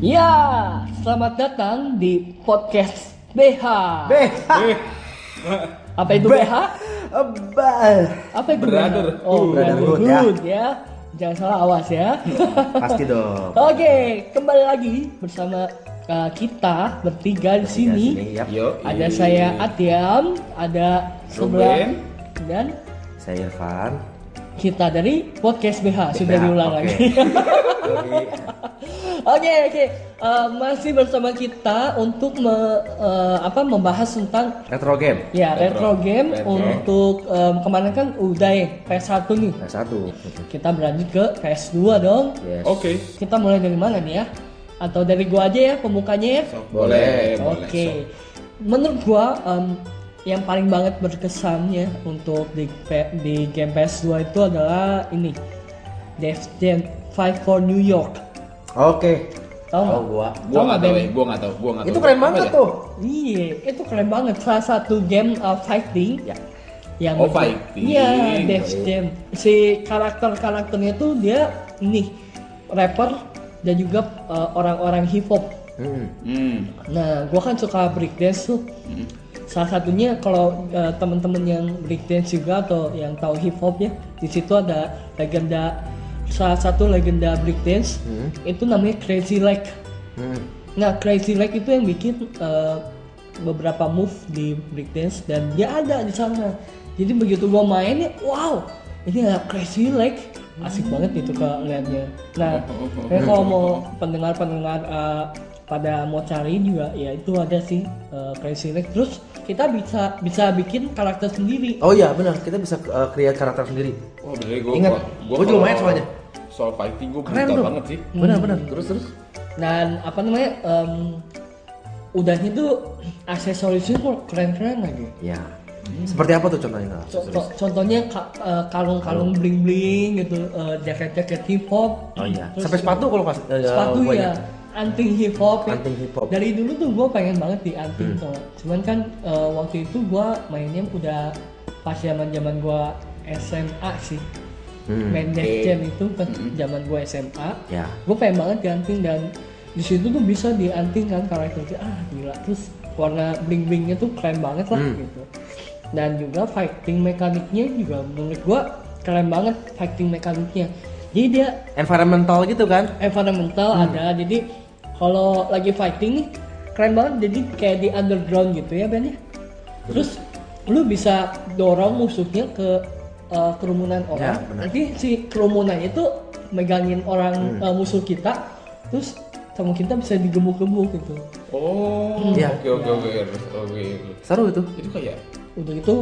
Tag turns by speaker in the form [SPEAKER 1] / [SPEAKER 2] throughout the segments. [SPEAKER 1] Ya, Selamat datang di podcast BH.
[SPEAKER 2] Beh.
[SPEAKER 1] Apa itu
[SPEAKER 2] Be-
[SPEAKER 1] BH?
[SPEAKER 2] Ba-
[SPEAKER 1] Apa itu
[SPEAKER 3] Brotherhood.
[SPEAKER 1] BH? Oh,
[SPEAKER 2] Brotherhood,
[SPEAKER 1] brotherhood ya. Jangan salah awas ya.
[SPEAKER 2] Pasti dong.
[SPEAKER 1] Oke, kembali lagi bersama uh, kita bertiga di sini.
[SPEAKER 2] Sini, yap.
[SPEAKER 3] Yo,
[SPEAKER 1] Ada saya Atiam, ada sebelah
[SPEAKER 3] Ruben.
[SPEAKER 1] dan
[SPEAKER 2] Saya Irfan.
[SPEAKER 1] kita dari podcast BH sudah
[SPEAKER 2] Nah,
[SPEAKER 1] diulang
[SPEAKER 2] oke.
[SPEAKER 1] lagi.
[SPEAKER 2] Yoi.
[SPEAKER 1] Oke oke Eh, masih bersama kita untuk me- eh, apa membahas tentang
[SPEAKER 2] Retro game.
[SPEAKER 1] ya retro,
[SPEAKER 3] Retro.
[SPEAKER 1] game
[SPEAKER 3] Retro.
[SPEAKER 1] untuk em, kemarin kan udah ya PS1 nih
[SPEAKER 2] Nah, satu.
[SPEAKER 1] kita berlanjut ke PS2 dong
[SPEAKER 2] Yes.
[SPEAKER 3] Oke.
[SPEAKER 1] kita mulai dari mana nih ya atau dari gua aja ya pembukanya ya
[SPEAKER 3] Sok,
[SPEAKER 2] Boleh,
[SPEAKER 1] oke menurut gua em, yang paling banget berkesannya untuk di, P- di game PS2 itu adalah ini Death Jam 5 for New York
[SPEAKER 2] Oke.
[SPEAKER 1] tau nggak?
[SPEAKER 2] Oh, gua.
[SPEAKER 1] Tau
[SPEAKER 3] Sok. Gua nggak
[SPEAKER 1] nggak, Ben?
[SPEAKER 3] tahu, ya, gua nggak tahu, gua nggak tahu.
[SPEAKER 2] Itu keren banget
[SPEAKER 3] Apa ya?
[SPEAKER 2] tuh.
[SPEAKER 1] Iya, itu keren banget. Salah satu game uh, fighting
[SPEAKER 2] Ya.
[SPEAKER 1] yang
[SPEAKER 3] Oh,
[SPEAKER 1] bentuk-
[SPEAKER 3] fighting.
[SPEAKER 1] Iya, Death Jam. Si karakter-karakternya tuh dia nih rapper dan juga uh, orang-orang hip hop.
[SPEAKER 2] Hmm.
[SPEAKER 3] Hmm.
[SPEAKER 1] Nah, gua kan suka breakdance tuh.
[SPEAKER 3] Hmm.
[SPEAKER 1] Salah satunya kalau uh, teman-teman yang breakdance juga atau yang tahu hip hop ya, di situ ada legenda salah satu legenda breakdance
[SPEAKER 2] Hmm.
[SPEAKER 1] itu namanya Crazy Leg.
[SPEAKER 2] Hmm.
[SPEAKER 1] Nah, Crazy Leg itu yang bikin eh, beberapa move di breakdance dan dia ada di sana. Jadi begitu gua main ya, wow, ini ada Crazy Leg. Asik banget itu kalau liatnya. Nah,
[SPEAKER 3] Oh, oh, oh.
[SPEAKER 1] kayak kalau mau pendengar-pendengar eh, pada mau cari juga ya itu ada sih eh, Crazy Leg. Terus kita bisa bisa bikin karakter sendiri.
[SPEAKER 2] Oh iya benar, kita bisa uh, create karakter sendiri.
[SPEAKER 3] Oh, bener gua.
[SPEAKER 2] Ingat, gua juga
[SPEAKER 3] kalau
[SPEAKER 2] main soalnya.
[SPEAKER 3] Soal fighting gua
[SPEAKER 2] Keren
[SPEAKER 3] buta
[SPEAKER 2] tuh. Hmm.
[SPEAKER 3] banget sih.
[SPEAKER 2] Benar benar. Terus terus.
[SPEAKER 1] Dan apa namanya? em, udahnya tuh aksesorisnya kok keren-keren lagi.
[SPEAKER 2] Ya. Seperti apa tuh contohnya?
[SPEAKER 1] Contoh, contohnya ka- eh, kalung-kalung bling-bling gitu, eh, jaket-jaket hip hop.
[SPEAKER 2] Oh iya.
[SPEAKER 1] Terus
[SPEAKER 2] Sampai sepatu kalau pas eh,
[SPEAKER 1] sepatu
[SPEAKER 2] gua
[SPEAKER 1] ya,
[SPEAKER 2] ingat.
[SPEAKER 1] anting hip hop. ya.
[SPEAKER 2] Anting Hmm. hip hop.
[SPEAKER 1] Dari dulu tuh gue pengen banget di anting tuh. Cuman kan eh, waktu itu gue mainnya udah pas zaman zaman gue SMA sih.
[SPEAKER 2] Hmm.
[SPEAKER 1] Main Death
[SPEAKER 3] Oke.
[SPEAKER 1] Jam itu pas zaman gue SMA.
[SPEAKER 2] Ya.
[SPEAKER 1] Gue pengen banget di anting dan di situ tuh bisa dianting kan karakternya ah gila terus warna bling blingnya tuh keren banget lah
[SPEAKER 2] Hmm.
[SPEAKER 1] gitu dan juga fighting mekaniknya juga menurut gua keren banget fighting mekaniknya jadi dia
[SPEAKER 2] Environmental gitu kan?
[SPEAKER 1] environmental ada jadi kalau lagi fighting nih keren banget jadi kayak di underground gitu ya Ben ya terus lu bisa dorong musuhnya ke uh, kerumunan orang
[SPEAKER 2] Ya, benar.
[SPEAKER 1] nanti si kerumunan itu megangin orang uh, musuh kita terus sama kita bisa digemuk-gemuk gitu
[SPEAKER 3] Oh,
[SPEAKER 2] Iya.
[SPEAKER 3] oke oke oke oke. oke.
[SPEAKER 2] Seru itu.
[SPEAKER 3] Itu kayak
[SPEAKER 1] untuk itu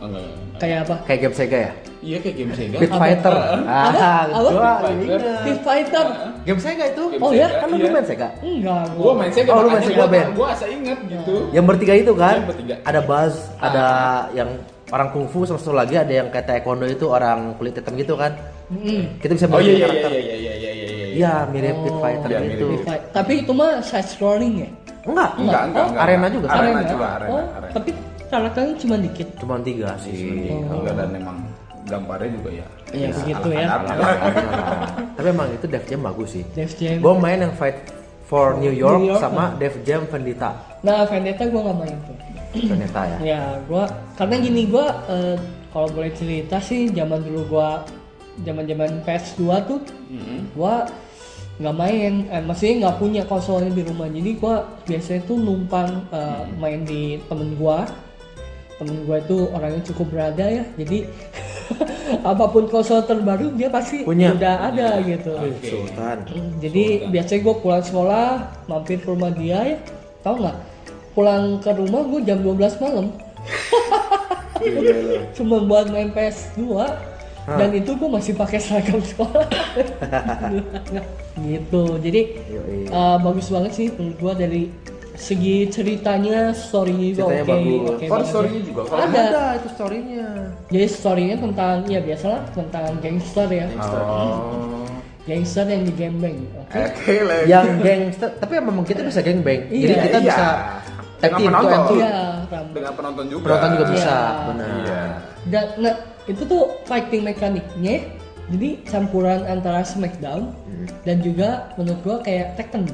[SPEAKER 3] oh, enggak, enggak, enggak.
[SPEAKER 1] kayak apa
[SPEAKER 2] Kayak game Sega ya?
[SPEAKER 3] Iya kayak game Sega.
[SPEAKER 2] Pit Fighter.
[SPEAKER 1] Apa?
[SPEAKER 2] Ah,
[SPEAKER 1] Apa?
[SPEAKER 2] gua
[SPEAKER 3] Pit Fighter.
[SPEAKER 2] ingat.
[SPEAKER 1] Street Fighter
[SPEAKER 2] Game Sega itu?
[SPEAKER 3] Game
[SPEAKER 1] Oh,
[SPEAKER 3] Sega,
[SPEAKER 1] ya?
[SPEAKER 2] Kan lu
[SPEAKER 3] iya.
[SPEAKER 2] dulu main Sega?
[SPEAKER 1] enggak gua,
[SPEAKER 3] Gua main Sega.
[SPEAKER 2] Oh, lu main
[SPEAKER 3] makanya
[SPEAKER 2] Sega,
[SPEAKER 3] gua-
[SPEAKER 2] Ben.
[SPEAKER 3] Gua asa ingat gitu.
[SPEAKER 2] Yang bertiga itu kan?
[SPEAKER 3] Yang bertiga. Ah.
[SPEAKER 2] Ada Buzz, ada yang orang kungfu, sama satu lagi ada yang kayak taekwondo itu orang kulit hitam gitu kan?
[SPEAKER 1] Mm-mm.
[SPEAKER 2] Kita bisa
[SPEAKER 3] Oh iya
[SPEAKER 2] bikin
[SPEAKER 3] iya
[SPEAKER 2] karakter.
[SPEAKER 3] iya iya iya iya iya iya.
[SPEAKER 2] Iya, mirip Pit
[SPEAKER 1] Oh.
[SPEAKER 2] Fighter
[SPEAKER 3] Iya, mirip
[SPEAKER 2] gitu.
[SPEAKER 1] Street Fight- tapi itu mah side scrolling ya
[SPEAKER 2] Enggak,
[SPEAKER 3] Enggak, enggak, enggak.
[SPEAKER 2] Arena juga.
[SPEAKER 3] Arena,
[SPEAKER 1] Arena.
[SPEAKER 3] juga, arena,
[SPEAKER 1] oh,
[SPEAKER 3] arena.
[SPEAKER 1] tapi karakternya cuma dikit
[SPEAKER 2] Cuma tiga sih.
[SPEAKER 3] Iya, enggak, dan emang gambarnya juga ya. Iya,
[SPEAKER 1] Iya, begitu ya.
[SPEAKER 3] anak-anak.
[SPEAKER 2] Tapi emang itu Def Jam bagus sih.
[SPEAKER 1] Def Jam.
[SPEAKER 2] Gue main yang Fight for New York,
[SPEAKER 1] New York.
[SPEAKER 2] sama Def Jam Vendetta.
[SPEAKER 1] Nah, Vendetta gue gak main tuh.
[SPEAKER 2] Vendetta ya.
[SPEAKER 1] Ya, gua karena gini gua eh, kalau boleh cerita sih zaman dulu gua zaman-zaman PS2 tuh
[SPEAKER 3] Mm-mm.
[SPEAKER 1] gua nggak main, eh, maksudnya nggak punya konsolnya di rumah. Jadi gua biasanya tuh numpang eh, main di temen gua. Temen gua itu orangnya cukup berada ya. Jadi apapun konsol terbaru dia pasti
[SPEAKER 2] Punya.
[SPEAKER 1] udah ada gitu.
[SPEAKER 2] Iya.
[SPEAKER 3] Oke.
[SPEAKER 2] Sultan.
[SPEAKER 1] Hmm, Jadi biasanya gue pulang sekolah, mampir ke rumah dia ya, tau nggak? Pulang ke rumah gue jam 12 malam,
[SPEAKER 3] Iya, iya.
[SPEAKER 1] cuma buat main PS2 dan itu gue masih pakai seragam sekolah. gitu. Jadi
[SPEAKER 2] Yoi.
[SPEAKER 1] eh, bagus banget sih menurut gue dari segi ceritanya, story-nya juga
[SPEAKER 2] Ceritanya
[SPEAKER 1] oke.
[SPEAKER 2] bagus.
[SPEAKER 1] oke
[SPEAKER 3] Oh,
[SPEAKER 1] banget.
[SPEAKER 3] story-nya juga. Kalau
[SPEAKER 1] Ada.
[SPEAKER 2] Ada itu storynya.
[SPEAKER 1] Jadi story-nya tentang ya biasalah tentang gangster ya.
[SPEAKER 2] Ah.
[SPEAKER 3] Oh.
[SPEAKER 1] Gangster yang digembeng.
[SPEAKER 2] Eh,
[SPEAKER 1] Oke.
[SPEAKER 3] Oke, lagi.
[SPEAKER 2] Yang gangster, tapi emang kita bisa gangbang.
[SPEAKER 1] Iya.
[SPEAKER 2] Jadi kita
[SPEAKER 3] Iya.
[SPEAKER 2] bisa tag
[SPEAKER 3] Dengan
[SPEAKER 2] team, two
[SPEAKER 3] penonton.
[SPEAKER 2] and two.
[SPEAKER 1] Iya, Ram.
[SPEAKER 3] Dengan penonton juga.
[SPEAKER 2] Penonton juga bisa.
[SPEAKER 1] Iya.
[SPEAKER 2] Benar.
[SPEAKER 3] Iya.
[SPEAKER 1] Dan nah, itu tuh fighting mekaniknya jadi
[SPEAKER 2] Hmm.
[SPEAKER 1] campuran antara Smackdown dan juga menurut gua kayak Tekken.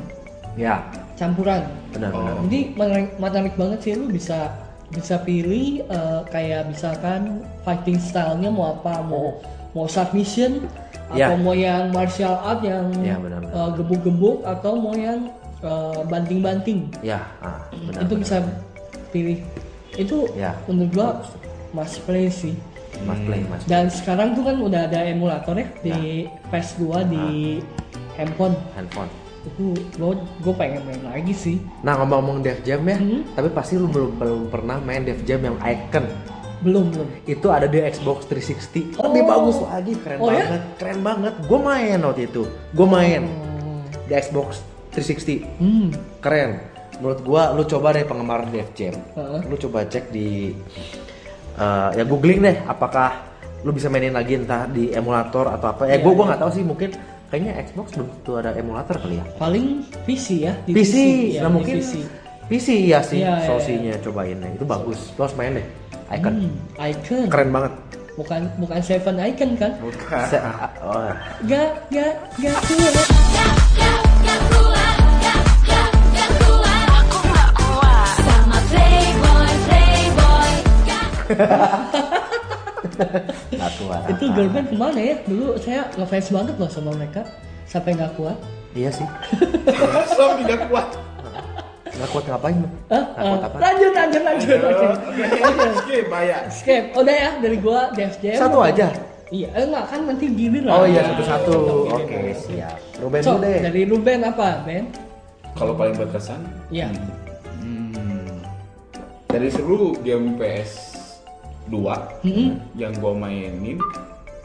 [SPEAKER 2] Ya.
[SPEAKER 1] campuran
[SPEAKER 2] benar-benar.
[SPEAKER 1] jadi menarik, menarik banget sih lu bisa bisa pilih eh, kayak misalkan fighting stylenya mau apa mau mau submission
[SPEAKER 2] Oh. Ya.
[SPEAKER 1] atau mau yang martial art yang
[SPEAKER 2] Ya, benar-benar.
[SPEAKER 1] eh, gebuk-gebuk atau mau yang eh, banting-banting
[SPEAKER 2] Ya, ah, benar.
[SPEAKER 1] itu bisa pilih itu
[SPEAKER 2] Ya.
[SPEAKER 1] menurut gua must play sih
[SPEAKER 2] Mas play, mas.
[SPEAKER 1] dan sekarang tuh kan udah ada emulator ya di
[SPEAKER 2] Nah.
[SPEAKER 1] PS2 di handphone
[SPEAKER 2] Handphone.
[SPEAKER 1] itu gua gua pengen main lagi sih
[SPEAKER 2] Nah ngomong-ngomong Def Jam ya,
[SPEAKER 1] Hmm.
[SPEAKER 2] tapi pasti lu belum, belum pernah main Def Jam yang Icon.
[SPEAKER 1] belum belum
[SPEAKER 2] Itu ada di Xbox 360.
[SPEAKER 1] Oh.
[SPEAKER 2] Lebih bagus lagi, keren
[SPEAKER 1] Oh, ya?
[SPEAKER 2] banget, keren banget. Gue main waktu itu, gue main
[SPEAKER 1] Oh.
[SPEAKER 2] di Xbox 360,
[SPEAKER 1] hmm
[SPEAKER 2] keren. Menurut gua lu coba deh penggemar Def Jam,
[SPEAKER 1] Heeh.
[SPEAKER 2] lu coba cek di eh, ya googling deh apakah lu bisa mainin lagi entah di emulator atau apa. Eh
[SPEAKER 1] Iya,
[SPEAKER 2] gua gua nggak tahu sih mungkin kayaknya Xbox belum tentu ada emulator kali ya.
[SPEAKER 1] paling PC ya di
[SPEAKER 2] PC,
[SPEAKER 1] ya,
[SPEAKER 2] nah
[SPEAKER 1] di
[SPEAKER 2] mungkin
[SPEAKER 1] PC.
[SPEAKER 2] PC. ya sih
[SPEAKER 1] Iya, iya,
[SPEAKER 2] sosinya cobain deh. itu bagus lo harus main deh icon
[SPEAKER 1] Hmm, icon
[SPEAKER 2] keren banget
[SPEAKER 1] bukan bukan seven icon kan
[SPEAKER 3] Bukan.
[SPEAKER 2] Se- ah, oh.
[SPEAKER 1] gak gak gak kuat
[SPEAKER 2] Nggak kuat.
[SPEAKER 1] itu girl band kemana ya dulu saya ngefans banget loh sama mereka sampai nggak kuat
[SPEAKER 2] iya sih
[SPEAKER 3] Sok tidak kuat.
[SPEAKER 2] nggak kuat ngapain lo
[SPEAKER 1] Hah?
[SPEAKER 2] nggak kuat
[SPEAKER 1] Ah,
[SPEAKER 2] apa Oh,
[SPEAKER 1] lanjut lanjut lanjut oke
[SPEAKER 3] Skip bayar.
[SPEAKER 1] Skip, udah ya dari gua Def Jam.
[SPEAKER 2] satu aja
[SPEAKER 1] Iya, eh, enggak kan nanti gini lah.
[SPEAKER 2] oh iya satu satu
[SPEAKER 1] Oke.
[SPEAKER 2] oke siap Ruben
[SPEAKER 1] So,
[SPEAKER 2] dulu deh
[SPEAKER 1] dari lu Ben apa, Ben?
[SPEAKER 3] Kalau paling berkesan?
[SPEAKER 1] Iya.
[SPEAKER 3] Hmm. Dari seluruh game PS 2
[SPEAKER 1] Mm-mm.
[SPEAKER 3] yang gua mainin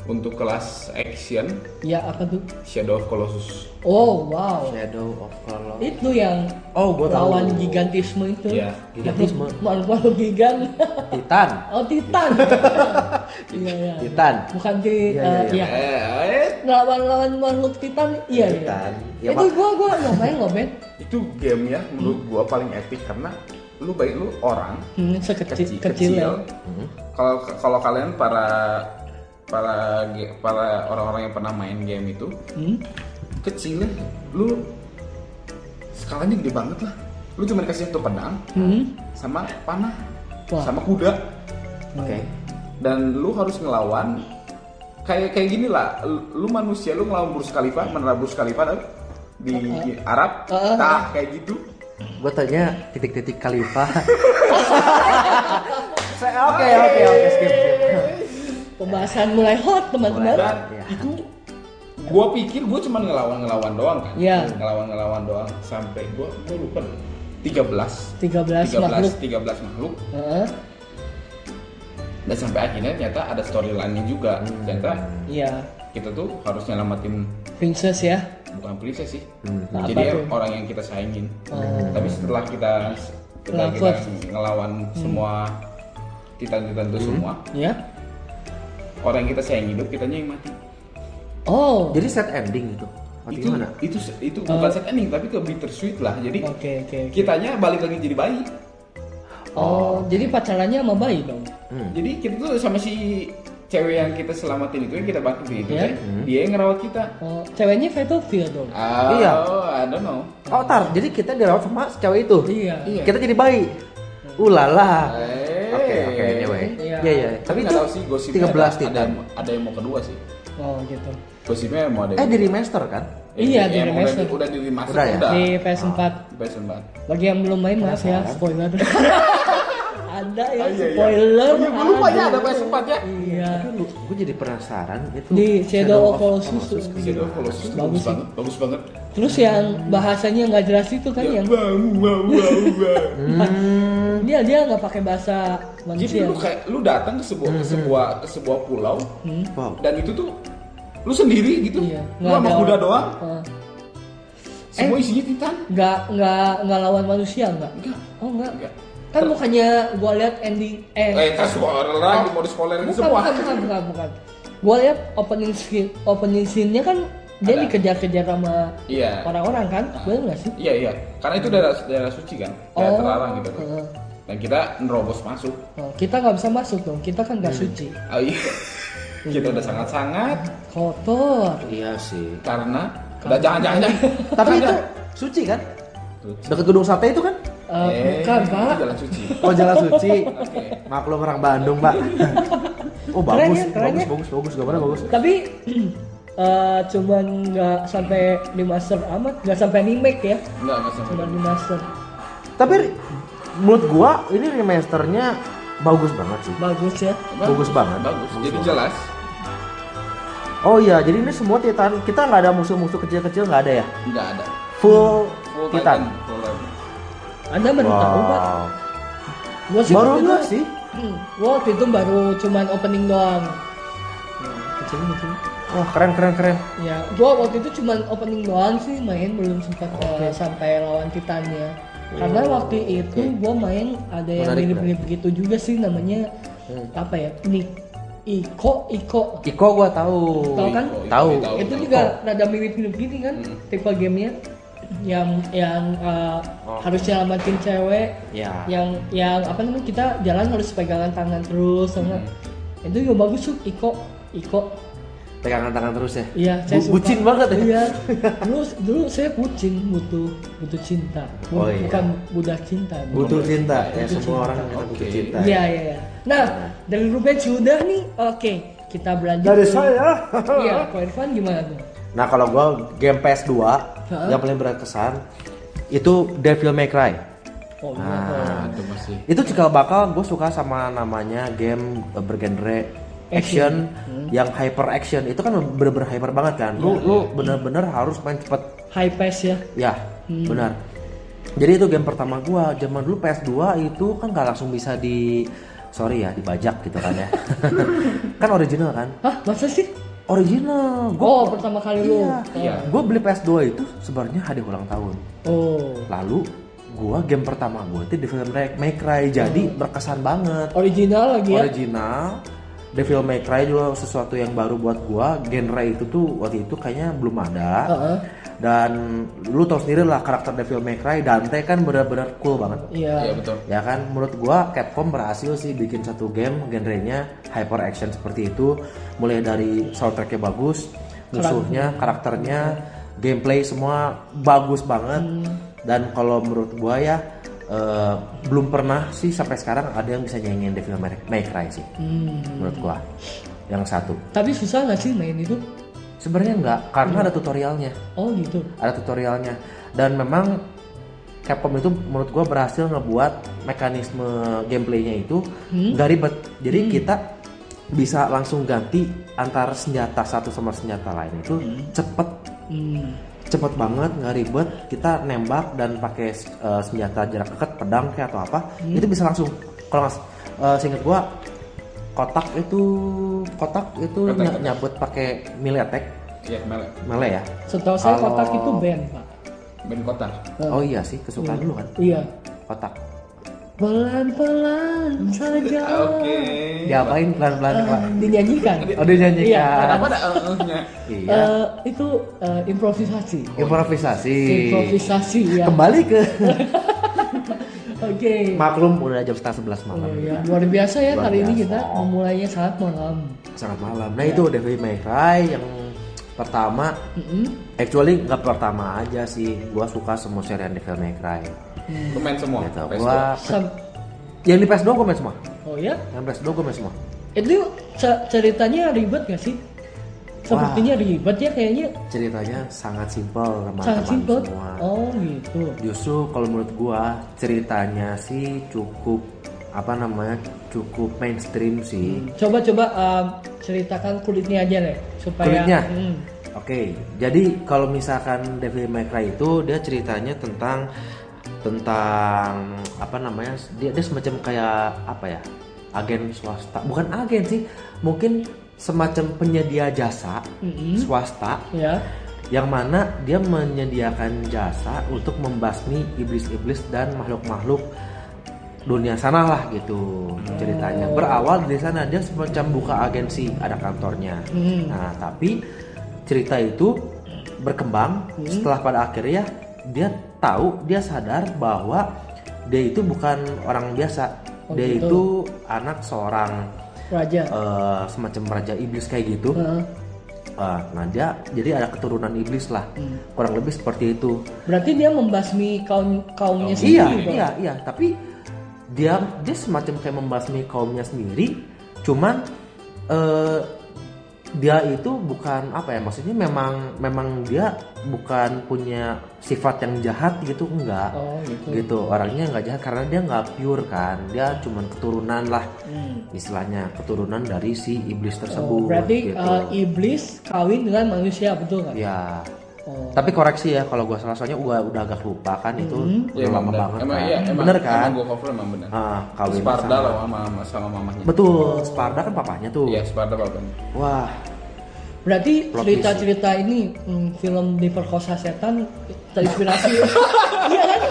[SPEAKER 3] untuk kelas action
[SPEAKER 1] Iya, apa tuh?
[SPEAKER 3] Shadow of Colossus.
[SPEAKER 1] Oh, wow.
[SPEAKER 2] Shadow of Color
[SPEAKER 1] Itu yang
[SPEAKER 2] Oh, gua tahu.
[SPEAKER 1] lawan gigantisme itu.
[SPEAKER 3] Iya,
[SPEAKER 2] gigantisme.
[SPEAKER 1] Makhluk makhluk gigan.
[SPEAKER 2] Titan
[SPEAKER 1] oh, Titan. Iya, iya.
[SPEAKER 2] Titan
[SPEAKER 1] Bukan di
[SPEAKER 2] Iya,
[SPEAKER 1] eh,
[SPEAKER 2] iya,
[SPEAKER 1] iya.
[SPEAKER 3] Eh,
[SPEAKER 1] Lawan-lawan makhluk Titan, iya iya.
[SPEAKER 2] Titan. Ya,
[SPEAKER 1] itu
[SPEAKER 2] Pak.
[SPEAKER 1] gua gua nggak main loh, Ben.
[SPEAKER 3] itu game ya menurut gua paling epic karena lu baik lu orang
[SPEAKER 1] Hmm, sekecil
[SPEAKER 3] kecil, Mhm.
[SPEAKER 1] kecil, ya.
[SPEAKER 3] Kalau kalau kalian para para ge- para orang-orang yang pernah main game itu
[SPEAKER 1] Hmm?
[SPEAKER 3] kecil ya, lu skalanya gede banget lah. Lu cuma dikasih satu pedang
[SPEAKER 1] Hmm?
[SPEAKER 3] sama panah
[SPEAKER 1] Wah.
[SPEAKER 3] sama kuda
[SPEAKER 2] oke
[SPEAKER 3] dan lu harus ngelawan kayak kayak gini lah lu- lu manusia lu ngelawan Burj Khalifa menerabur Burj Khalifa tau? di Arab
[SPEAKER 1] Uh-uh.
[SPEAKER 3] tah kayak gitu
[SPEAKER 2] gue tanya titik-titik Khalifa Se- oke oke oke skip skip
[SPEAKER 1] Pembahasan mulai hot, teman-teman.
[SPEAKER 2] Mulai hot.
[SPEAKER 3] dan
[SPEAKER 2] Iya.
[SPEAKER 3] itu gua pikir gua cuma ngelawan ngelawan doang kan
[SPEAKER 1] Iya.
[SPEAKER 3] ngelawan ngelawan doang sampai gua gua lupa deh. 13
[SPEAKER 1] 13 makhluk.
[SPEAKER 3] 13 makhluk
[SPEAKER 1] Heeh.
[SPEAKER 3] dan sampai akhirnya ternyata ada storyline-nya juga ternyata
[SPEAKER 1] Iya,
[SPEAKER 3] kita tuh harus nyelamatin
[SPEAKER 1] princess ya.
[SPEAKER 3] bukan princess sih
[SPEAKER 1] Nah, apa
[SPEAKER 3] jadi ya
[SPEAKER 1] tuh?
[SPEAKER 3] orang yang kita saingin
[SPEAKER 1] Oh.
[SPEAKER 3] tapi setelah kita setelah kita
[SPEAKER 1] Ngelawan.
[SPEAKER 3] ngelawan
[SPEAKER 1] Hmm.
[SPEAKER 3] semua titan-titan itu semua
[SPEAKER 1] Ya.
[SPEAKER 3] orang yang kita sayang hidup kitanya yang mati
[SPEAKER 1] Oh.
[SPEAKER 2] jadi set ending itu Atau
[SPEAKER 3] itu
[SPEAKER 2] gimana
[SPEAKER 3] itu itu bukan set ending tapi ke bittersweet lah jadi
[SPEAKER 1] Oke, oke. oke.
[SPEAKER 3] kitanya balik lagi jadi bayi
[SPEAKER 1] Oh, jadi pacarannya sama bayi dong.
[SPEAKER 2] Hmm.
[SPEAKER 3] jadi kita tuh sama si cewek yang kita selamatin itu yang kita bantu itu
[SPEAKER 1] Iya.
[SPEAKER 3] teh,
[SPEAKER 2] Hmm.
[SPEAKER 3] dia yang ngerawat kita
[SPEAKER 1] Oh, ceweknya Battlefield dong.
[SPEAKER 3] Ah,
[SPEAKER 2] Iya.
[SPEAKER 3] oh, I don't know
[SPEAKER 2] Oh tar, jadi kita dirawat sama cewek itu.
[SPEAKER 1] Iya.
[SPEAKER 3] Iya.
[SPEAKER 2] Kita jadi bayi. Ulala.
[SPEAKER 3] Eh.
[SPEAKER 2] Ah. Oke oke anyway.
[SPEAKER 1] Iya.
[SPEAKER 2] Iya iya.
[SPEAKER 3] tapi
[SPEAKER 2] Tapi
[SPEAKER 3] nggak
[SPEAKER 2] itu
[SPEAKER 3] tahu sih gosipnya
[SPEAKER 2] 13
[SPEAKER 3] ada, ada,
[SPEAKER 2] titan.
[SPEAKER 3] yang, ada yang mau kedua sih
[SPEAKER 1] Oh, gitu.
[SPEAKER 3] gosipnya mau ada
[SPEAKER 2] Eh
[SPEAKER 3] yang
[SPEAKER 2] di remaster kan?
[SPEAKER 1] Iya, di
[SPEAKER 3] yang udah-
[SPEAKER 1] remaster.
[SPEAKER 3] udah di remaster
[SPEAKER 2] Udah ya?
[SPEAKER 3] udah
[SPEAKER 1] Di PS4.
[SPEAKER 3] Best in Bad.
[SPEAKER 1] Bagi yang belum main maaf ya,
[SPEAKER 2] Penasaran.
[SPEAKER 1] spoiler. ada ya
[SPEAKER 3] Oh, iya, iya.
[SPEAKER 1] spoiler.
[SPEAKER 3] Oh, iya, gua lupa ya ada PS4 ya.
[SPEAKER 1] Iya.
[SPEAKER 2] Tapi lu, gue jadi penasaran itu.
[SPEAKER 1] Di Shadow of Colossus tuh.
[SPEAKER 3] Shadow of Colossus tuh
[SPEAKER 1] Bagus
[SPEAKER 3] Gitu, bagus
[SPEAKER 1] sih.
[SPEAKER 3] banget, bagus banget.
[SPEAKER 1] Terus yang bahasanya nggak jelas itu kan
[SPEAKER 3] Ya,
[SPEAKER 1] yang
[SPEAKER 3] wow, wow, wow, wow.
[SPEAKER 2] Hmm.
[SPEAKER 1] dia dia nggak pakai bahasa
[SPEAKER 3] Jadi
[SPEAKER 1] manusia.
[SPEAKER 3] lu kayak lu datang ke sebuah
[SPEAKER 2] Hmm.
[SPEAKER 3] ke sebuah ke sebuah pulau
[SPEAKER 1] Hmm.
[SPEAKER 2] Wow.
[SPEAKER 3] dan itu tuh lu sendiri gitu.
[SPEAKER 1] Iya,
[SPEAKER 3] Lu
[SPEAKER 1] nggak
[SPEAKER 3] sama
[SPEAKER 1] ada- Eh.
[SPEAKER 3] kuda doang,
[SPEAKER 1] Oh.
[SPEAKER 3] semua isinya titan.
[SPEAKER 1] nggak nggak nggak lawan manusia nggak
[SPEAKER 3] Enggak.
[SPEAKER 1] oh nggak
[SPEAKER 3] Nggak.
[SPEAKER 1] kan bukannya gua lihat ending
[SPEAKER 3] Eh,
[SPEAKER 1] eh
[SPEAKER 3] tas orang lagi mau disekolahin
[SPEAKER 1] bukan
[SPEAKER 3] semua.
[SPEAKER 1] bukan bukan bukan, bukan. gua lihat opening scene opening scene-nya kan dia
[SPEAKER 3] Ada.
[SPEAKER 1] dikejar-kejar sama
[SPEAKER 3] Iya.
[SPEAKER 1] orang-orang kan bener nggak sih
[SPEAKER 3] Iya, iya. Karena itu daerah daerah suci kan, daerah
[SPEAKER 1] Oh.
[SPEAKER 3] terlarang gitu. tuh.
[SPEAKER 1] Heeh.
[SPEAKER 3] Dan kita nerobos masuk.
[SPEAKER 1] Oh, kita nggak bisa masuk dong kita kan nggak suci
[SPEAKER 3] Oh, iya. kita udah sangat-sangat
[SPEAKER 1] kotor
[SPEAKER 2] Iya sih.
[SPEAKER 3] karena udah jangan jangan jangan.
[SPEAKER 2] Tapi itu suci kan? Dekat gedung sate itu kan?
[SPEAKER 1] Eh, bukan pak
[SPEAKER 3] Jalan suci.
[SPEAKER 2] Oh Jalan Suci.
[SPEAKER 3] Oke.
[SPEAKER 2] Maklum orang Bandung, Pak. Oh
[SPEAKER 1] Keren
[SPEAKER 2] bagus,
[SPEAKER 1] ya, keren
[SPEAKER 2] bagus,
[SPEAKER 1] ya.
[SPEAKER 2] bagus, bagus, gambarnya bagus.
[SPEAKER 1] tapi eh, cuman nggak sampai dimaster amat nggak sampai remake ya
[SPEAKER 3] Enggak, enggak sampai.
[SPEAKER 1] cuman dimaster
[SPEAKER 2] Tapi menurut gua ini remasternya bagus banget sih.
[SPEAKER 1] bagus ya
[SPEAKER 2] Bagus banget.
[SPEAKER 3] Bagus.
[SPEAKER 2] Bagus
[SPEAKER 3] Jadi
[SPEAKER 2] banget.
[SPEAKER 3] jelas.
[SPEAKER 2] Oh iya, jadi ini semua Titan kita nggak ada musuh-musuh kecil-kecil nggak ada ya.
[SPEAKER 3] Enggak ada.
[SPEAKER 2] Full,
[SPEAKER 3] Full Titan.
[SPEAKER 2] Titan.
[SPEAKER 3] Full Titan.
[SPEAKER 1] anda baru tahu pak
[SPEAKER 2] Wow.
[SPEAKER 1] gua sih
[SPEAKER 2] Baru
[SPEAKER 1] waktu itu-
[SPEAKER 2] enggak sih?
[SPEAKER 1] Hmm, gua waktu itu baru cuman opening doang kecil kecil
[SPEAKER 2] Wah keren keren keren.
[SPEAKER 1] ya gua waktu itu cuman opening doang sih main belum sempat eh, sampai lawan titannya
[SPEAKER 3] Oh.
[SPEAKER 1] karena waktu itu gua main ada yang
[SPEAKER 2] Menarik,
[SPEAKER 1] mirip-mirip gitu juga sih namanya
[SPEAKER 3] Hmm.
[SPEAKER 1] apa ya nih Iko Iko
[SPEAKER 2] Iko gua tahu.
[SPEAKER 1] Tahu kan?
[SPEAKER 2] Tahu.
[SPEAKER 3] Tahu. Hmm.
[SPEAKER 1] itu juga rada mirip-mirip gini kan tipe gamenya yang yang uh,
[SPEAKER 3] Oh.
[SPEAKER 1] harus nyelamatin cewek
[SPEAKER 3] Iya.
[SPEAKER 2] Ya.
[SPEAKER 1] yang yang apa namanya kita jalan harus pegangan tangan terus
[SPEAKER 3] Hmm.
[SPEAKER 1] sama itu juga bagus tuh Iko Iko
[SPEAKER 2] Pegangan tangan terus ya.
[SPEAKER 1] iya saya
[SPEAKER 2] Bu- bucin banget ya?
[SPEAKER 1] iya dulu dulu saya bucin butuh butuh cinta Bu-
[SPEAKER 2] Oh, iya.
[SPEAKER 1] bukan budak cinta Bu.
[SPEAKER 2] Butuh cinta ya semua orang kita butuh
[SPEAKER 3] Oke.
[SPEAKER 2] cinta.
[SPEAKER 1] iya iya iya nah dari Ruben sudah nih oke kita berlanjut
[SPEAKER 2] Dari
[SPEAKER 1] ke-
[SPEAKER 2] saya.
[SPEAKER 1] iya Ko Irfan gimana tuh
[SPEAKER 2] Nah kalau gue game PS2 yang paling berkesan itu Devil May Cry.
[SPEAKER 1] oh iya
[SPEAKER 2] Nah.
[SPEAKER 3] Nah, itu masih.
[SPEAKER 2] Itu cikal bakal gue suka sama namanya game eh, bergenre action yang hyper action itu kan bener-bener hyper banget kan. Lu lu bener-bener harus main cepet.
[SPEAKER 1] high pass ya
[SPEAKER 2] Ya benar. Jadi itu game pertama gua zaman dulu PS2 itu kan nggak langsung bisa di sorry ya dibajak gitu kan ya. kan original kan.
[SPEAKER 1] Hah, masa sih?
[SPEAKER 2] Original.
[SPEAKER 1] Oh,
[SPEAKER 2] Gua
[SPEAKER 1] pertama kali lu.
[SPEAKER 2] Iya.
[SPEAKER 3] Iya.
[SPEAKER 2] Gue beli PS2 itu sebenarnya hari ulang tahun.
[SPEAKER 1] Oh.
[SPEAKER 2] Lalu gua game pertama gue itu Devil May- May Cry jadi berkesan banget.
[SPEAKER 1] Original lagi ya?
[SPEAKER 2] Original. Devil May Cry juga sesuatu yang baru buat gua. Genre itu tuh waktu itu kayaknya belum ada.
[SPEAKER 1] Heeh.
[SPEAKER 2] Dan lu tau sendiri lah karakter Devil May Cry Dante kan benar-benar cool banget.
[SPEAKER 1] Iya.
[SPEAKER 3] Iya, betul.
[SPEAKER 2] Ya kan menurut gua Capcom berhasil sih bikin satu game genrenya hyper action seperti itu mulai dari soundtracknya bagus, musuhnya, karakternya, gameplay semua bagus banget. Dan kalau menurut gua ya eh, belum pernah sih sampai sekarang ada yang bisa nyanyiin Devil May May Cry sih
[SPEAKER 1] Hmm.
[SPEAKER 2] menurut gua. Yang satu.
[SPEAKER 1] Tapi susah nggak sih main itu?
[SPEAKER 2] Sebenarnya enggak karena ada tutorialnya
[SPEAKER 1] Oh gitu.
[SPEAKER 2] ada tutorialnya dan memang Capcom itu menurut gua berhasil ngebuat mekanisme gameplaynya itu nggak ribet jadi kita bisa langsung ganti antara senjata satu sama senjata lain itu cepet
[SPEAKER 1] Hmm.
[SPEAKER 2] cepet banget nggak ribet kita nembak dan pakai eh, senjata jarak dekat pedang kayak atau apa itu bisa langsung kalau nggak eh, seingat gua kotak itu kotak itu
[SPEAKER 3] Kotak.
[SPEAKER 2] ny- nyabut pakai melee attack
[SPEAKER 3] Iya, melek.
[SPEAKER 2] melee ya
[SPEAKER 1] Setahu saya
[SPEAKER 2] Kalau-
[SPEAKER 1] kotak itu band pak.
[SPEAKER 3] Ben Kota.
[SPEAKER 1] Hmm.
[SPEAKER 2] oh iya sih kesukaan lu kan
[SPEAKER 1] Iya.
[SPEAKER 2] kotak
[SPEAKER 1] Pelan-pelan saja. Eh,
[SPEAKER 3] Oke.
[SPEAKER 2] diapain pelan-pelan pak
[SPEAKER 1] Dinyanyikan.
[SPEAKER 2] oh dia nyanyikan
[SPEAKER 1] Iya,
[SPEAKER 3] Kenapa ada eh, eh-ehnya?
[SPEAKER 2] Iya.
[SPEAKER 1] Eh, itu eh, improvisasi.
[SPEAKER 2] improvisasi
[SPEAKER 1] Improvisasi ya. Oke.
[SPEAKER 2] kembali ke maklum udah jam setengah sebelas malam
[SPEAKER 1] Oh, ya. Luar biasa ya
[SPEAKER 2] Luar
[SPEAKER 1] hari ini
[SPEAKER 2] biasa.
[SPEAKER 1] kita memulainya saat malam.
[SPEAKER 2] sangat malam nah itu Devil May Cry yang pertama
[SPEAKER 1] Mm-mm.
[SPEAKER 2] actually nggak pertama aja sih gua suka semua serian Devil May Cry
[SPEAKER 3] Pemain semua.
[SPEAKER 2] gitu
[SPEAKER 3] PS2.
[SPEAKER 2] gua
[SPEAKER 1] Sam-
[SPEAKER 2] yang di PS2 gua main semua
[SPEAKER 1] Oh ya?
[SPEAKER 2] yang PS2 gua main semua
[SPEAKER 1] Itu ce- ceritanya ribet gak sih? Sepertinya ribet ya kayaknya
[SPEAKER 2] ceritanya sangat simpel
[SPEAKER 1] sangat simpel.
[SPEAKER 2] teman-teman semua
[SPEAKER 1] Oh gitu.
[SPEAKER 2] Justru kalau menurut gua ceritanya sih cukup apa namanya cukup mainstream sih.
[SPEAKER 1] Coba-coba um, ceritakan kulitnya aja deh supaya.
[SPEAKER 2] Kulitnya?
[SPEAKER 1] Hmm.
[SPEAKER 2] Oke, jadi kalau misalkan Devil May Cry itu dia ceritanya tentang tentang apa namanya dia, dia semacam kayak apa ya agen swasta bukan agen sih mungkin semacam penyedia jasa
[SPEAKER 1] Mm-mm.
[SPEAKER 2] swasta
[SPEAKER 1] Ya.
[SPEAKER 2] yang mana dia menyediakan jasa untuk membasmi iblis-iblis dan makhluk-makhluk dunia sana lah gitu
[SPEAKER 1] Hmm.
[SPEAKER 2] ceritanya berawal dari sana dia semacam buka agensi ada kantornya
[SPEAKER 1] Hmm.
[SPEAKER 2] nah tapi cerita itu berkembang
[SPEAKER 1] Hmm.
[SPEAKER 2] setelah pada akhirnya dia tahu dia sadar bahwa dia itu bukan orang biasa
[SPEAKER 1] Oh,
[SPEAKER 2] dia
[SPEAKER 1] gitu.
[SPEAKER 2] itu anak seorang
[SPEAKER 1] Raja.
[SPEAKER 2] eh, semacam raja iblis kayak gitu
[SPEAKER 1] Heeh.
[SPEAKER 2] eh, nah dia jadi ada keturunan iblis lah
[SPEAKER 1] Hmm.
[SPEAKER 2] kurang lebih seperti itu
[SPEAKER 1] Berarti dia membasmi kaum kaumnya
[SPEAKER 2] iya
[SPEAKER 1] sendiri dong.
[SPEAKER 2] iya iya tapi dia dia semacam kayak membasmi kaumnya sendiri cuman eh, dia itu bukan apa ya maksudnya memang memang dia bukan punya sifat yang jahat gitu enggak
[SPEAKER 1] Oh gitu.
[SPEAKER 2] gitu orangnya nggak jahat karena dia nggak pure kan dia cuman keturunan lah
[SPEAKER 1] Hmm.
[SPEAKER 2] istilahnya keturunan dari si iblis
[SPEAKER 1] Oh,
[SPEAKER 2] tersebut
[SPEAKER 1] berarti
[SPEAKER 2] gitu.
[SPEAKER 1] uh, iblis kawin dengan manusia betul nggak?
[SPEAKER 2] ya
[SPEAKER 1] Oh.
[SPEAKER 2] tapi koreksi ya kalau gua salah soalnya gua udah agak lupa kan itu
[SPEAKER 1] Hmm.
[SPEAKER 2] udah lama
[SPEAKER 3] bener.
[SPEAKER 2] banget
[SPEAKER 3] Iya, Emang
[SPEAKER 2] kan
[SPEAKER 3] iya, emang,
[SPEAKER 2] bener kan
[SPEAKER 3] gue cover emang bener.
[SPEAKER 2] Ah, kawin
[SPEAKER 3] Sparda
[SPEAKER 2] sama-
[SPEAKER 3] lah sama, sama- sama mamanya.
[SPEAKER 2] betul Sparda kan papanya tuh
[SPEAKER 3] Iya, Sparda babanya.
[SPEAKER 2] wah
[SPEAKER 1] Berarti
[SPEAKER 2] Plot
[SPEAKER 1] cerita-cerita ini hmm, film diperkosa setan terinspirasi. Iya kan?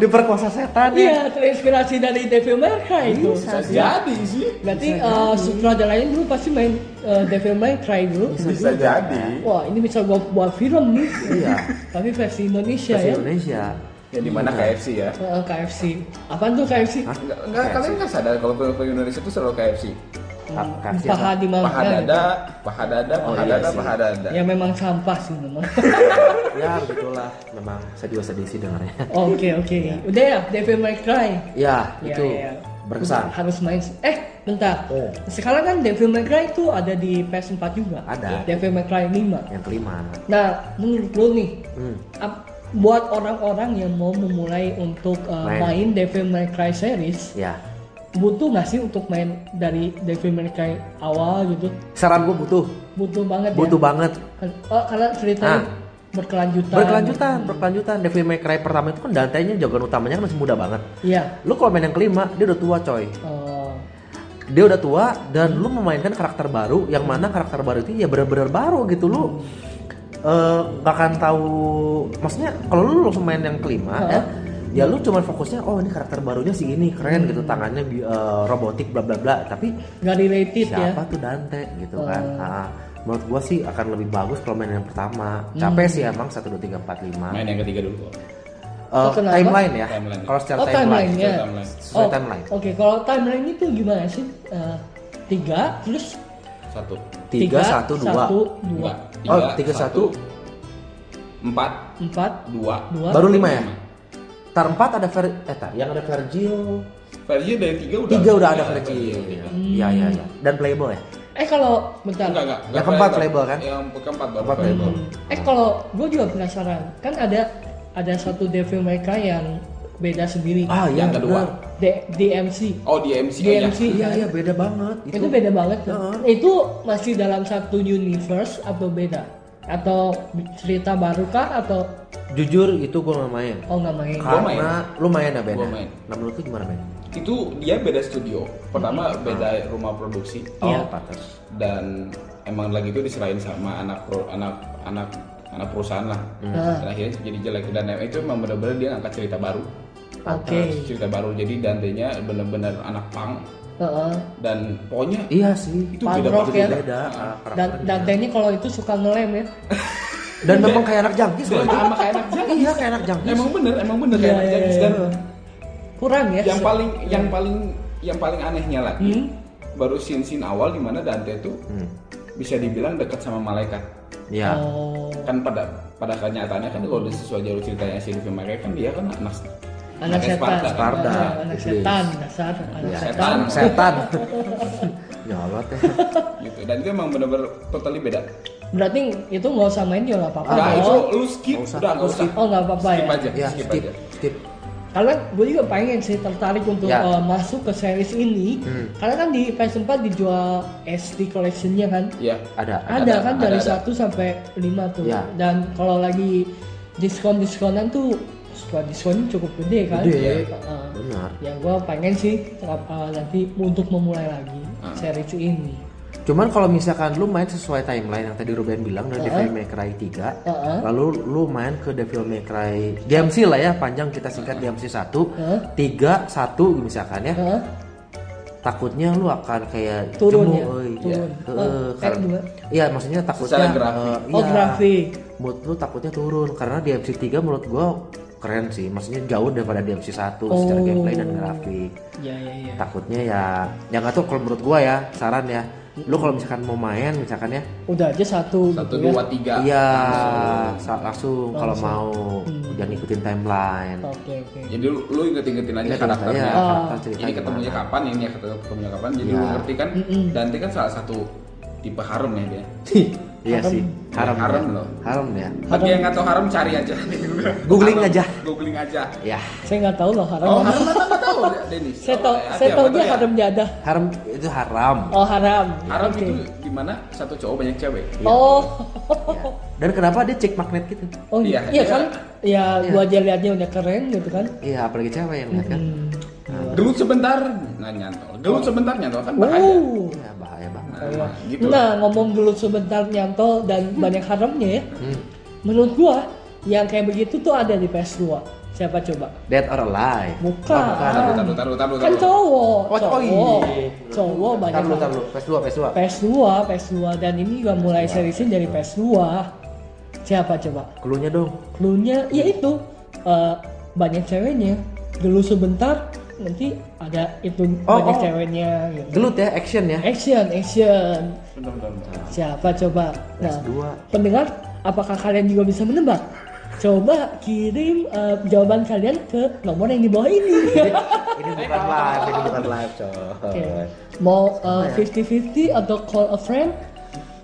[SPEAKER 2] diperkosa setan ya
[SPEAKER 1] Iya, terinspirasi dari Devil May Cry itu.
[SPEAKER 3] Bisa jadi sih.
[SPEAKER 1] Berarti uh, sutradaranya dulu pasti main uh, Devil May Cry dulu.
[SPEAKER 3] Bisa jadi.
[SPEAKER 1] Wah, ini bisa gua buat film nih.
[SPEAKER 2] iya
[SPEAKER 1] Tapi versi Indonesia
[SPEAKER 2] versi
[SPEAKER 1] ya.
[SPEAKER 2] Indonesia
[SPEAKER 3] Ya di mana
[SPEAKER 2] Iya.
[SPEAKER 3] KFC ya?
[SPEAKER 1] Uh, KFC. Apaan tuh KFC?
[SPEAKER 2] Hah?
[SPEAKER 3] Enggak, enggak kalian nggak sadar kalau film Indonesia itu selalu KFC.
[SPEAKER 2] Ka- kasih ya, apa?
[SPEAKER 1] Paha di mana?
[SPEAKER 3] Paha dada, paha dada, paha
[SPEAKER 2] iya
[SPEAKER 3] dada,
[SPEAKER 2] sih.
[SPEAKER 3] paha dada.
[SPEAKER 1] Ya memang sampah sih memang.
[SPEAKER 2] ya begitulah memang saya juga sedih sih dengarnya
[SPEAKER 1] Oke oke.
[SPEAKER 2] Iya.
[SPEAKER 1] Udah ya, Devil May Cry.
[SPEAKER 2] ya
[SPEAKER 1] Ya,
[SPEAKER 2] itu
[SPEAKER 1] ya.
[SPEAKER 2] berkesan
[SPEAKER 1] Harus main. Eh, bentar.
[SPEAKER 2] Oh.
[SPEAKER 1] Sekarang kan Devil May Cry itu ada di PS4 juga.
[SPEAKER 2] Ada.
[SPEAKER 1] Devil May Cry 5.
[SPEAKER 2] yang kelima
[SPEAKER 1] Nah, menurut lu nih,
[SPEAKER 2] hmm.
[SPEAKER 1] ap- buat orang-orang yang mau memulai untuk uh, main.
[SPEAKER 2] Main.
[SPEAKER 1] Devil May Cry series,
[SPEAKER 2] ya
[SPEAKER 1] butuh nggak sih untuk main dari Devil May Cry awal gitu?
[SPEAKER 2] saran gue butuh
[SPEAKER 1] Butuh banget
[SPEAKER 2] butuh
[SPEAKER 1] ya.
[SPEAKER 2] banget
[SPEAKER 1] Oh, karena ceritanya
[SPEAKER 2] Ah.
[SPEAKER 1] berkelanjutan.
[SPEAKER 2] berkelanjutan berkelanjutan Devil May Cry pertama itu kan Dante-nya jagoan utamanya kan masih muda banget
[SPEAKER 1] Iya.
[SPEAKER 2] lu kalau main yang kelima dia udah tua coy
[SPEAKER 1] Oh,
[SPEAKER 2] dia udah tua dan lu memainkan karakter baru yang mana karakter baru itu ya benar-benar baru gitu lu eh, nggak akan tahu maksudnya kalau lu langsung main yang kelima ya ya lu cuman fokusnya oh ini karakter barunya si ini
[SPEAKER 1] Hmm.
[SPEAKER 2] keren gitu tangannya bi- eh, robotik bla bla bla tapi
[SPEAKER 1] nggak related ya. Oh.
[SPEAKER 2] siapa tuh Dante gitu kan Ah, menurut gua sih akan lebih bagus kalau main yang pertama
[SPEAKER 1] Hmm.
[SPEAKER 2] capek sih emang satu dua tiga empat lima
[SPEAKER 3] Main yang ketiga dulu. kok.
[SPEAKER 2] Eh,
[SPEAKER 1] Oh, kenapa?
[SPEAKER 2] timeline ya
[SPEAKER 3] Timeline.
[SPEAKER 2] kalau secara
[SPEAKER 1] Oh
[SPEAKER 2] timeline,
[SPEAKER 1] timeline-nya.
[SPEAKER 3] timeline.
[SPEAKER 2] Sesuai timeline.
[SPEAKER 1] Oke, kalau timeline itu gimana sih? Eh, tiga, terus
[SPEAKER 3] Satu.
[SPEAKER 2] tiga satu dua
[SPEAKER 1] satu, dua,
[SPEAKER 3] Enggak.
[SPEAKER 2] Oh, tiga, satu.
[SPEAKER 3] Empat,
[SPEAKER 1] empat,
[SPEAKER 3] dua.
[SPEAKER 1] dua.
[SPEAKER 2] baru lima ya tar empat ada ver eh tar yang ada Vergil
[SPEAKER 3] Versi dari tiga udah.
[SPEAKER 2] tiga udah ada
[SPEAKER 3] versi.
[SPEAKER 2] Vergil iya iya iya dan Playboy ya
[SPEAKER 1] Eh kalau bentar.
[SPEAKER 3] Enggak, enggak.
[SPEAKER 2] Yang keempat
[SPEAKER 3] playable
[SPEAKER 2] playable, kan?
[SPEAKER 3] Yang keempat baru
[SPEAKER 2] Keempat
[SPEAKER 3] playable.
[SPEAKER 2] playable.
[SPEAKER 1] Eh kalau gue juga penasaran, kan ada ada satu Devil May Cry yang beda sendiri.
[SPEAKER 2] ah iya
[SPEAKER 3] Yang kedua.
[SPEAKER 2] benar.
[SPEAKER 1] D- DMC.
[SPEAKER 3] Oh, di MC aja.
[SPEAKER 1] DMC
[SPEAKER 2] iya
[SPEAKER 1] kan?
[SPEAKER 2] iya beda banget
[SPEAKER 1] Itu,
[SPEAKER 2] itu,
[SPEAKER 1] beda banget. tuh.
[SPEAKER 2] Heeh.
[SPEAKER 1] Itu masih dalam satu universe atau beda? Atau cerita baru kah atau
[SPEAKER 2] jujur itu gue nggak main
[SPEAKER 1] oh nggak main?
[SPEAKER 3] Gua main.
[SPEAKER 2] karena lu main ya Ben
[SPEAKER 3] Gua main.
[SPEAKER 2] nah menurut lu gimana Ben
[SPEAKER 3] Itu dia beda studio. Pertama beda rumah produksi
[SPEAKER 1] Iya.
[SPEAKER 2] oh pantas
[SPEAKER 3] dan emang lagi itu diserahin sama anak pro, anak anak anak perusahaan lah.
[SPEAKER 1] Ah.
[SPEAKER 3] Dan akhirnya jadi jelek dan itu emang bener-bener dia ngangkat cerita baru.
[SPEAKER 1] Oke.
[SPEAKER 3] Cerita baru jadi Dante-nya bener-bener anak punk
[SPEAKER 1] Heeh.
[SPEAKER 3] dan pokoknya
[SPEAKER 2] iya sih
[SPEAKER 3] itu
[SPEAKER 1] Punk
[SPEAKER 3] beda
[SPEAKER 1] rock
[SPEAKER 3] banget.
[SPEAKER 1] ya?
[SPEAKER 2] beda ah,
[SPEAKER 1] Dan
[SPEAKER 2] karakternya.
[SPEAKER 1] Dante ini kalau itu suka ngelem ya.
[SPEAKER 2] dan memang kayak anak jangkis loh
[SPEAKER 3] Emang, emang kayak anak jangkis.
[SPEAKER 2] iya kayak anak jangkis
[SPEAKER 3] Emang bener, emang bener
[SPEAKER 1] Iya,
[SPEAKER 3] kayak anak jangkis dan
[SPEAKER 1] Kurang ya.
[SPEAKER 3] yang
[SPEAKER 1] se-
[SPEAKER 3] paling yang paling yang paling anehnya lagi
[SPEAKER 1] Hmm.
[SPEAKER 3] baru sin sin awal dimana Dante tuh
[SPEAKER 2] Hmm.
[SPEAKER 3] bisa dibilang dekat sama malaikat
[SPEAKER 2] iya
[SPEAKER 1] Oh.
[SPEAKER 3] kan pada pada kenyataannya kan kalau sesuai jalur ceritanya si Luffy mereka kan dia kan anak
[SPEAKER 1] Anak setan.
[SPEAKER 3] Sparta, kan?
[SPEAKER 2] Sparta.
[SPEAKER 1] Ah, Anak
[SPEAKER 2] Iblis.
[SPEAKER 1] setan dasar. Anak
[SPEAKER 2] Iya.
[SPEAKER 1] setan.
[SPEAKER 3] Setan.
[SPEAKER 2] setan nyolot ya
[SPEAKER 3] gitu dan itu emang bener-bener totally beda
[SPEAKER 1] Berarti itu nggak usah main juga nggak
[SPEAKER 2] Ah,
[SPEAKER 1] apa-apa.
[SPEAKER 3] nah
[SPEAKER 1] Oh.
[SPEAKER 3] itu lu skip
[SPEAKER 2] Nggak usah,
[SPEAKER 3] udah nggak usah
[SPEAKER 1] Oh nggak apa-apa ya.
[SPEAKER 3] skip aja
[SPEAKER 2] ya
[SPEAKER 3] skip,
[SPEAKER 2] skip
[SPEAKER 3] aja
[SPEAKER 2] skip
[SPEAKER 1] Karena gue juga pengen sih tertarik untuk
[SPEAKER 2] Ya.
[SPEAKER 1] eh, masuk ke series ini. Karena kan di PS4 dijual SD collectionnya kan.
[SPEAKER 3] ya
[SPEAKER 2] ada
[SPEAKER 1] Ada,
[SPEAKER 3] Ada,
[SPEAKER 1] kan
[SPEAKER 3] ada,
[SPEAKER 1] dari
[SPEAKER 3] ada.
[SPEAKER 1] 1 sampai 5 tuh.
[SPEAKER 2] Ya.
[SPEAKER 1] Dan kalau lagi diskon-diskonan tuh suka diskon cukup gede kan.
[SPEAKER 2] Gede.
[SPEAKER 1] Heeh.
[SPEAKER 2] benar
[SPEAKER 1] Ya gue pengen sih eh, nanti untuk memulai lagi
[SPEAKER 3] Ah.
[SPEAKER 1] series ini.
[SPEAKER 2] Cuman kalau misalkan lu main sesuai timeline yang tadi Ruben bilang dari Devil May Cry 3,
[SPEAKER 1] Heeh.
[SPEAKER 2] lalu lu main ke Devil May Cry DMC lah ya, panjang kita singkat DMC 1,
[SPEAKER 1] Heeh.
[SPEAKER 2] 3, 1 misalkan ya.
[SPEAKER 3] Iya.
[SPEAKER 1] Heeh.
[SPEAKER 2] Takutnya lu akan kayak
[SPEAKER 1] Turun
[SPEAKER 2] jemu,
[SPEAKER 1] ya?
[SPEAKER 2] euy.
[SPEAKER 1] Turun. Oh,
[SPEAKER 2] Heeh,
[SPEAKER 1] eh,
[SPEAKER 2] karena-
[SPEAKER 1] dua.
[SPEAKER 2] Iya, maksudnya takutnya
[SPEAKER 3] Secara grafik.
[SPEAKER 2] eh,
[SPEAKER 1] Oh
[SPEAKER 2] iya,
[SPEAKER 1] grafik.
[SPEAKER 2] Mood lu takutnya turun karena DMC 3 menurut gua keren sih, maksudnya jauh daripada DMC 1 secara
[SPEAKER 1] Oh.
[SPEAKER 2] gameplay dan grafik
[SPEAKER 3] Iya,
[SPEAKER 1] Ya ya ya.
[SPEAKER 2] takutnya ya ya nggak tahu kalau menurut gua ya saran ya Lu kalau misalkan mau main misalkan ya,
[SPEAKER 1] udah aja satu,
[SPEAKER 3] satu
[SPEAKER 1] gitu ya.
[SPEAKER 3] dua tiga
[SPEAKER 2] iya saat langsung kalau mau udah ngikutin timeline.
[SPEAKER 1] Oke oke.
[SPEAKER 3] jadi lu, lu inget-ingetin aja
[SPEAKER 2] Ingat
[SPEAKER 3] karakternya
[SPEAKER 2] ceritanya,
[SPEAKER 1] Oh.
[SPEAKER 2] karakter Iya, cerita
[SPEAKER 3] ya. ini ketemunya
[SPEAKER 2] gimana.
[SPEAKER 3] kapan ini ya, ketemunya kapan jadi
[SPEAKER 2] Iya.
[SPEAKER 3] lu ngerti kan Dante kan salah satu tipe harem ya dia
[SPEAKER 2] Iya
[SPEAKER 1] Harem.
[SPEAKER 2] sih, haram
[SPEAKER 3] Harem
[SPEAKER 2] ya.
[SPEAKER 3] loh.
[SPEAKER 2] Haram ya.
[SPEAKER 3] bagi yang nggak tahu harem cari aja
[SPEAKER 2] Googling
[SPEAKER 3] Harem,
[SPEAKER 2] aja.
[SPEAKER 3] googling aja
[SPEAKER 2] Ya,
[SPEAKER 1] Saya nggak tahu loh haram.
[SPEAKER 3] oh
[SPEAKER 1] apa.
[SPEAKER 3] harem apa nggak tahu Denis
[SPEAKER 1] Saya tahu
[SPEAKER 3] Apa ya?
[SPEAKER 1] saya
[SPEAKER 3] Apa
[SPEAKER 1] tahu
[SPEAKER 3] tuh
[SPEAKER 1] dia
[SPEAKER 3] ya?
[SPEAKER 1] haram jadah.
[SPEAKER 2] haram itu haram.
[SPEAKER 1] Oh haram.
[SPEAKER 3] harem
[SPEAKER 1] Oke.
[SPEAKER 3] itu iya. dimana satu cowok banyak cewek
[SPEAKER 1] Oh.
[SPEAKER 2] Ya. Iya. Dan kenapa dia cek magnet gitu?
[SPEAKER 1] Oh
[SPEAKER 3] Iya,
[SPEAKER 1] iya,
[SPEAKER 3] iya.
[SPEAKER 1] kan? Ya gua aja liatnya udah keren gitu kan.
[SPEAKER 2] Iya, apalagi cewek yang lihat kan.
[SPEAKER 1] Hmm.
[SPEAKER 3] gelut sebentar nggak nyantol gelut sebentar nyantol kan bahaya
[SPEAKER 1] Wow.
[SPEAKER 2] Ya bahaya banget.
[SPEAKER 3] nah, gitu
[SPEAKER 1] Oh.
[SPEAKER 3] Hmm.
[SPEAKER 1] Nah, ngomong gelut sebentar nyantol dan banyak haramnya ya.
[SPEAKER 2] Hmm.
[SPEAKER 1] Menurut gua yang kayak begitu tuh ada di PS2. Siapa coba?
[SPEAKER 2] Dead or alive.
[SPEAKER 1] Bukan.
[SPEAKER 2] Oh, bukan.
[SPEAKER 3] taruh taruh taruh taruh
[SPEAKER 1] Kan
[SPEAKER 3] taruh
[SPEAKER 1] cowok.
[SPEAKER 2] Oh,
[SPEAKER 1] cowok.
[SPEAKER 2] oh iya.
[SPEAKER 1] Cowok banyak.
[SPEAKER 2] Tar dulu, tar
[SPEAKER 1] haram.
[SPEAKER 2] dulu. PS2, PS2.
[SPEAKER 1] PS2, PS2 dan ini juga mulai serisin dari PS2. Siapa coba?
[SPEAKER 2] Cluenya dong.
[SPEAKER 1] Cluenya ya itu eh, banyak ceweknya. Dulu sebentar nanti ada itu
[SPEAKER 2] Oh,
[SPEAKER 1] banyak
[SPEAKER 2] oh.
[SPEAKER 1] ceweknya gitu.
[SPEAKER 2] Gelut ya, action ya.
[SPEAKER 1] Action, action.
[SPEAKER 3] Bentar, bentar, bentar.
[SPEAKER 1] Siapa coba? Nah,
[SPEAKER 2] PS2.
[SPEAKER 1] pendengar, apakah kalian juga bisa menebak? Coba kirim eh, jawaban kalian ke nomor yang di bawah ini.
[SPEAKER 2] Ini bukan live, ini bukan live, coy.
[SPEAKER 1] Oke. Mau eh,
[SPEAKER 2] ya?
[SPEAKER 1] 50-50 atau call a friend?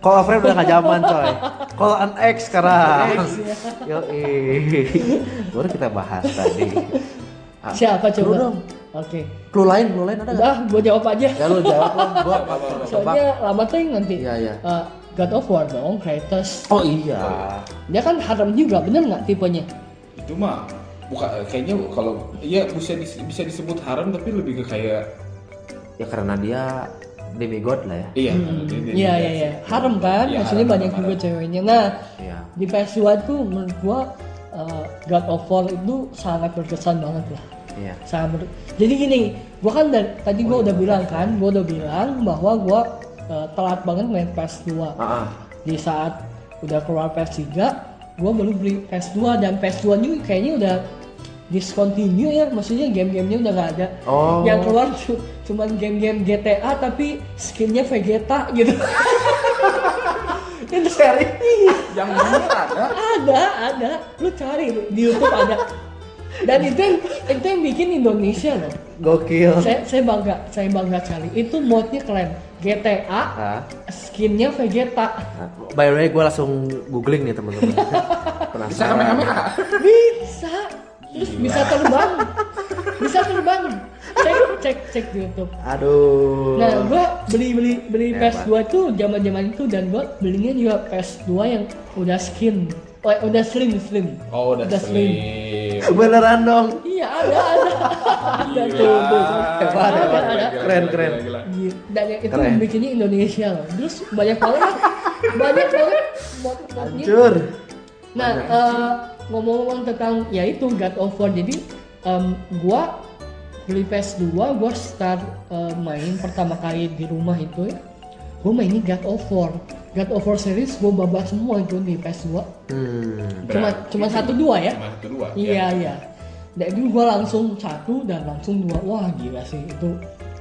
[SPEAKER 2] Call a friend udah gak zaman, coy. Call an ex sekarang.
[SPEAKER 1] iya.
[SPEAKER 2] Yo, Baru kita bahas tadi. Ah,
[SPEAKER 1] Siapa
[SPEAKER 2] clue
[SPEAKER 1] coba?
[SPEAKER 2] dong.
[SPEAKER 1] Oke.
[SPEAKER 2] Clue lain, clue lain ada nggak?
[SPEAKER 1] Udah, gua jawab aja.
[SPEAKER 2] Ya lu jawab lah, gua apa tebak.
[SPEAKER 1] Soalnya lama tuh yang nanti.
[SPEAKER 2] Iya, iya.
[SPEAKER 1] Eh, God of War dong, Kratos.
[SPEAKER 2] Oh iya.
[SPEAKER 1] Dia kan haram juga, bener nggak tipenya?
[SPEAKER 3] itu mah bukan kayaknya kalau ya bisa dis- bisa disebut haram tapi lebih ke kayak
[SPEAKER 2] Ya karena dia demigod lah ya.
[SPEAKER 3] iya
[SPEAKER 1] Iya, iya, iya. Haram kan?
[SPEAKER 3] Iya,
[SPEAKER 1] Maksudnya
[SPEAKER 3] haram,
[SPEAKER 1] banyak
[SPEAKER 3] haram,
[SPEAKER 1] juga ceweknya. Nah,
[SPEAKER 2] Iya.
[SPEAKER 1] di PS2 tuh menurut gua eh, God of War itu sangat berkesan banget lah.
[SPEAKER 2] Iya.
[SPEAKER 1] Sangat ber- Jadi gini, gua kan dari, tadi
[SPEAKER 3] Oh, iya.
[SPEAKER 1] gua udah bilang kan, gua udah bilang bahwa gua eh, telat banget main PS2.
[SPEAKER 2] Ah, ah.
[SPEAKER 1] Di saat udah keluar PS3, gua baru beli PS2 dan PS2 ini kayaknya udah discontinue ya, maksudnya game-gamenya udah nggak ada.
[SPEAKER 2] Oh.
[SPEAKER 1] Yang keluar cu- cuman game-game GTA tapi skinnya Vegeta gitu. Itu seri.
[SPEAKER 3] yang bener ada
[SPEAKER 1] Ada, ada. Lu cari di YouTube ada. Dan itu yang, itu yang bikin Indonesia loh.
[SPEAKER 2] Gokil.
[SPEAKER 1] Saya, saya bangga, saya bangga cari. Itu modnya keren. GTA
[SPEAKER 2] Ah.
[SPEAKER 1] skinnya Vegeta.
[SPEAKER 2] Nah, By the way, gue langsung googling nih teman-teman.
[SPEAKER 3] bisa kame kame
[SPEAKER 2] Penasaran.
[SPEAKER 1] Bisa. Terus bisa terbang. Bisa terbang. Cek cek cek di YouTube.
[SPEAKER 2] Aduh.
[SPEAKER 1] Nah, gua beli beli beli
[SPEAKER 2] Oh. Hebat.
[SPEAKER 1] PS2 tuh zaman-zaman itu dan gua belinya juga PS2 yang udah skin. Oh, udah slim slim.
[SPEAKER 3] oh udah slim
[SPEAKER 2] Beneran dong.
[SPEAKER 1] Iya, ada ada. ada tuh.
[SPEAKER 3] Gila.
[SPEAKER 1] tuh.
[SPEAKER 2] Iya. Hebat,
[SPEAKER 1] Ada,
[SPEAKER 2] hebat.
[SPEAKER 1] ada.
[SPEAKER 2] Keren, keren.
[SPEAKER 3] gila.
[SPEAKER 1] Gila. Dan yang itu
[SPEAKER 2] Keren.
[SPEAKER 1] bikinnya Indonesia loh. Terus banyak banget banyak banget mod-modnya.
[SPEAKER 2] Hancur.
[SPEAKER 1] Nah, eh, ngomong-ngomong tentang ya itu God of War. Jadi em, gua beli PS2, gua start eh, main pertama kali di rumah itu ya. Gua mainnya God of War. God of War series gua babak semua itu di PS2.
[SPEAKER 2] Hmm.
[SPEAKER 1] Cuma cuma satu dua ya.
[SPEAKER 3] cuma kedua
[SPEAKER 1] Iya iya. Dan itu gue langsung satu dan langsung dua. Wah gila sih itu.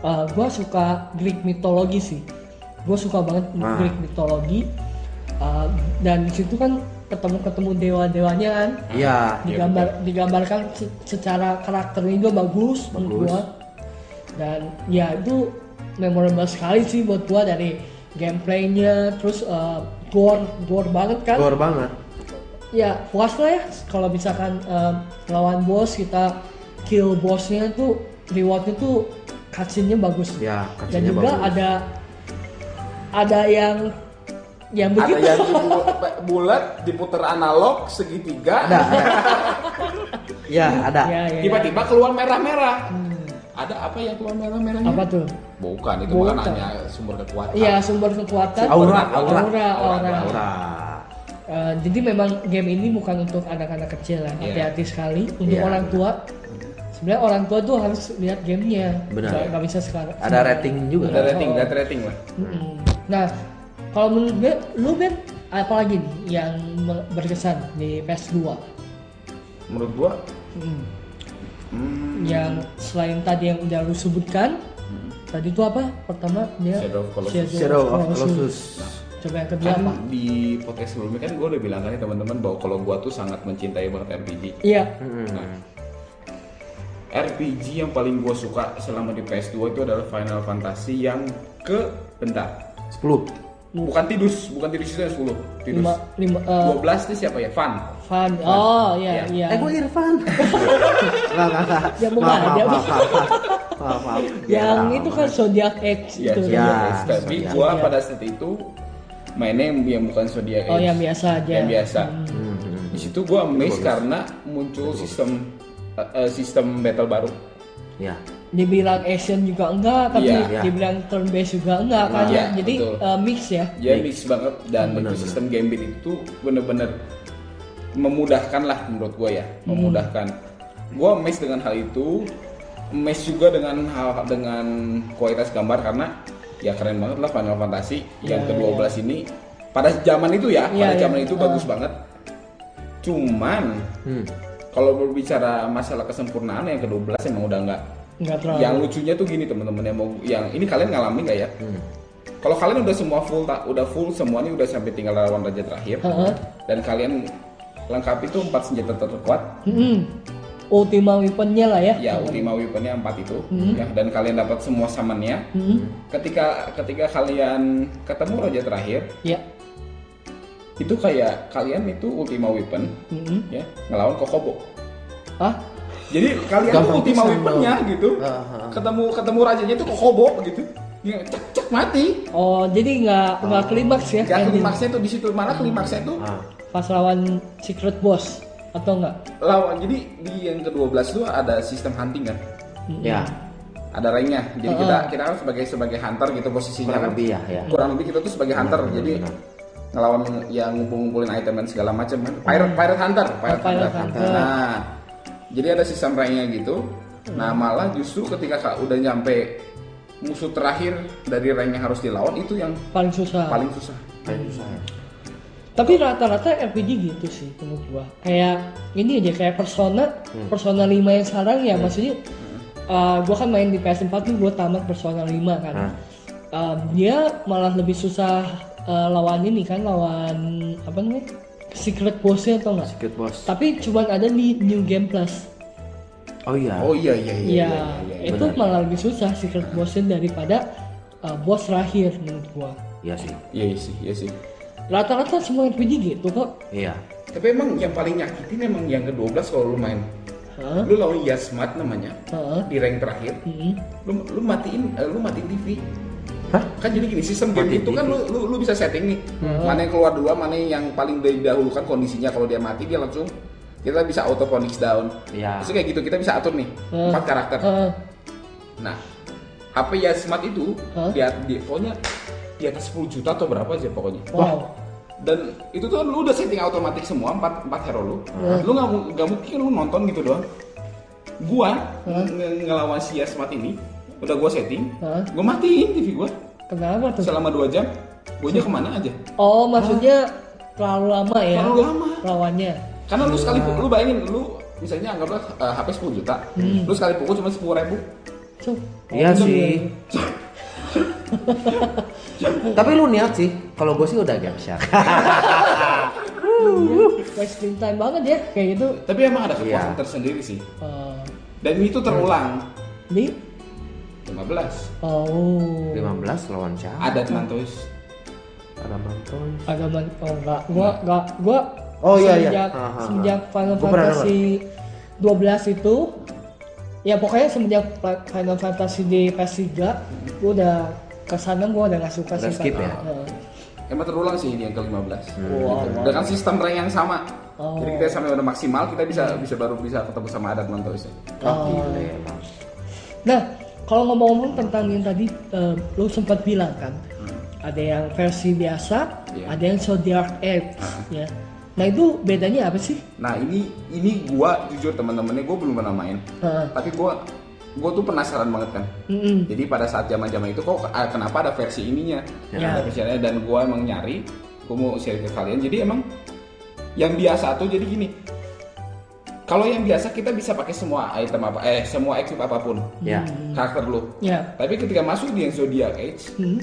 [SPEAKER 1] Eh, gue suka Greek mitologi sih. Gue suka banget
[SPEAKER 2] Ah.
[SPEAKER 1] Greek mitologi. Eh, dan di situ kan ketemu ketemu dewa dewanya kan.
[SPEAKER 2] Iya.
[SPEAKER 1] Digambar digambarkan se- secara karakternya juga bagus, menurut
[SPEAKER 2] Bagus.
[SPEAKER 1] gue. Dan ya itu memorable sekali sih buat gue dari gameplaynya terus eh, gore gore banget kan
[SPEAKER 2] Gor banget.
[SPEAKER 1] ya puas lah ya kalau misalkan em, lawan bos kita kill bosnya tuh rewardnya tuh cutscene-nya bagus
[SPEAKER 2] Ya,
[SPEAKER 1] dan
[SPEAKER 2] cutscene-nya
[SPEAKER 1] juga
[SPEAKER 2] bagus.
[SPEAKER 1] ada ada yang yang
[SPEAKER 3] ada
[SPEAKER 1] begitu
[SPEAKER 3] yang dipu- bulat diputer analog segitiga
[SPEAKER 2] Ada. ada. Ya, ada.
[SPEAKER 1] ya, ya, ya.
[SPEAKER 3] tiba-tiba keluar merah-merah ada apa yang keluar merah-merahnya
[SPEAKER 1] apa tuh
[SPEAKER 3] bukan itu
[SPEAKER 1] Bukan.
[SPEAKER 3] bukan hanya sumber kekuatan
[SPEAKER 1] Iya sumber kekuatan
[SPEAKER 2] Aura,
[SPEAKER 1] aura
[SPEAKER 2] aura.
[SPEAKER 1] aura,
[SPEAKER 2] Aura.
[SPEAKER 1] Eh, jadi memang game ini bukan untuk anak-anak kecil lah
[SPEAKER 3] Iya.
[SPEAKER 1] hati-hati sekali untuk
[SPEAKER 2] Iya.
[SPEAKER 1] orang tua sebenarnya orang tua tuh harus lihat gamenya
[SPEAKER 2] Benar.
[SPEAKER 1] nggak nggak bisa sekarang
[SPEAKER 2] Ada rating juga. kan?
[SPEAKER 3] ada rating ada rating lah
[SPEAKER 1] Mm-mm. Nah, kalau menurut gue, lu Ben, apalagi nih yang me- berkesan di PS2?
[SPEAKER 3] menurut gua
[SPEAKER 1] Mm.
[SPEAKER 3] hmm,
[SPEAKER 1] Yang selain tadi yang udah lu sebutkan, Tadi itu apa? Pertama dia
[SPEAKER 3] Shadow of Colossus.
[SPEAKER 2] Shadow of
[SPEAKER 1] Colossus.
[SPEAKER 2] Colossus.
[SPEAKER 1] Coba yang kedua
[SPEAKER 3] Kan
[SPEAKER 1] apa?
[SPEAKER 3] di podcast sebelumnya kan gue udah bilang tadi teman-teman bahwa kalau gue tuh sangat mencintai banget RPG.
[SPEAKER 1] Iya.
[SPEAKER 2] Hmm.
[SPEAKER 3] Nah, RPG yang paling gue suka selama di PS2 itu adalah Final Fantasy yang ke bentar.
[SPEAKER 2] 10.
[SPEAKER 3] Bukan Tidus, bukan Tidus itu yang 10. Tidus.
[SPEAKER 1] Hmm. Lima lima eh,
[SPEAKER 3] 12 itu siapa ya? Fan.
[SPEAKER 1] Fan. Oh iya
[SPEAKER 3] Iya.
[SPEAKER 1] iya.
[SPEAKER 2] Eh gue Irfan. Enggak enggak enggak.
[SPEAKER 1] Dia Ya, mau marah, dia
[SPEAKER 2] maaf, maaf, maaf, maaf, maaf.
[SPEAKER 1] Yang
[SPEAKER 2] Ya,
[SPEAKER 1] itu
[SPEAKER 2] maaf.
[SPEAKER 1] kan Zodiac X
[SPEAKER 3] Iya,
[SPEAKER 1] itu.
[SPEAKER 2] Iya.
[SPEAKER 3] Zodiac Age. Tapi
[SPEAKER 2] Zodiac.
[SPEAKER 3] gue
[SPEAKER 1] Iya.
[SPEAKER 3] pada saat itu mainnya yang, yang bukan Zodiac
[SPEAKER 1] Oh
[SPEAKER 3] Age.
[SPEAKER 1] yang biasa aja. Hmm.
[SPEAKER 3] Yang biasa.
[SPEAKER 2] Hmm,
[SPEAKER 3] Di situ gue amazed karena muncul sistem eh, eh, sistem battle baru.
[SPEAKER 2] Ya.
[SPEAKER 1] Dibilang action juga enggak, tapi
[SPEAKER 3] Iya,
[SPEAKER 2] iya.
[SPEAKER 1] dibilang turn based juga enggak kan.
[SPEAKER 3] Iya,
[SPEAKER 1] Jadi
[SPEAKER 3] betul.
[SPEAKER 1] eh, mix ya.
[SPEAKER 3] Dia mix banget dan itu sistem gambit itu bener-bener memudahkan lah menurut gue ya, memudahkan. Gue amazed dengan hal itu, amazed juga dengan hal dengan kualitas gambar karena ya keren banget lah Final Fantasy yang
[SPEAKER 1] Iya,
[SPEAKER 3] ke-12 ini pada zaman itu ya,
[SPEAKER 1] Iya,
[SPEAKER 3] pada
[SPEAKER 1] iya.
[SPEAKER 3] zaman itu
[SPEAKER 1] Ah.
[SPEAKER 3] bagus banget. Cuman
[SPEAKER 2] Hmm.
[SPEAKER 3] kalau berbicara masalah kesempurnaan yang ke-12 emang udah nggak
[SPEAKER 1] Enggak terlalu.
[SPEAKER 3] yang lucunya tuh gini teman-teman yang mau yang ini kalian ngalamin nggak ya?
[SPEAKER 2] hmm.
[SPEAKER 3] Kalau kalian udah semua full ta- udah full semuanya udah sampai tinggal lawan raja terakhir
[SPEAKER 1] Heeh.
[SPEAKER 3] dan kalian lengkapi tuh empat senjata terkuat
[SPEAKER 1] Mm-mm. Ultima weaponnya Hmm. lah ya.
[SPEAKER 3] ya ultima weaponnya empat itu ya dan kalian dapat semua summonnya
[SPEAKER 1] Mm-mm.
[SPEAKER 3] ketika ketika kalian ketemu raja terakhir
[SPEAKER 1] Ya.
[SPEAKER 3] itu kayak kalian itu ultima weapon
[SPEAKER 1] Mm-mm.
[SPEAKER 3] ya ngelawan kokobo
[SPEAKER 1] Ah,
[SPEAKER 3] jadi kalian tuh
[SPEAKER 2] Gampang
[SPEAKER 3] ultima
[SPEAKER 2] pisan,
[SPEAKER 3] weaponnya
[SPEAKER 2] dong.
[SPEAKER 3] gitu
[SPEAKER 2] Ah, ah, ah.
[SPEAKER 3] ketemu ketemu rajanya tuh kokobo gitu Ya, cek cek mati
[SPEAKER 1] oh jadi nggak nggak klimaks ya?
[SPEAKER 3] Gak
[SPEAKER 1] ending.
[SPEAKER 3] klimaksnya tuh di situ mana klimaksnya tuh
[SPEAKER 2] Ah.
[SPEAKER 1] Pas lawan secret boss atau enggak?
[SPEAKER 3] lawan jadi di yang ke-12 tuh ada sistem hunting kan.
[SPEAKER 2] Ya.
[SPEAKER 3] Ada ranknya. Jadi
[SPEAKER 1] Heeh.
[SPEAKER 3] kita kita kan sebagai sebagai hunter gitu posisinya
[SPEAKER 2] Kurang
[SPEAKER 3] kan.
[SPEAKER 2] lebih ya, ya.
[SPEAKER 3] Kurang lebih kita tuh sebagai hunter.
[SPEAKER 2] benar,
[SPEAKER 3] jadi
[SPEAKER 2] benar.
[SPEAKER 3] ngelawan yang ngumpul-ngumpulin item dan segala macam
[SPEAKER 2] Hmm.
[SPEAKER 3] kan. Pirate pirate hunter,
[SPEAKER 2] Oh,
[SPEAKER 3] pirate,
[SPEAKER 1] Pirate
[SPEAKER 3] hunter.
[SPEAKER 1] hunter.
[SPEAKER 3] Nah, jadi ada sistem ranknya gitu. Nah,
[SPEAKER 2] Hmm.
[SPEAKER 3] malah justru ketika Kak udah nyampe musuh terakhir dari rank yang harus dilawan itu yang
[SPEAKER 1] Paling
[SPEAKER 2] Ah.
[SPEAKER 1] susah.
[SPEAKER 3] paling susah.
[SPEAKER 2] Kayak susah ya.
[SPEAKER 1] Tapi rata-rata RPG gitu sih menurut gua. Kayak ini aja kayak Persona, Persona 5 yang sekarang ya maksudnya uh, gua kan main di PS4 tuh gua tamat Persona 5 kan.
[SPEAKER 2] Hmm.
[SPEAKER 1] Uh, dia malah lebih susah uh, lawan ini kan lawan apa namanya? Secret boss-nya atau enggak?
[SPEAKER 2] Secret boss.
[SPEAKER 1] Tapi cuman ada di New Game Plus.
[SPEAKER 2] Oh iya.
[SPEAKER 3] Oh iya iya
[SPEAKER 1] Iya,
[SPEAKER 3] iya. iya, iya, iya.
[SPEAKER 1] itu malah lebih susah secret bossnya daripada uh, boss terakhir menurut gua.
[SPEAKER 2] Iya sih.
[SPEAKER 3] Iya sih, iya sih.
[SPEAKER 1] Rata-rata semua RPG gitu kok.
[SPEAKER 2] Iya.
[SPEAKER 3] Tapi emang yang paling nyakitin emang yang ke-12 kalau lu main.
[SPEAKER 1] Heeh.
[SPEAKER 3] Lu lawan Yasmat namanya
[SPEAKER 1] Heeh. Hmm.
[SPEAKER 3] di rank terakhir.
[SPEAKER 1] Mm-mm.
[SPEAKER 3] Lu lu matiin eh, lu matiin TV.
[SPEAKER 2] Hah?
[SPEAKER 3] Kan jadi gini sistem game
[SPEAKER 2] Matiin
[SPEAKER 3] itu kan
[SPEAKER 2] TV.
[SPEAKER 3] lu, lu lu bisa setting nih. Mana yang keluar duluan, mana yang paling didahulukan kondisinya kalau dia mati dia langsung kita bisa auto phonics down.
[SPEAKER 2] Iya.
[SPEAKER 3] Terus kayak gitu kita bisa atur nih
[SPEAKER 1] Heeh.
[SPEAKER 3] empat karakter.
[SPEAKER 1] Heeh.
[SPEAKER 3] Nah, HP Yasmat itu
[SPEAKER 1] Heeh.
[SPEAKER 3] dia, dia pokoknya di atas 10 juta atau berapa aja pokoknya.
[SPEAKER 1] Wow.
[SPEAKER 3] dan itu tuh lu udah setting otomatis semua empat empat hero lu
[SPEAKER 1] Iya.
[SPEAKER 3] lu nggak mu- nggak mungkin lu nonton gitu doang gua nge- ngelawan si Yasmat ini udah gua setting
[SPEAKER 1] Hah?
[SPEAKER 3] gua matiin TV gua
[SPEAKER 1] Kenapa tuh?
[SPEAKER 3] selama dua jam guanya kemana aja
[SPEAKER 1] Oh, maksudnya terlalu lama ya?
[SPEAKER 3] Terlalu lama.
[SPEAKER 1] Lawannya.
[SPEAKER 3] karena lu sekali
[SPEAKER 1] Iya.
[SPEAKER 3] pukul lu bayangin lu misalnya anggaplah eh, HP 10 juta
[SPEAKER 1] Hmm.
[SPEAKER 3] lu sekali pukul cuma sepuluh ribu
[SPEAKER 1] Cuk.
[SPEAKER 2] Iya
[SPEAKER 1] Oh,
[SPEAKER 2] sih. Tapi lu niat sih. Kalau gue sih udah game shark.
[SPEAKER 1] Wasting time banget ya kayak gitu.
[SPEAKER 3] tapi emang ada kepuasan
[SPEAKER 2] Iya.
[SPEAKER 3] tersendiri sih
[SPEAKER 1] Eh,
[SPEAKER 3] dan itu terulang
[SPEAKER 1] Jadi,
[SPEAKER 3] 15
[SPEAKER 1] oh.
[SPEAKER 2] 15 lawan siapa?
[SPEAKER 3] ada mantois
[SPEAKER 2] Ada mantan.
[SPEAKER 1] Agak banget. Oh, enggak. Gua enggak gua
[SPEAKER 2] Hmm. Oh, iya, iya.
[SPEAKER 1] semenjak,
[SPEAKER 2] Ah, ah, ah.
[SPEAKER 1] semenjak Final
[SPEAKER 2] Gua pernah
[SPEAKER 1] Fantasy 12 itu ya pokoknya semenjak Pla- Final Fantasy di PS3 gua udah kesana gua udah gak suka
[SPEAKER 2] Udah
[SPEAKER 1] sih
[SPEAKER 2] skip
[SPEAKER 1] Kak.
[SPEAKER 2] ya?
[SPEAKER 1] Heeh.
[SPEAKER 3] emang terulang sih ini yang ke 15
[SPEAKER 1] Wow.
[SPEAKER 3] dengan sistem rank yang sama.
[SPEAKER 1] Oh. Hmm.
[SPEAKER 3] Jadi kita sampai udah maksimal kita bisa bisa baru bisa ketemu sama adat mantois.
[SPEAKER 2] Oh, gila ya, Bang.
[SPEAKER 1] Nah, kalau ngomong-ngomong tentang yang tadi eh, lu sempat bilang kan,
[SPEAKER 2] Hmm.
[SPEAKER 1] ada yang versi biasa,
[SPEAKER 3] Iya.
[SPEAKER 1] ada yang Zodiac Age, ya. Nah itu bedanya apa sih?
[SPEAKER 3] Nah ini ini gua jujur teman-temannya gua belum pernah main,
[SPEAKER 1] Heeh.
[SPEAKER 3] tapi gua gua tuh penasaran banget kan.
[SPEAKER 1] Mm-mm.
[SPEAKER 3] Jadi pada saat zaman-zaman itu kok ah, kenapa ada versi ininya,
[SPEAKER 1] Ya.
[SPEAKER 3] ada versinya dan gua emang nyari, gua mau share ke kalian. Jadi emang yang biasa tuh jadi gini, Kalau yang biasa kita bisa pakai semua item apa eh semua equip apapun
[SPEAKER 2] Ya.
[SPEAKER 3] karakter lu.
[SPEAKER 1] ya
[SPEAKER 3] Tapi ketika masuk di yang Zodiac Age,
[SPEAKER 1] Hmm.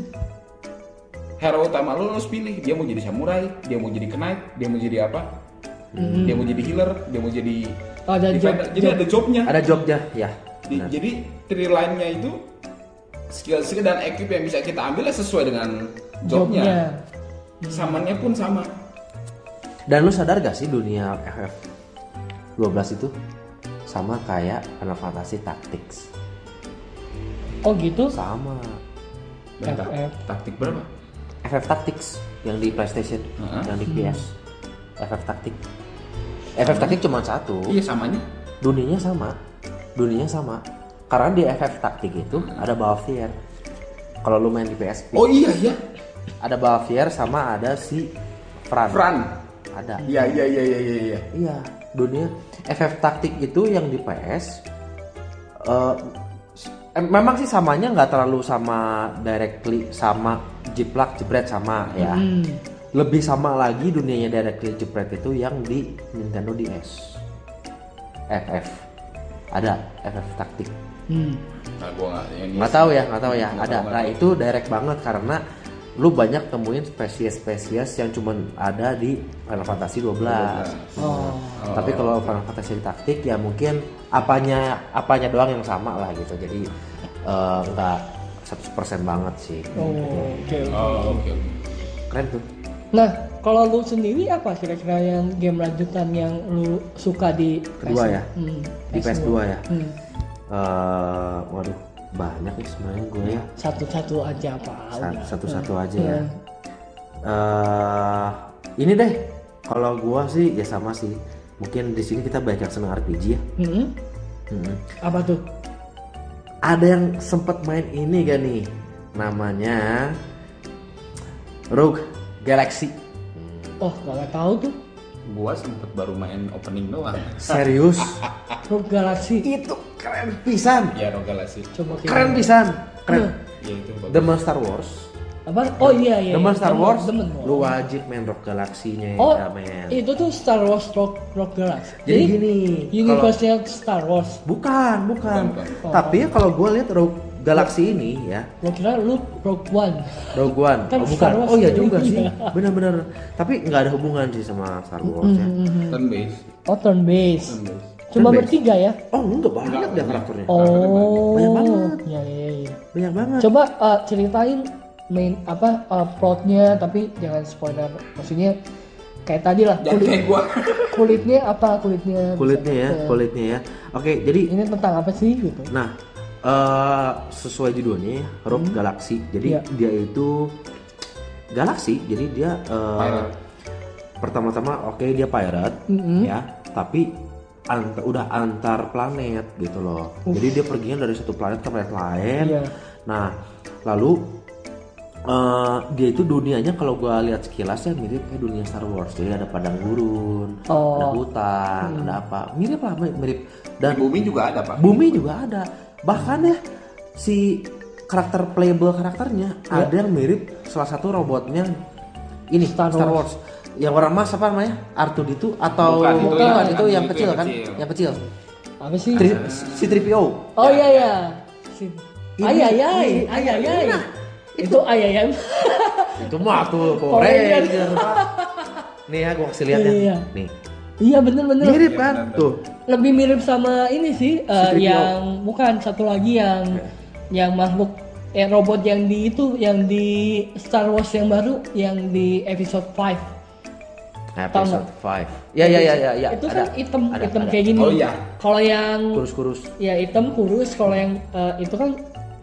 [SPEAKER 3] hero utama lu lu harus pilih dia mau jadi samurai, dia mau jadi knight, dia mau jadi apa?
[SPEAKER 2] Hmm.
[SPEAKER 3] Dia mau jadi healer, dia mau jadi
[SPEAKER 2] Oh,
[SPEAKER 1] Ada job-
[SPEAKER 3] defender. jadi
[SPEAKER 1] job.
[SPEAKER 3] ada jobnya.
[SPEAKER 2] Ada jobnya, ya.
[SPEAKER 3] Di-
[SPEAKER 2] benar.
[SPEAKER 3] jadi trilinenya itu skill-skill dan equip yang bisa kita ambil ya sesuai dengan jobnya.
[SPEAKER 1] jobnya
[SPEAKER 2] Hmm.
[SPEAKER 3] Samannya pun sama.
[SPEAKER 2] Dan lu sadar gak sih dunia FF12 itu sama kayak Final Fantasy Tactics?
[SPEAKER 1] oh gitu
[SPEAKER 2] Sama.
[SPEAKER 3] Dan tak-
[SPEAKER 1] FF.
[SPEAKER 3] taktik berapa?
[SPEAKER 2] FF Tactics yang di PlayStation,
[SPEAKER 3] Heeh.
[SPEAKER 2] yang di PS. FF Tactics. FF Tactics cuma satu.
[SPEAKER 3] Iya samanya.
[SPEAKER 2] Dunianya sama. Dunianya sama. Karena di FF Tactics itu ada Balthier. Kalau lu main di PSP,
[SPEAKER 3] Oh iya iya.
[SPEAKER 2] ada Balthier sama ada si Fran.
[SPEAKER 3] Fran.
[SPEAKER 2] Ada.
[SPEAKER 3] Iya iya iya iya iya. iya.
[SPEAKER 2] Iya, dunia FF taktik itu yang di PS eh, s- em- memang sih samanya nggak terlalu sama directly sama jiplak jebret sama ya.
[SPEAKER 1] Hmm.
[SPEAKER 2] Lebih sama lagi dunianya directly jebret itu yang di Nintendo DS. FF ada FF taktik.
[SPEAKER 1] Hmm.
[SPEAKER 3] Nah, gua nggak ini.
[SPEAKER 2] Nggak tahu ya, nggak tahu ya.
[SPEAKER 3] Nggak
[SPEAKER 2] Ada.
[SPEAKER 3] tahu, nggak
[SPEAKER 2] Nah
[SPEAKER 3] tahu.
[SPEAKER 2] itu direct banget karena lu banyak temuin spesies-spesies yang cuman ada di Final Fantasy 12.
[SPEAKER 1] oh
[SPEAKER 2] Tapi kalau Final Fantasy taktik ya mungkin apanya apanya doang yang sama lah gitu. Jadi eh, nggak 100% banget sih.
[SPEAKER 1] oh oke oke.
[SPEAKER 3] Oh, oke oke.
[SPEAKER 2] Keren tuh.
[SPEAKER 1] nah kalau lu sendiri apa kira-kira yang game lanjutan yang lu suka di
[SPEAKER 2] Kedua ya?
[SPEAKER 1] Hmm,
[SPEAKER 2] Di PS2 ya.
[SPEAKER 1] Hmm.
[SPEAKER 2] Eh, waduh, banyak nih sebenarnya gue ya.
[SPEAKER 1] satu-satu aja apa
[SPEAKER 2] Sa- Satu-satu
[SPEAKER 1] Hmm.
[SPEAKER 2] aja ya. Eh, ini deh kalau gua sih ya sama sih. Mungkin di sini kita banyak yang seneng RPG ya.
[SPEAKER 1] Hmm?
[SPEAKER 2] Mm-mm.
[SPEAKER 1] apa tuh
[SPEAKER 2] Ada yang sempet main ini gak nih? Namanya Rogue Galaxy.
[SPEAKER 1] oh nggak tahu tuh
[SPEAKER 3] Gua sempet baru main opening doang.
[SPEAKER 2] Serius?
[SPEAKER 1] Rogue Galaxy
[SPEAKER 2] itu keren pisan.
[SPEAKER 3] Ya Rogala sih.
[SPEAKER 1] coba kita Nah,
[SPEAKER 2] Keren pisan. Keren.
[SPEAKER 1] Hmm.
[SPEAKER 3] Ya itu bagus.
[SPEAKER 2] Demen Star Wars.
[SPEAKER 1] apa oh iya iya iya.
[SPEAKER 2] Demen Star
[SPEAKER 1] Demen,
[SPEAKER 2] Wars.
[SPEAKER 1] demen.
[SPEAKER 2] Lu wajib main Rock Galaxy-nya
[SPEAKER 1] oh
[SPEAKER 2] ya, men.
[SPEAKER 1] itu tuh Star Wars Rogue, Rogue Galaxy
[SPEAKER 2] Jadi gini,
[SPEAKER 1] universe-nya Star Wars
[SPEAKER 2] Bukan, bukan.
[SPEAKER 3] Bukan,
[SPEAKER 1] bukan.
[SPEAKER 2] Tapi ya kalau gue lihat Rogue Galaxy ini ya,
[SPEAKER 1] gua kira lu Rogue One
[SPEAKER 2] Rogue One.
[SPEAKER 1] Kan
[SPEAKER 2] oh, bukan.
[SPEAKER 1] Star Wars
[SPEAKER 2] Oh iya
[SPEAKER 1] ini.
[SPEAKER 2] juga sih.
[SPEAKER 1] Iya.
[SPEAKER 2] Benar-benar. Tapi nggak ada hubungan sih sama Star Wars ya.
[SPEAKER 3] Turn base.
[SPEAKER 1] oh turn
[SPEAKER 3] Turn
[SPEAKER 1] based
[SPEAKER 3] base.
[SPEAKER 1] cuma
[SPEAKER 2] Turn-based.
[SPEAKER 1] bertiga ya
[SPEAKER 2] Oh, enggak banyak deh karakternya.
[SPEAKER 1] oh
[SPEAKER 2] Banyak banget. Nah.
[SPEAKER 1] ya ya ya
[SPEAKER 2] Banyak banget.
[SPEAKER 1] coba eh, ceritain main apa eh, plotnya tapi jangan spoiler maksudnya kayak tadi lah
[SPEAKER 3] Jangan kayak
[SPEAKER 1] kulit-
[SPEAKER 3] gua.
[SPEAKER 1] kulitnya apa kulitnya
[SPEAKER 2] Kulitnya ya,
[SPEAKER 1] Bisa-
[SPEAKER 2] kulitnya ya. Oke, jadi
[SPEAKER 1] ini tentang apa sih gitu
[SPEAKER 2] Nah, eh sesuai judulnya ya, Rogue Galaxy. Jadi
[SPEAKER 1] Iya.
[SPEAKER 2] dia itu galaksi. Jadi dia eh,
[SPEAKER 3] Pirate.
[SPEAKER 2] pertama-tama oke dia pirate ya, tapi ant- udah antar planet gitu loh. Jadi dia perginya dari satu planet ke planet lain.
[SPEAKER 1] Iya.
[SPEAKER 2] Nah, lalu eh, dia itu dunianya kalau gua lihat sekilas ya mirip kayak dunia Star Wars. Jadi ada padang gurun,
[SPEAKER 1] Oh. Hmm.
[SPEAKER 2] ada hutan, ada apa. Mirip lah mirip. Dan
[SPEAKER 3] Di bumi juga ada pak.
[SPEAKER 2] Bumi juga ada. Bahkan ya si karakter playable karakternya ada yang mirip salah satu robotnya Iya. ini Star,
[SPEAKER 1] Star
[SPEAKER 2] Wars. Yang warna emas apa namanya? Artu itu atau
[SPEAKER 3] Bukan, itu yang-
[SPEAKER 2] bukan, itu yang
[SPEAKER 3] itu
[SPEAKER 2] kecil
[SPEAKER 3] yang
[SPEAKER 2] kan?
[SPEAKER 3] kecil.
[SPEAKER 2] Yang kecil.
[SPEAKER 1] apa sih
[SPEAKER 2] Tri- Si 3PO.
[SPEAKER 1] oh iya ya
[SPEAKER 2] Ini- Nah,
[SPEAKER 1] ayayay ayayay itu ayayay
[SPEAKER 2] Itu mah tuh
[SPEAKER 1] Power
[SPEAKER 2] Power Ranger. Nih ya gua kasih lihat ya.
[SPEAKER 1] Iya.
[SPEAKER 2] Nih.
[SPEAKER 1] iya bener bener
[SPEAKER 2] Mirip
[SPEAKER 3] Iya,
[SPEAKER 2] kan?
[SPEAKER 3] benar-benar.
[SPEAKER 2] Tuh.
[SPEAKER 1] lebih mirip sama ini sih eh,
[SPEAKER 2] Studio.
[SPEAKER 1] yang bukan satu lagi yang yang makhluk eh, robot yang di itu yang di Star Wars yang baru yang di episode 5
[SPEAKER 2] Episode 5. Ya ya ya ya ya.
[SPEAKER 1] itu kan
[SPEAKER 2] Ada.
[SPEAKER 1] item
[SPEAKER 2] ada,
[SPEAKER 1] item
[SPEAKER 2] ada.
[SPEAKER 1] kayak gini
[SPEAKER 3] Oh, iya.
[SPEAKER 1] kalau yang
[SPEAKER 2] kurus-kurus.
[SPEAKER 1] ya item kurus kalau yang eh, itu kan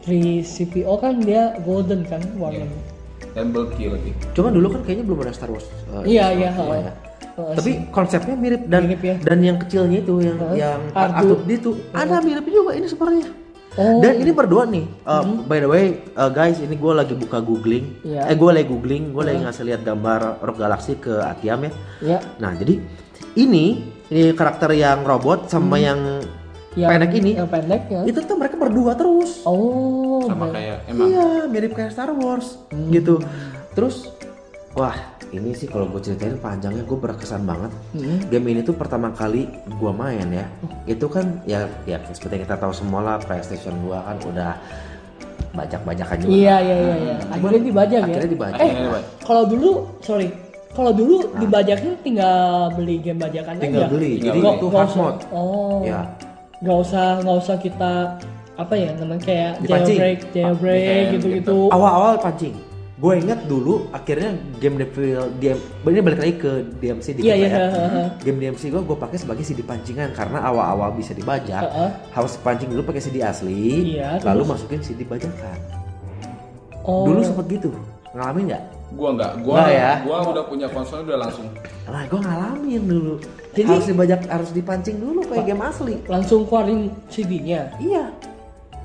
[SPEAKER 1] 3CPO kan dia golden kan
[SPEAKER 2] Iya.
[SPEAKER 1] warnanya
[SPEAKER 3] Temple kill lagi.
[SPEAKER 2] Cuma dulu kan kayaknya belum ada Star Wars. eh,
[SPEAKER 1] Iya,
[SPEAKER 2] Star
[SPEAKER 1] iya, Eh,
[SPEAKER 2] Wars semua
[SPEAKER 1] ha.
[SPEAKER 2] ya.
[SPEAKER 1] Ha,
[SPEAKER 2] Tapi konsepnya mirip dan
[SPEAKER 1] Iya. Mirip ya.
[SPEAKER 2] dan yang kecilnya itu yang
[SPEAKER 1] Ha,
[SPEAKER 2] yang
[SPEAKER 1] Artu.
[SPEAKER 2] Artu itu ada mirip juga ini sebenarnya.
[SPEAKER 1] Ah. Oh. Hmm.
[SPEAKER 2] Dan ini berdua nih. Eh, By the way, eh, guys, ini gue lagi buka googling.
[SPEAKER 1] Iya. Ah.
[SPEAKER 2] Eh, gue lagi googling, gue lagi ngasih lihat gambar Rock Galaxy ke Atiam ya.
[SPEAKER 1] ya
[SPEAKER 2] Nah, jadi ini ini karakter yang robot sama yang,
[SPEAKER 1] Hmm. yang
[SPEAKER 2] pendek ini.
[SPEAKER 1] yang pendek ya
[SPEAKER 2] Itu tuh mereka berdua terus.
[SPEAKER 1] oh
[SPEAKER 3] Sama
[SPEAKER 1] ber- Iya,
[SPEAKER 3] kayak emang.
[SPEAKER 2] Iya, mirip kayak Star Wars gitu. Terus Hmm. Wah, ini sih kalau gue ceritain panjangnya gue berkesan banget.
[SPEAKER 1] Hmm.
[SPEAKER 2] Game ini tuh pertama kali gue main ya.
[SPEAKER 1] Oh.
[SPEAKER 2] Itu kan ya ya seperti kita tahu semua lah PlayStation 2 kan udah bajak-bajakan juga.
[SPEAKER 1] Iya iya iya. iya. Akhirnya dibajak ya.
[SPEAKER 2] Akhirnya dibajak. Nah.
[SPEAKER 1] Eh,
[SPEAKER 3] Akhirnya dibajak.
[SPEAKER 1] kalau dulu sorry, kalau dulu dibajaknya tinggal beli game bajakan
[SPEAKER 2] Tinggal
[SPEAKER 1] aja.
[SPEAKER 2] beli.
[SPEAKER 3] Tinggal
[SPEAKER 2] Jadi
[SPEAKER 3] beli.
[SPEAKER 2] itu
[SPEAKER 1] Nggak
[SPEAKER 2] hard
[SPEAKER 1] usah-
[SPEAKER 2] mode.
[SPEAKER 1] Oh.
[SPEAKER 2] Ya.
[SPEAKER 1] Nggak usah nggak usah kita apa ya namanya kayak
[SPEAKER 2] Dipancing. Ah,
[SPEAKER 1] jailbreak jailbreak
[SPEAKER 3] Pancing,
[SPEAKER 1] gitu-gitu.
[SPEAKER 2] Awal-awal pancing. Gue inget dulu akhirnya game Devil game ini balik lagi ke DMC
[SPEAKER 1] Iya,
[SPEAKER 2] dikit lah
[SPEAKER 1] iya,
[SPEAKER 2] ya.
[SPEAKER 1] iya, iya.
[SPEAKER 2] Game DMC gue gue pakai sebagai CD pancingan karena awal-awal bisa dibajak.
[SPEAKER 1] Heeh.
[SPEAKER 2] Harus pancing dulu pakai CD asli,
[SPEAKER 1] Iya,
[SPEAKER 2] lalu masukin CD bajakan.
[SPEAKER 1] Oh.
[SPEAKER 2] Dulu sempet gitu. Ngalamin nggak?
[SPEAKER 3] Gua nggak, gua
[SPEAKER 2] Nggak ya?
[SPEAKER 3] gua udah punya konsolnya udah langsung.
[SPEAKER 2] Lah gue ngalamin dulu.
[SPEAKER 1] Jadi-
[SPEAKER 2] harus dibajak harus dipancing dulu kayak game asli.
[SPEAKER 1] langsung keluarin CD-nya.
[SPEAKER 2] Iya,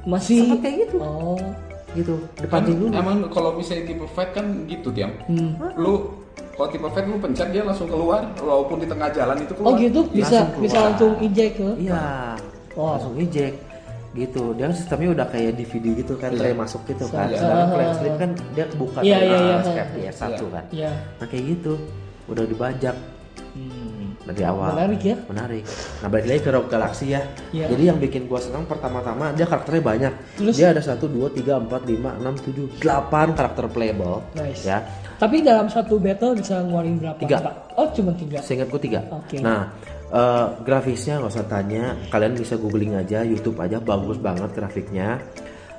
[SPEAKER 1] Masih
[SPEAKER 2] Sempet kayak gitu.
[SPEAKER 1] Oh.
[SPEAKER 2] gitu.
[SPEAKER 3] Kan,
[SPEAKER 2] Dipancing dulu.
[SPEAKER 3] emang kalau misalnya tipe fight kan gitu tiang.
[SPEAKER 1] Hmm.
[SPEAKER 3] Lu kalau tipe fight lu pencet dia langsung keluar walaupun di tengah jalan itu
[SPEAKER 1] Oh
[SPEAKER 3] keluar.
[SPEAKER 1] gitu bisa
[SPEAKER 2] Langsung
[SPEAKER 1] bisa
[SPEAKER 2] keluar.
[SPEAKER 1] langsung eject ke.
[SPEAKER 2] Iya.
[SPEAKER 1] Wow.
[SPEAKER 2] Langsung ejek gitu. Dia kan sistemnya udah kayak DVD gitu kan,
[SPEAKER 3] Iya.
[SPEAKER 2] tray masuk gitu kan.
[SPEAKER 3] Iya.
[SPEAKER 2] Sedangkan flash slip kan dia buka
[SPEAKER 1] Iya,
[SPEAKER 2] dari
[SPEAKER 1] iya, iya.
[SPEAKER 2] atas kayak PS1 kan.
[SPEAKER 1] Iya.
[SPEAKER 2] Nah kayak gitu. Udah dibajak
[SPEAKER 1] Hmm.
[SPEAKER 2] dari awal.
[SPEAKER 1] Menarik ya.
[SPEAKER 2] Menarik. Nah balik lagi ke Rogue Galaxy ya.
[SPEAKER 1] Iya.
[SPEAKER 2] Jadi yang bikin gua senang pertama-tama dia karakternya banyak.
[SPEAKER 1] Terus?
[SPEAKER 2] Dia ada 1 2 3 4 5 6 7 8 karakter playable.
[SPEAKER 1] Nice.
[SPEAKER 2] Ya.
[SPEAKER 1] Tapi dalam satu battle bisa ngeluarin berapa?
[SPEAKER 2] Tiga.
[SPEAKER 1] Pak? Oh, cuma tiga.
[SPEAKER 2] Seingatku tiga.
[SPEAKER 1] Oke.
[SPEAKER 2] Nah, eh, grafisnya nggak usah tanya, kalian bisa googling aja, YouTube aja bagus banget grafiknya.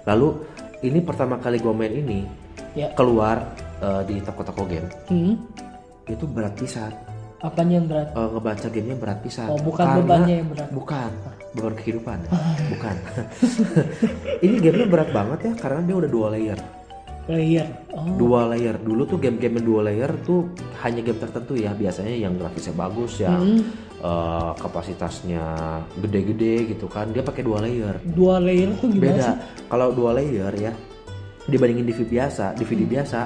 [SPEAKER 2] Lalu ini pertama kali gue main ini
[SPEAKER 1] Ya.
[SPEAKER 2] keluar eh, di toko-toko game
[SPEAKER 1] Hmm.
[SPEAKER 2] itu berat pisan.
[SPEAKER 1] Apanya yang berat?
[SPEAKER 2] Eh, ngebaca gamenya berat pisan.
[SPEAKER 1] Oh, bukan bebannya yang berat.
[SPEAKER 2] Bukan beban kehidupan, bukan. ini gamenya berat banget ya karena dia udah dua layer.
[SPEAKER 1] Layer. Oh.
[SPEAKER 2] dua layer dulu tuh game-game yang dua layer tuh hanya game tertentu ya biasanya yang grafisnya bagus yang
[SPEAKER 1] Mm-hmm.
[SPEAKER 2] eh, kapasitasnya gede-gede gitu kan dia pakai dua layer
[SPEAKER 1] Dua layer tuh gimana sih?
[SPEAKER 2] beda kalau dua layer ya dibandingin DVD biasa DVD
[SPEAKER 1] Hmm.
[SPEAKER 2] biasa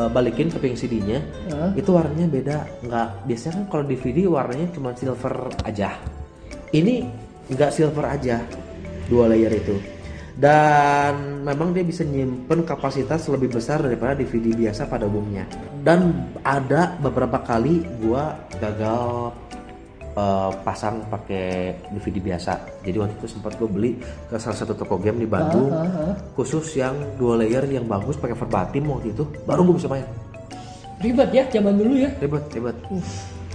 [SPEAKER 2] eh, balikin keping CD-nya
[SPEAKER 1] Heeh.
[SPEAKER 2] itu warnanya beda nggak biasanya kan kalau DVD warnanya cuma silver aja ini nggak silver aja dua layer itu dan memang dia bisa nyimpen kapasitas lebih besar daripada DVD biasa pada umumnya dan ada beberapa kali gua gagal eh, pasang pakai DVD biasa jadi waktu itu sempat gue beli ke salah satu toko game di Bandung
[SPEAKER 1] Ah, ah, ah.
[SPEAKER 2] khusus yang dua layer yang bagus pakai verbatim waktu itu baru gue bisa main
[SPEAKER 1] Ribet ya zaman dulu ya.
[SPEAKER 2] ribet ribet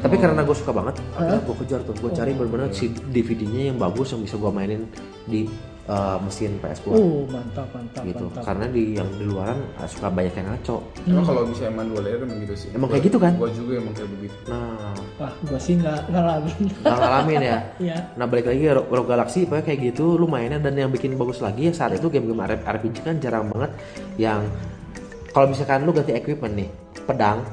[SPEAKER 2] tapi karena gue suka banget akhirnya gue kejar tuh gue cari bener-bener si DVD-nya yang bagus yang bisa gue mainin di eh, mesin PS gue
[SPEAKER 1] Oh, mantap, mantap,
[SPEAKER 2] gitu
[SPEAKER 1] mantap.
[SPEAKER 2] karena di yang di luaran eh, suka banyak yang ngaco
[SPEAKER 3] Emang kalau misalnya emang dua layer emang gitu sih.
[SPEAKER 2] Emang kayak gitu kan?
[SPEAKER 3] Gua juga emang kayak begitu.
[SPEAKER 2] nah
[SPEAKER 1] Wah, gua sih nggak ngalamin.
[SPEAKER 2] nggak ngalamin ya
[SPEAKER 1] Iya.
[SPEAKER 2] Nah balik lagi Ro- Rogue Galaxy pokoknya kayak gitu lu mainnya dan yang bikin bagus lagi ya saat itu game-game R- RPG kan jarang banget yang kalau misalkan lu ganti equipment nih pedang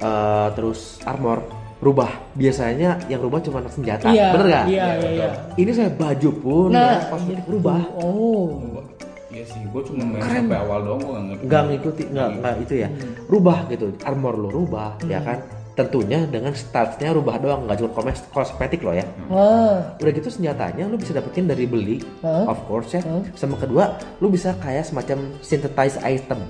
[SPEAKER 2] eh, terus armor rubah biasanya yang rubah cuma senjata
[SPEAKER 1] Iya.
[SPEAKER 2] bener gak?
[SPEAKER 1] Iya, iya, iya.
[SPEAKER 2] ini saya baju pun ya, kosmetik
[SPEAKER 1] gitu.
[SPEAKER 2] rubah
[SPEAKER 1] Oh.
[SPEAKER 3] Iya sih, gua cuma main sampai awal doang gua nggak ngerti.
[SPEAKER 2] nggak ngikuti nggak nggak itu ya
[SPEAKER 1] Hmm.
[SPEAKER 2] rubah gitu armor lu rubah ya kan tentunya dengan statsnya rubah doang nggak cuma kosmes- kosmetik lo ya
[SPEAKER 1] Wah.
[SPEAKER 2] udah gitu senjatanya lu bisa dapetin dari beli
[SPEAKER 1] Hah?
[SPEAKER 2] of course ya
[SPEAKER 1] Hah?
[SPEAKER 2] sama kedua lu bisa kayak semacam synthesize item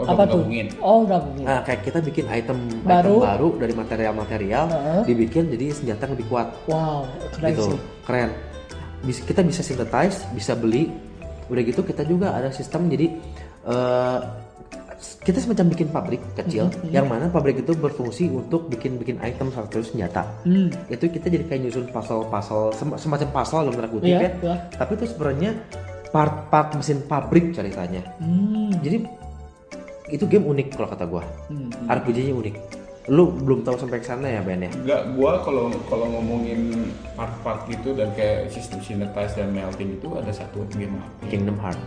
[SPEAKER 3] Oh,
[SPEAKER 1] apa tuh?
[SPEAKER 3] gabungin.
[SPEAKER 1] Oh, gabungin.
[SPEAKER 2] nah kayak kita bikin item
[SPEAKER 1] Baru.
[SPEAKER 2] item baru dari material-material
[SPEAKER 1] Hah?
[SPEAKER 2] dibikin jadi senjata yang lebih kuat
[SPEAKER 1] Wow, keren
[SPEAKER 2] gitu
[SPEAKER 1] sih.
[SPEAKER 2] keren Bis- kita bisa synthesize bisa beli udah gitu kita juga ada sistem jadi eh, kita semacam bikin pabrik kecil
[SPEAKER 1] Hmm, iya.
[SPEAKER 2] yang mana pabrik itu berfungsi untuk bikin bikin item satu senjata
[SPEAKER 1] Hmm.
[SPEAKER 2] itu kita jadi kayak nyusun pasal-pasal sem- semacam pasal dalam tanda kutip
[SPEAKER 1] Iya,
[SPEAKER 2] ya.
[SPEAKER 1] iya.
[SPEAKER 2] Tapi itu sebenarnya part-part mesin pabrik ceritanya.
[SPEAKER 1] Hmm.
[SPEAKER 2] Jadi itu game unik kalau kata gua.
[SPEAKER 1] Hmm.
[SPEAKER 2] RPG-nya unik. Lu belum tahu sampai ke sana ya Ben ya?
[SPEAKER 3] Enggak, gua kalau kalau ngomongin part-part gitu dan kayak sistem synthesize dan melting itu ada satu game apa?
[SPEAKER 2] Kingdom Heart.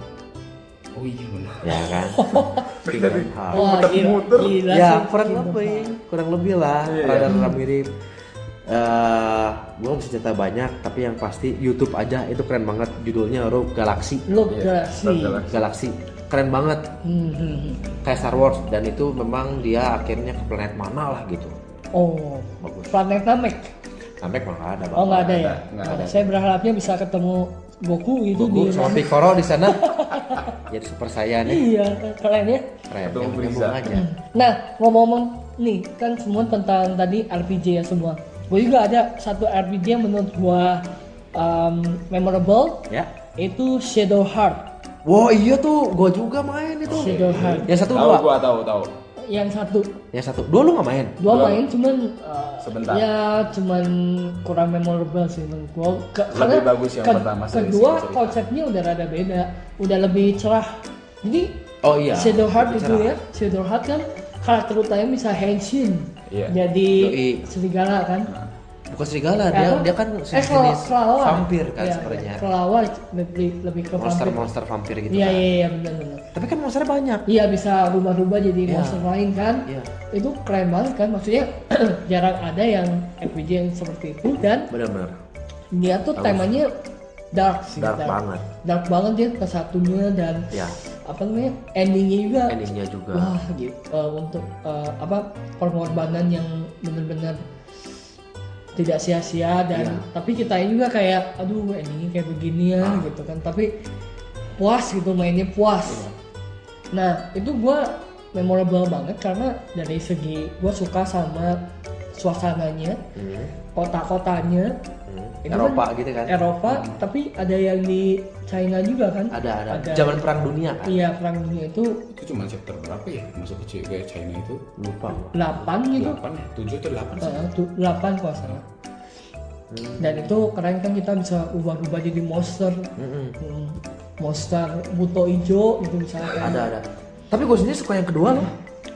[SPEAKER 3] Oh iya benar.
[SPEAKER 2] Ya kan? Kingdom Heart.
[SPEAKER 1] Wah,
[SPEAKER 3] Muter-muter.
[SPEAKER 1] Oh, gila, gila
[SPEAKER 2] Ah. ya
[SPEAKER 1] sih.
[SPEAKER 2] kurang
[SPEAKER 1] Kingdom
[SPEAKER 2] lebih kurang lebih lah rada-rada mirip eh gue bisa cerita banyak tapi yang pasti YouTube aja itu keren banget judulnya Rogue Galaxy
[SPEAKER 1] Look gak sih?
[SPEAKER 2] Galaxy keren banget
[SPEAKER 1] Hmm, hmm, hmm.
[SPEAKER 2] kayak Star Wars dan itu memang dia akhirnya ke planet mana lah gitu
[SPEAKER 1] Oh,
[SPEAKER 2] Bagus.
[SPEAKER 1] planet Namek.
[SPEAKER 2] sampai kalau nggak ada
[SPEAKER 1] Oh, nggak ada ya?
[SPEAKER 3] ada, nggak
[SPEAKER 1] Nggak ada. Saya berharapnya bisa ketemu Goku itu
[SPEAKER 2] Goku
[SPEAKER 1] di
[SPEAKER 2] sama Piccolo di sana jadi super saya nih
[SPEAKER 1] Iya, keren ya.
[SPEAKER 2] keren.
[SPEAKER 3] Ketemu
[SPEAKER 2] Nyambung-
[SPEAKER 3] Frieza.
[SPEAKER 2] nyambung aja.
[SPEAKER 1] Nah, ngomong-ngomong nih kan semua tentang tadi RPG ya semua. Gue juga ada satu RPG yang menurut gua um, memorable
[SPEAKER 2] Ya.
[SPEAKER 1] itu Shadow Heart.
[SPEAKER 2] Wow iya tuh, gua juga main itu.
[SPEAKER 1] Shadow Heart.
[SPEAKER 2] Yang satu
[SPEAKER 3] Tahu
[SPEAKER 2] dua.
[SPEAKER 3] gua tahu tahu.
[SPEAKER 1] Yang satu
[SPEAKER 2] Yang satu dua lu nggak main?
[SPEAKER 1] dua
[SPEAKER 3] Dua.
[SPEAKER 1] main cuman uh,
[SPEAKER 3] Sebentar.
[SPEAKER 1] ya cuman kurang memorable sih menurut gua. Ke-
[SPEAKER 3] Lebih
[SPEAKER 1] karena
[SPEAKER 3] bagus yang pertama sih,
[SPEAKER 1] Kedua
[SPEAKER 3] sih, cerita.
[SPEAKER 1] konsepnya udah rada beda, udah lebih cerah. Jadi
[SPEAKER 2] Oh iya.
[SPEAKER 1] Shadow Heart itu
[SPEAKER 2] Bicara.
[SPEAKER 1] ya, Shadow Heart kan karakter utamanya bisa henshin.
[SPEAKER 3] Iya.
[SPEAKER 1] Jadi
[SPEAKER 2] Yoi.
[SPEAKER 1] serigala kan.
[SPEAKER 3] Nah,
[SPEAKER 2] Bukan serigala, dia
[SPEAKER 1] Apa?
[SPEAKER 2] dia kan
[SPEAKER 1] eh, kela-
[SPEAKER 2] sejenis
[SPEAKER 1] kelawar.
[SPEAKER 2] vampir kan
[SPEAKER 1] Iya,
[SPEAKER 2] sebenarnya.
[SPEAKER 1] Kelawar lebih lebih ke
[SPEAKER 2] Monster
[SPEAKER 1] vampir.
[SPEAKER 2] monster vampir gitu
[SPEAKER 1] Iya
[SPEAKER 2] kan.
[SPEAKER 1] iya iya benar benar.
[SPEAKER 2] Tapi kan monsternya banyak.
[SPEAKER 1] Iya bisa rubah-rubah jadi
[SPEAKER 2] Iya.
[SPEAKER 1] monster lain kan.
[SPEAKER 2] Iya.
[SPEAKER 1] Itu keren banget kan maksudnya jarang ada yang RPG yang seperti itu dan
[SPEAKER 2] Benar-benar.
[SPEAKER 1] dia tuh temanya dark sih
[SPEAKER 2] Dark banget.
[SPEAKER 1] Dark banget dia kesatunya dan
[SPEAKER 2] Ya,
[SPEAKER 1] apa namanya endingnya juga
[SPEAKER 2] endingnya juga.
[SPEAKER 1] Wah, gitu. Eh, untuk eh, apa pengorbanan yang benar-benar tidak sia-sia dan
[SPEAKER 2] Iya.
[SPEAKER 1] tapi kita juga kayak aduh endingnya kayak begini ya
[SPEAKER 2] Ah.
[SPEAKER 1] gitu kan tapi puas gitu mainnya
[SPEAKER 2] Iya.
[SPEAKER 1] puas nah itu gua memorable banget karena dari segi gua suka sama suasananya
[SPEAKER 2] Hmm,
[SPEAKER 1] kota-kotanya
[SPEAKER 2] hmm.
[SPEAKER 1] Itu kan
[SPEAKER 2] Eropa gitu kan.
[SPEAKER 1] Eropa tapi ada yang di China juga kan
[SPEAKER 2] Ada ada.
[SPEAKER 1] Ada.
[SPEAKER 2] Zaman perang dunia kan.
[SPEAKER 1] iya perang dunia itu
[SPEAKER 3] Itu cuma chapter berapa ya masuk ke C- ke China itu?
[SPEAKER 2] Lupa. gua.
[SPEAKER 1] 8
[SPEAKER 2] Iya.
[SPEAKER 1] gitu
[SPEAKER 3] 8 ya, 7 atau 8 sih.
[SPEAKER 1] Heeh, Eh, tu- 8 kalau nggak salah.
[SPEAKER 2] Hmm.
[SPEAKER 1] Dan itu keren kan kita bisa ubah-ubah jadi monster.
[SPEAKER 2] Mm-mm.
[SPEAKER 1] Hmm, Monster buto ijo gitu misalnya.
[SPEAKER 2] Ada ada. Tapi gue sendiri suka yang kedua loh.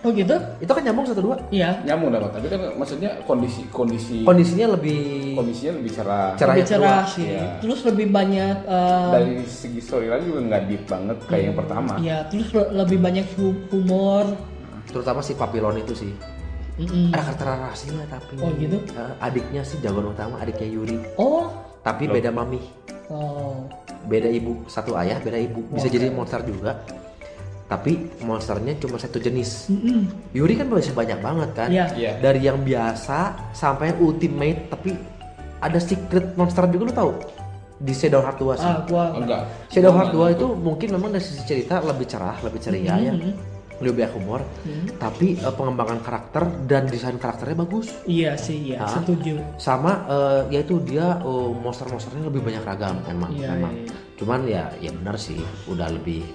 [SPEAKER 1] Oh gitu?
[SPEAKER 2] Itu kan nyambung satu dua.
[SPEAKER 1] Iya.
[SPEAKER 3] Nyamuk dapat, tapi kan maksudnya kondisi kondisi
[SPEAKER 2] Kondisinya lebih
[SPEAKER 3] kondisinya lebih cerah.
[SPEAKER 2] Cerah
[SPEAKER 1] Lebih
[SPEAKER 2] yang
[SPEAKER 1] cerah
[SPEAKER 2] kedua.
[SPEAKER 1] sih.
[SPEAKER 3] Iya.
[SPEAKER 1] Terus lebih banyak eh,
[SPEAKER 3] Dari segi storyline juga nggak deep banget kayak yang pertama.
[SPEAKER 1] Iya, terus le- lebih banyak hu- humor.
[SPEAKER 2] terutama si Papillon itu sih.
[SPEAKER 1] Mm-mm.
[SPEAKER 2] Ada karakter rasanya tapi.
[SPEAKER 1] Mm. Oh, gitu?
[SPEAKER 2] Eh, adiknya sih jagoan utama, adiknya Yuri.
[SPEAKER 1] Oh.
[SPEAKER 2] Tapi
[SPEAKER 3] Loh.
[SPEAKER 2] beda mami,
[SPEAKER 1] Oh.
[SPEAKER 2] beda ibu, satu ayah, beda ibu. Bisa
[SPEAKER 1] Wah.
[SPEAKER 2] jadi monster juga. Tapi monsternya cuma satu jenis.
[SPEAKER 1] Mm-mm.
[SPEAKER 2] Yuri kan bisa banyak banget kan.
[SPEAKER 1] Iya.
[SPEAKER 3] Iya.
[SPEAKER 2] Dari yang biasa sampai yang ultimate, tapi ada secret monster juga lu tahu di Shadow Heart 2 sih.
[SPEAKER 1] Ah, gua
[SPEAKER 2] gitu.
[SPEAKER 3] Enggak.
[SPEAKER 2] Shadow Heart 2 itu mungkin memang dari sisi cerita lebih cerah, lebih ceria ya.
[SPEAKER 1] Hmm,
[SPEAKER 2] Lebih banyak humor, tapi eh, pengembangan karakter dan desain karakternya bagus.
[SPEAKER 1] Iya sih, iya,
[SPEAKER 2] Ah.
[SPEAKER 1] setuju.
[SPEAKER 2] Sama eh, yaitu dia eh, monster-monsternya lebih banyak ragam emang,
[SPEAKER 1] Iya,
[SPEAKER 2] emang.
[SPEAKER 1] iya, iya.
[SPEAKER 2] Cuman ya ya benar sih, udah lebih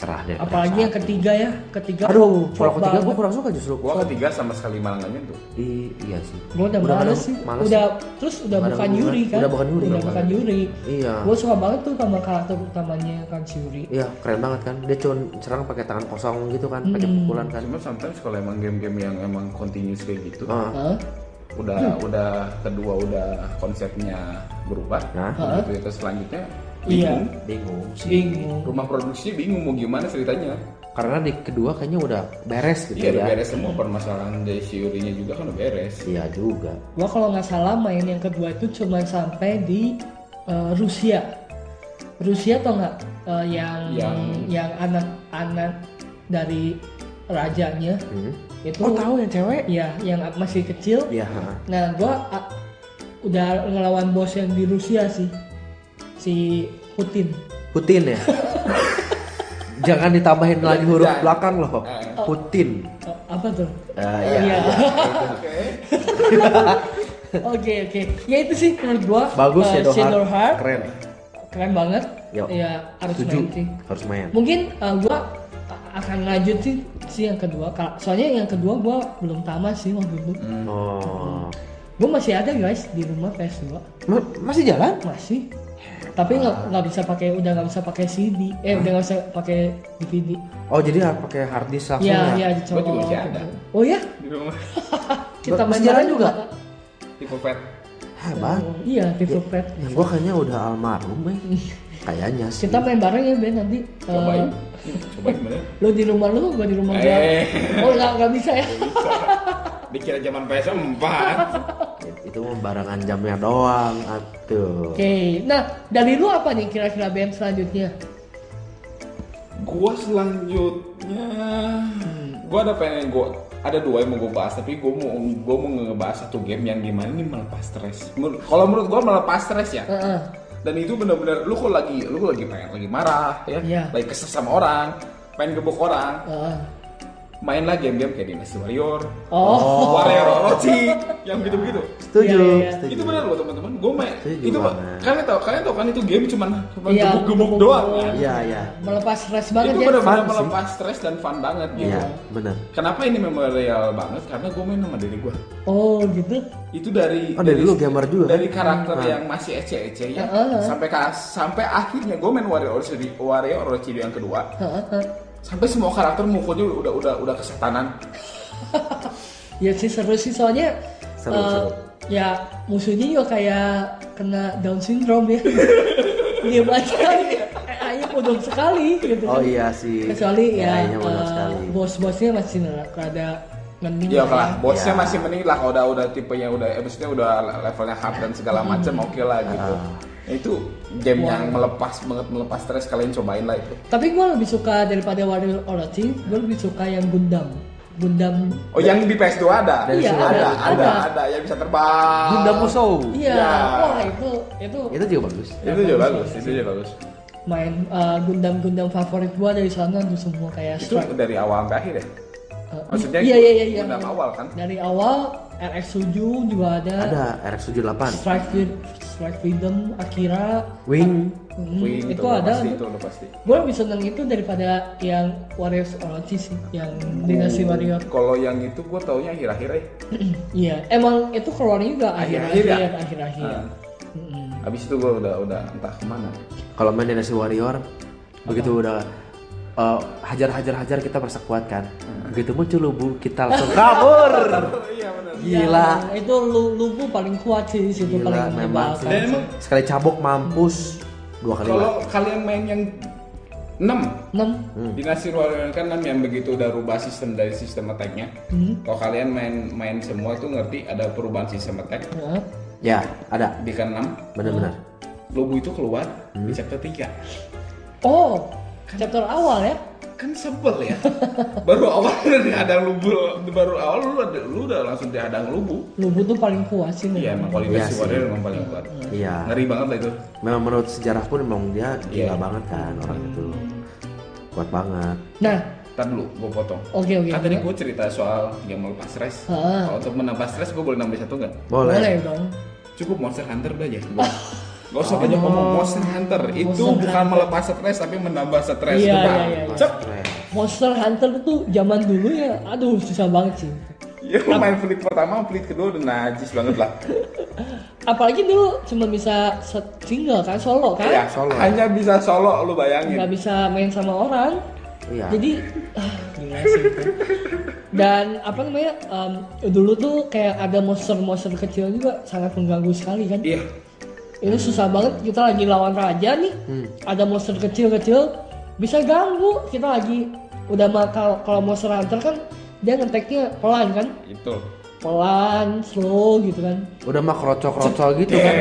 [SPEAKER 2] cerah dari
[SPEAKER 1] Apalagi yang
[SPEAKER 2] saat-
[SPEAKER 1] ketiga ya, ketiga.
[SPEAKER 2] Aduh, kalau
[SPEAKER 1] Cocok
[SPEAKER 2] ketiga gue
[SPEAKER 1] banget.
[SPEAKER 2] kurang suka justru.
[SPEAKER 3] Gua ketiga sama sekali malah nggak nyentuh.
[SPEAKER 2] I- iya sih.
[SPEAKER 1] gue udah,
[SPEAKER 2] nggak
[SPEAKER 1] males
[SPEAKER 2] ada-
[SPEAKER 1] sih
[SPEAKER 2] males
[SPEAKER 1] udah
[SPEAKER 2] sih.
[SPEAKER 1] terus udah
[SPEAKER 2] Nggak ada
[SPEAKER 1] bukan
[SPEAKER 2] hubungan.
[SPEAKER 1] Yuri kan
[SPEAKER 2] Udah bukan Yuri,
[SPEAKER 1] udah
[SPEAKER 2] bukan.
[SPEAKER 1] bukan Yuri
[SPEAKER 2] Iya.
[SPEAKER 1] gue suka banget tuh sama karakter utamanya kan si Yuri
[SPEAKER 2] Iya, keren banget kan. Dia cuma serang pakai tangan kosong gitu kan, pakai
[SPEAKER 1] Hmm.
[SPEAKER 2] pukulan kan.
[SPEAKER 3] Cuma sometimes kalau emang game-game yang emang continuous kayak gitu,
[SPEAKER 2] Ah,
[SPEAKER 1] Hah?
[SPEAKER 3] udah udah kedua udah konsepnya berubah.
[SPEAKER 2] Nah.
[SPEAKER 3] Begitu itu selanjutnya
[SPEAKER 1] iya
[SPEAKER 3] bingung.
[SPEAKER 2] bingung sih.
[SPEAKER 1] bingung
[SPEAKER 2] gitu.
[SPEAKER 3] Rumah produksinya bingung mau gimana ceritanya.
[SPEAKER 2] Karena di kedua kayaknya udah beres gitu
[SPEAKER 3] Iya udah
[SPEAKER 2] ya.
[SPEAKER 3] beres semua permasalahan dari si Yuri-nya juga kan udah beres.
[SPEAKER 2] Iya juga.
[SPEAKER 1] gue kalau nggak salah main yang kedua itu cuma sampai di eh, Rusia Rusia atau nggak eh, yang yang
[SPEAKER 3] Yang-
[SPEAKER 1] anak-anak dari rajanya
[SPEAKER 2] Hmm.
[SPEAKER 1] itu
[SPEAKER 2] Oh tahu yang cewek?
[SPEAKER 1] ya yang masih kecil
[SPEAKER 2] Iya. ha.
[SPEAKER 1] Nah, gua a- udah ngelawan bos yang di Rusia sih. Si Putin.
[SPEAKER 2] Putin ya. Jangan ditambahin lagi huruf
[SPEAKER 3] Jangan. Ah.
[SPEAKER 2] belakang loh. Putin.
[SPEAKER 1] Oh, apa tuh?
[SPEAKER 2] Ah,
[SPEAKER 1] Iya.
[SPEAKER 2] iya.
[SPEAKER 1] Oke, oke. Ya itu sih menurut gua.
[SPEAKER 2] Bagus
[SPEAKER 1] eh,
[SPEAKER 2] Shadow
[SPEAKER 1] Shadow
[SPEAKER 2] Heart.
[SPEAKER 1] Heart.
[SPEAKER 2] Keren.
[SPEAKER 1] Keren banget.
[SPEAKER 2] Yo.
[SPEAKER 1] Ya, harus
[SPEAKER 2] Setuju.
[SPEAKER 1] main sih.
[SPEAKER 2] Harus main.
[SPEAKER 1] Mungkin eh, gua a- akan lanjut sih, sih yang kedua. Ka- Soalnya yang kedua gua belum tamat sih waktu itu.
[SPEAKER 2] Oh.
[SPEAKER 1] Gua masih ada guys di rumah PS2.
[SPEAKER 2] Ma- masih jalan?
[SPEAKER 1] Masih. Tapi nggak nggak bisa pakai udah nggak bisa pakai CD. Eh, udah nggak bisa pakai DVD.
[SPEAKER 2] Oh jadi harus pakai hard disk langsung
[SPEAKER 1] Iya, iya
[SPEAKER 2] ya?
[SPEAKER 1] dicolok.
[SPEAKER 3] Gua juga masih ada.
[SPEAKER 1] Oh ya?
[SPEAKER 3] Di rumah
[SPEAKER 1] Kita
[SPEAKER 2] Masih
[SPEAKER 1] main
[SPEAKER 2] jalan
[SPEAKER 1] bareng
[SPEAKER 2] juga?
[SPEAKER 3] tipe pet.
[SPEAKER 2] Hah, bang.
[SPEAKER 1] Oh, Iya, tipe pet.
[SPEAKER 2] Yang gua kayaknya udah almarhum ya. Kayaknya sih.
[SPEAKER 1] Kita main bareng ya Ben nanti. Eh,
[SPEAKER 3] Cobain. Cobain bener.
[SPEAKER 1] Lu di rumah lu, gua di rumah gua.
[SPEAKER 3] Eh.
[SPEAKER 1] Oh, enggak enggak bisa ya.
[SPEAKER 3] Dikira zaman PS4.
[SPEAKER 2] Itu membarangan jamnya doang. Atuh.
[SPEAKER 1] Oke. Nah, dari lu apa nih kira-kira Ben selanjutnya?
[SPEAKER 3] gua selanjutnya gua ada pengen gua ada dua yang mau gua bahas tapi gua mau gua mau ngebahas satu game yang dimana ini melepas stres Menur- kalau menurut gua melepas stres ya
[SPEAKER 1] Heeh.
[SPEAKER 3] dan itu benar-benar lu kok lagi lu kok lagi pengen lagi marah ya
[SPEAKER 1] Iya.
[SPEAKER 3] lagi kesel sama orang pengen gebuk orang
[SPEAKER 1] Heeh.
[SPEAKER 3] mainlah game-game kayak Dynasty Warrior,
[SPEAKER 1] Oh,
[SPEAKER 3] Warrior Orochi, yang gitu-gitu.
[SPEAKER 1] Iya,
[SPEAKER 2] Setuju.
[SPEAKER 1] iya, iya.
[SPEAKER 2] setuju.
[SPEAKER 3] Itu benar loh teman-teman, gue main.
[SPEAKER 2] Setuju
[SPEAKER 3] itu Pak.
[SPEAKER 2] banget.
[SPEAKER 3] kalian tau, kalian tau kan itu game cuman cuman
[SPEAKER 1] Iya,
[SPEAKER 3] gebuk-gebuk
[SPEAKER 1] gebuk-gebuk
[SPEAKER 3] doang.
[SPEAKER 1] doang.
[SPEAKER 3] kan?
[SPEAKER 2] Iya, iya.
[SPEAKER 1] melepas stres banget
[SPEAKER 3] itu
[SPEAKER 1] ya.
[SPEAKER 3] benar-benar
[SPEAKER 2] Fun sih.
[SPEAKER 3] melepas stres dan fun banget gitu.
[SPEAKER 2] Iya, benar.
[SPEAKER 3] Kenapa ini memorial banget? Karena gue main sama diri gue.
[SPEAKER 1] Oh gitu.
[SPEAKER 3] Itu dari
[SPEAKER 2] Oh, dari lu gamer juga kan?
[SPEAKER 3] dari karakter
[SPEAKER 2] Ah.
[SPEAKER 3] yang masih ece-ece ya
[SPEAKER 1] Heeh.
[SPEAKER 3] sampai ka- sampai akhirnya gue main Warrior Orochi Warrior Orochi yang kedua
[SPEAKER 1] Heeh, heeh.
[SPEAKER 3] sampai semua karakter mukulnya udah udah udah kesetanan
[SPEAKER 1] Ya sih seru sih soalnya.
[SPEAKER 2] Seru,
[SPEAKER 1] eh,
[SPEAKER 2] seru.
[SPEAKER 1] Ya musuhnya juga kayak kena Down syndrome ya. Dia aja. Ayo bodong sekali gitu.
[SPEAKER 2] Oh iya sih.
[SPEAKER 1] Kecuali ya,
[SPEAKER 2] Kayaknya benar
[SPEAKER 1] eh,
[SPEAKER 2] sekali.
[SPEAKER 1] bos-bosnya masih ner- rada mending.
[SPEAKER 3] Iya
[SPEAKER 1] lah
[SPEAKER 3] lah,
[SPEAKER 1] ya.
[SPEAKER 3] bosnya
[SPEAKER 2] Ya.
[SPEAKER 3] masih mending lah kalau udah udah tipenya udah eh, maksudnya udah levelnya hard dan segala macam oke lah gitu.
[SPEAKER 2] Ah.
[SPEAKER 3] Nah, itu game yang melepas banget melepas stres kalian cobain lah itu.
[SPEAKER 1] Tapi gue lebih suka daripada Warrior Orochi, gue lebih suka yang Gundam. Gundam
[SPEAKER 3] Oh yang di PS2 ada?
[SPEAKER 2] Dari
[SPEAKER 1] Iya,
[SPEAKER 3] ada,
[SPEAKER 2] sini
[SPEAKER 3] ada,
[SPEAKER 1] ada,
[SPEAKER 3] ada, yang bisa terbang.
[SPEAKER 2] Bunda Musou.
[SPEAKER 1] Iya, Eh.
[SPEAKER 3] Ya.
[SPEAKER 1] wah itu itu
[SPEAKER 2] Itu juga bagus.
[SPEAKER 3] Itu juga bagus, itu juga bagus.
[SPEAKER 1] main eh, Gundam-Gundam favorit gua dari sana tuh semua kayak
[SPEAKER 3] Itu
[SPEAKER 1] Strike.
[SPEAKER 3] dari awal sampai akhir ya?
[SPEAKER 1] Eh,
[SPEAKER 3] maksudnya
[SPEAKER 1] iya iya iya iya.
[SPEAKER 3] Gundam awal kan?
[SPEAKER 1] Dari awal RX7 juga ada.
[SPEAKER 2] Ada RX78.
[SPEAKER 1] Strike Fre- Strike Freedom, Akira,
[SPEAKER 2] Wing.
[SPEAKER 1] Hmm,
[SPEAKER 3] Wih,
[SPEAKER 1] itu ada.
[SPEAKER 3] Pasti, itu udah pasti.
[SPEAKER 1] Gue lebih seneng itu daripada yang Warriors Orochi sih, yang Dynasty
[SPEAKER 3] Oh.
[SPEAKER 1] Warrior.
[SPEAKER 3] Kalau yang itu gue taunya akhir-akhir ya.
[SPEAKER 1] Iya, emang itu keluarnya juga
[SPEAKER 3] Akhir-akhir
[SPEAKER 1] akhir-akhir,
[SPEAKER 3] ya?
[SPEAKER 1] akhir-akhir. Hmm.
[SPEAKER 3] Ah.
[SPEAKER 1] Mm-mm.
[SPEAKER 3] Abis itu gue udah udah entah kemana.
[SPEAKER 2] Kalau main Dynasty Warrior begitu udah eh, hajar-hajar-hajar kita persekuat kan.
[SPEAKER 1] Hmm.
[SPEAKER 2] Begitu muncul lubu kita langsung kabur.
[SPEAKER 3] Iya benar.
[SPEAKER 2] Gila.
[SPEAKER 1] Ya, itu lu, lubu paling kuat sih di situ paling Kan
[SPEAKER 2] Gila memang
[SPEAKER 1] menyebalkan.
[SPEAKER 2] sih.
[SPEAKER 3] Dan emang-
[SPEAKER 2] sekali cabok mampus dua kali
[SPEAKER 3] Kalau
[SPEAKER 2] lipat.
[SPEAKER 3] kalian main yang 6
[SPEAKER 1] Enam.
[SPEAKER 3] Dinasti Warrior kan 6 yang begitu udah rubah sistem dari sistem attack-nya. Hmm. Kalau kalian main main semua tuh ngerti ada perubahan sistem attack.
[SPEAKER 1] Heeh.
[SPEAKER 2] Ya, ada.
[SPEAKER 3] Di kan 6,
[SPEAKER 2] Benar-benar.
[SPEAKER 3] Lobo itu keluar di chapter 3.
[SPEAKER 1] Oh, chapter awal ya?
[SPEAKER 3] Kan sebel ya. baru awal udah dihadang Lobo, baru awal lu, ada- lu udah langsung dihadang Lobo.
[SPEAKER 1] Lubu tuh paling kuat sih. memang.
[SPEAKER 3] Iya, emang kalau
[SPEAKER 2] Iya
[SPEAKER 3] Dinasti
[SPEAKER 2] sih.
[SPEAKER 3] Warrior emang paling kuat.
[SPEAKER 2] Iya.
[SPEAKER 3] Ngeri banget lah itu.
[SPEAKER 2] Memang menurut sejarah pun memang dia gila
[SPEAKER 3] Iya.
[SPEAKER 2] banget kan orang itu. Kuat banget.
[SPEAKER 1] Nah,
[SPEAKER 3] Ntar dulu, gue potong.
[SPEAKER 1] oke oke.
[SPEAKER 3] Kan tadi gue cerita soal yang melepas stres.
[SPEAKER 1] Oh, iya. Heeh.
[SPEAKER 3] Kalau untuk menambah stres, gue boleh nambah satu nggak?
[SPEAKER 1] boleh.
[SPEAKER 2] Boleh.
[SPEAKER 1] dong.
[SPEAKER 3] cukup Monster Hunter udah aja gua. Gak usah
[SPEAKER 1] Oh.
[SPEAKER 3] banyak ngomong Monster Hunter itu bukan melepas stres tapi menambah stres
[SPEAKER 1] Iya,
[SPEAKER 3] juga.
[SPEAKER 1] iya, iya, iya.
[SPEAKER 3] Cep.
[SPEAKER 2] Keren.
[SPEAKER 1] Monster Hunter tuh zaman dulu ya, aduh susah banget sih.
[SPEAKER 3] Ya lu main pelit pertama, pelit kedua udah najis banget lah.
[SPEAKER 1] Apalagi dulu cuma bisa set- single kan, solo kan, nggak
[SPEAKER 3] ya,
[SPEAKER 2] Iya, solo.
[SPEAKER 3] hanya bisa solo lu bayangin.
[SPEAKER 1] bisa main sama orang.
[SPEAKER 2] Iya.
[SPEAKER 1] Jadi, ah, gila sih itu. Dan apa namanya, em, dulu tuh kayak ada monster-monster kecil juga sangat mengganggu sekali kan.
[SPEAKER 3] Iya.
[SPEAKER 1] Itu susah banget kita lagi lawan raja nih. Ada monster kecil-kecil bisa ganggu. Kita lagi udah mah kalau kalau monster hunter kan dia ngeteknya pelan kan?
[SPEAKER 3] Itu.
[SPEAKER 1] Pelan, slow gitu kan.
[SPEAKER 2] Udah mah krocok-krocok gitu kan.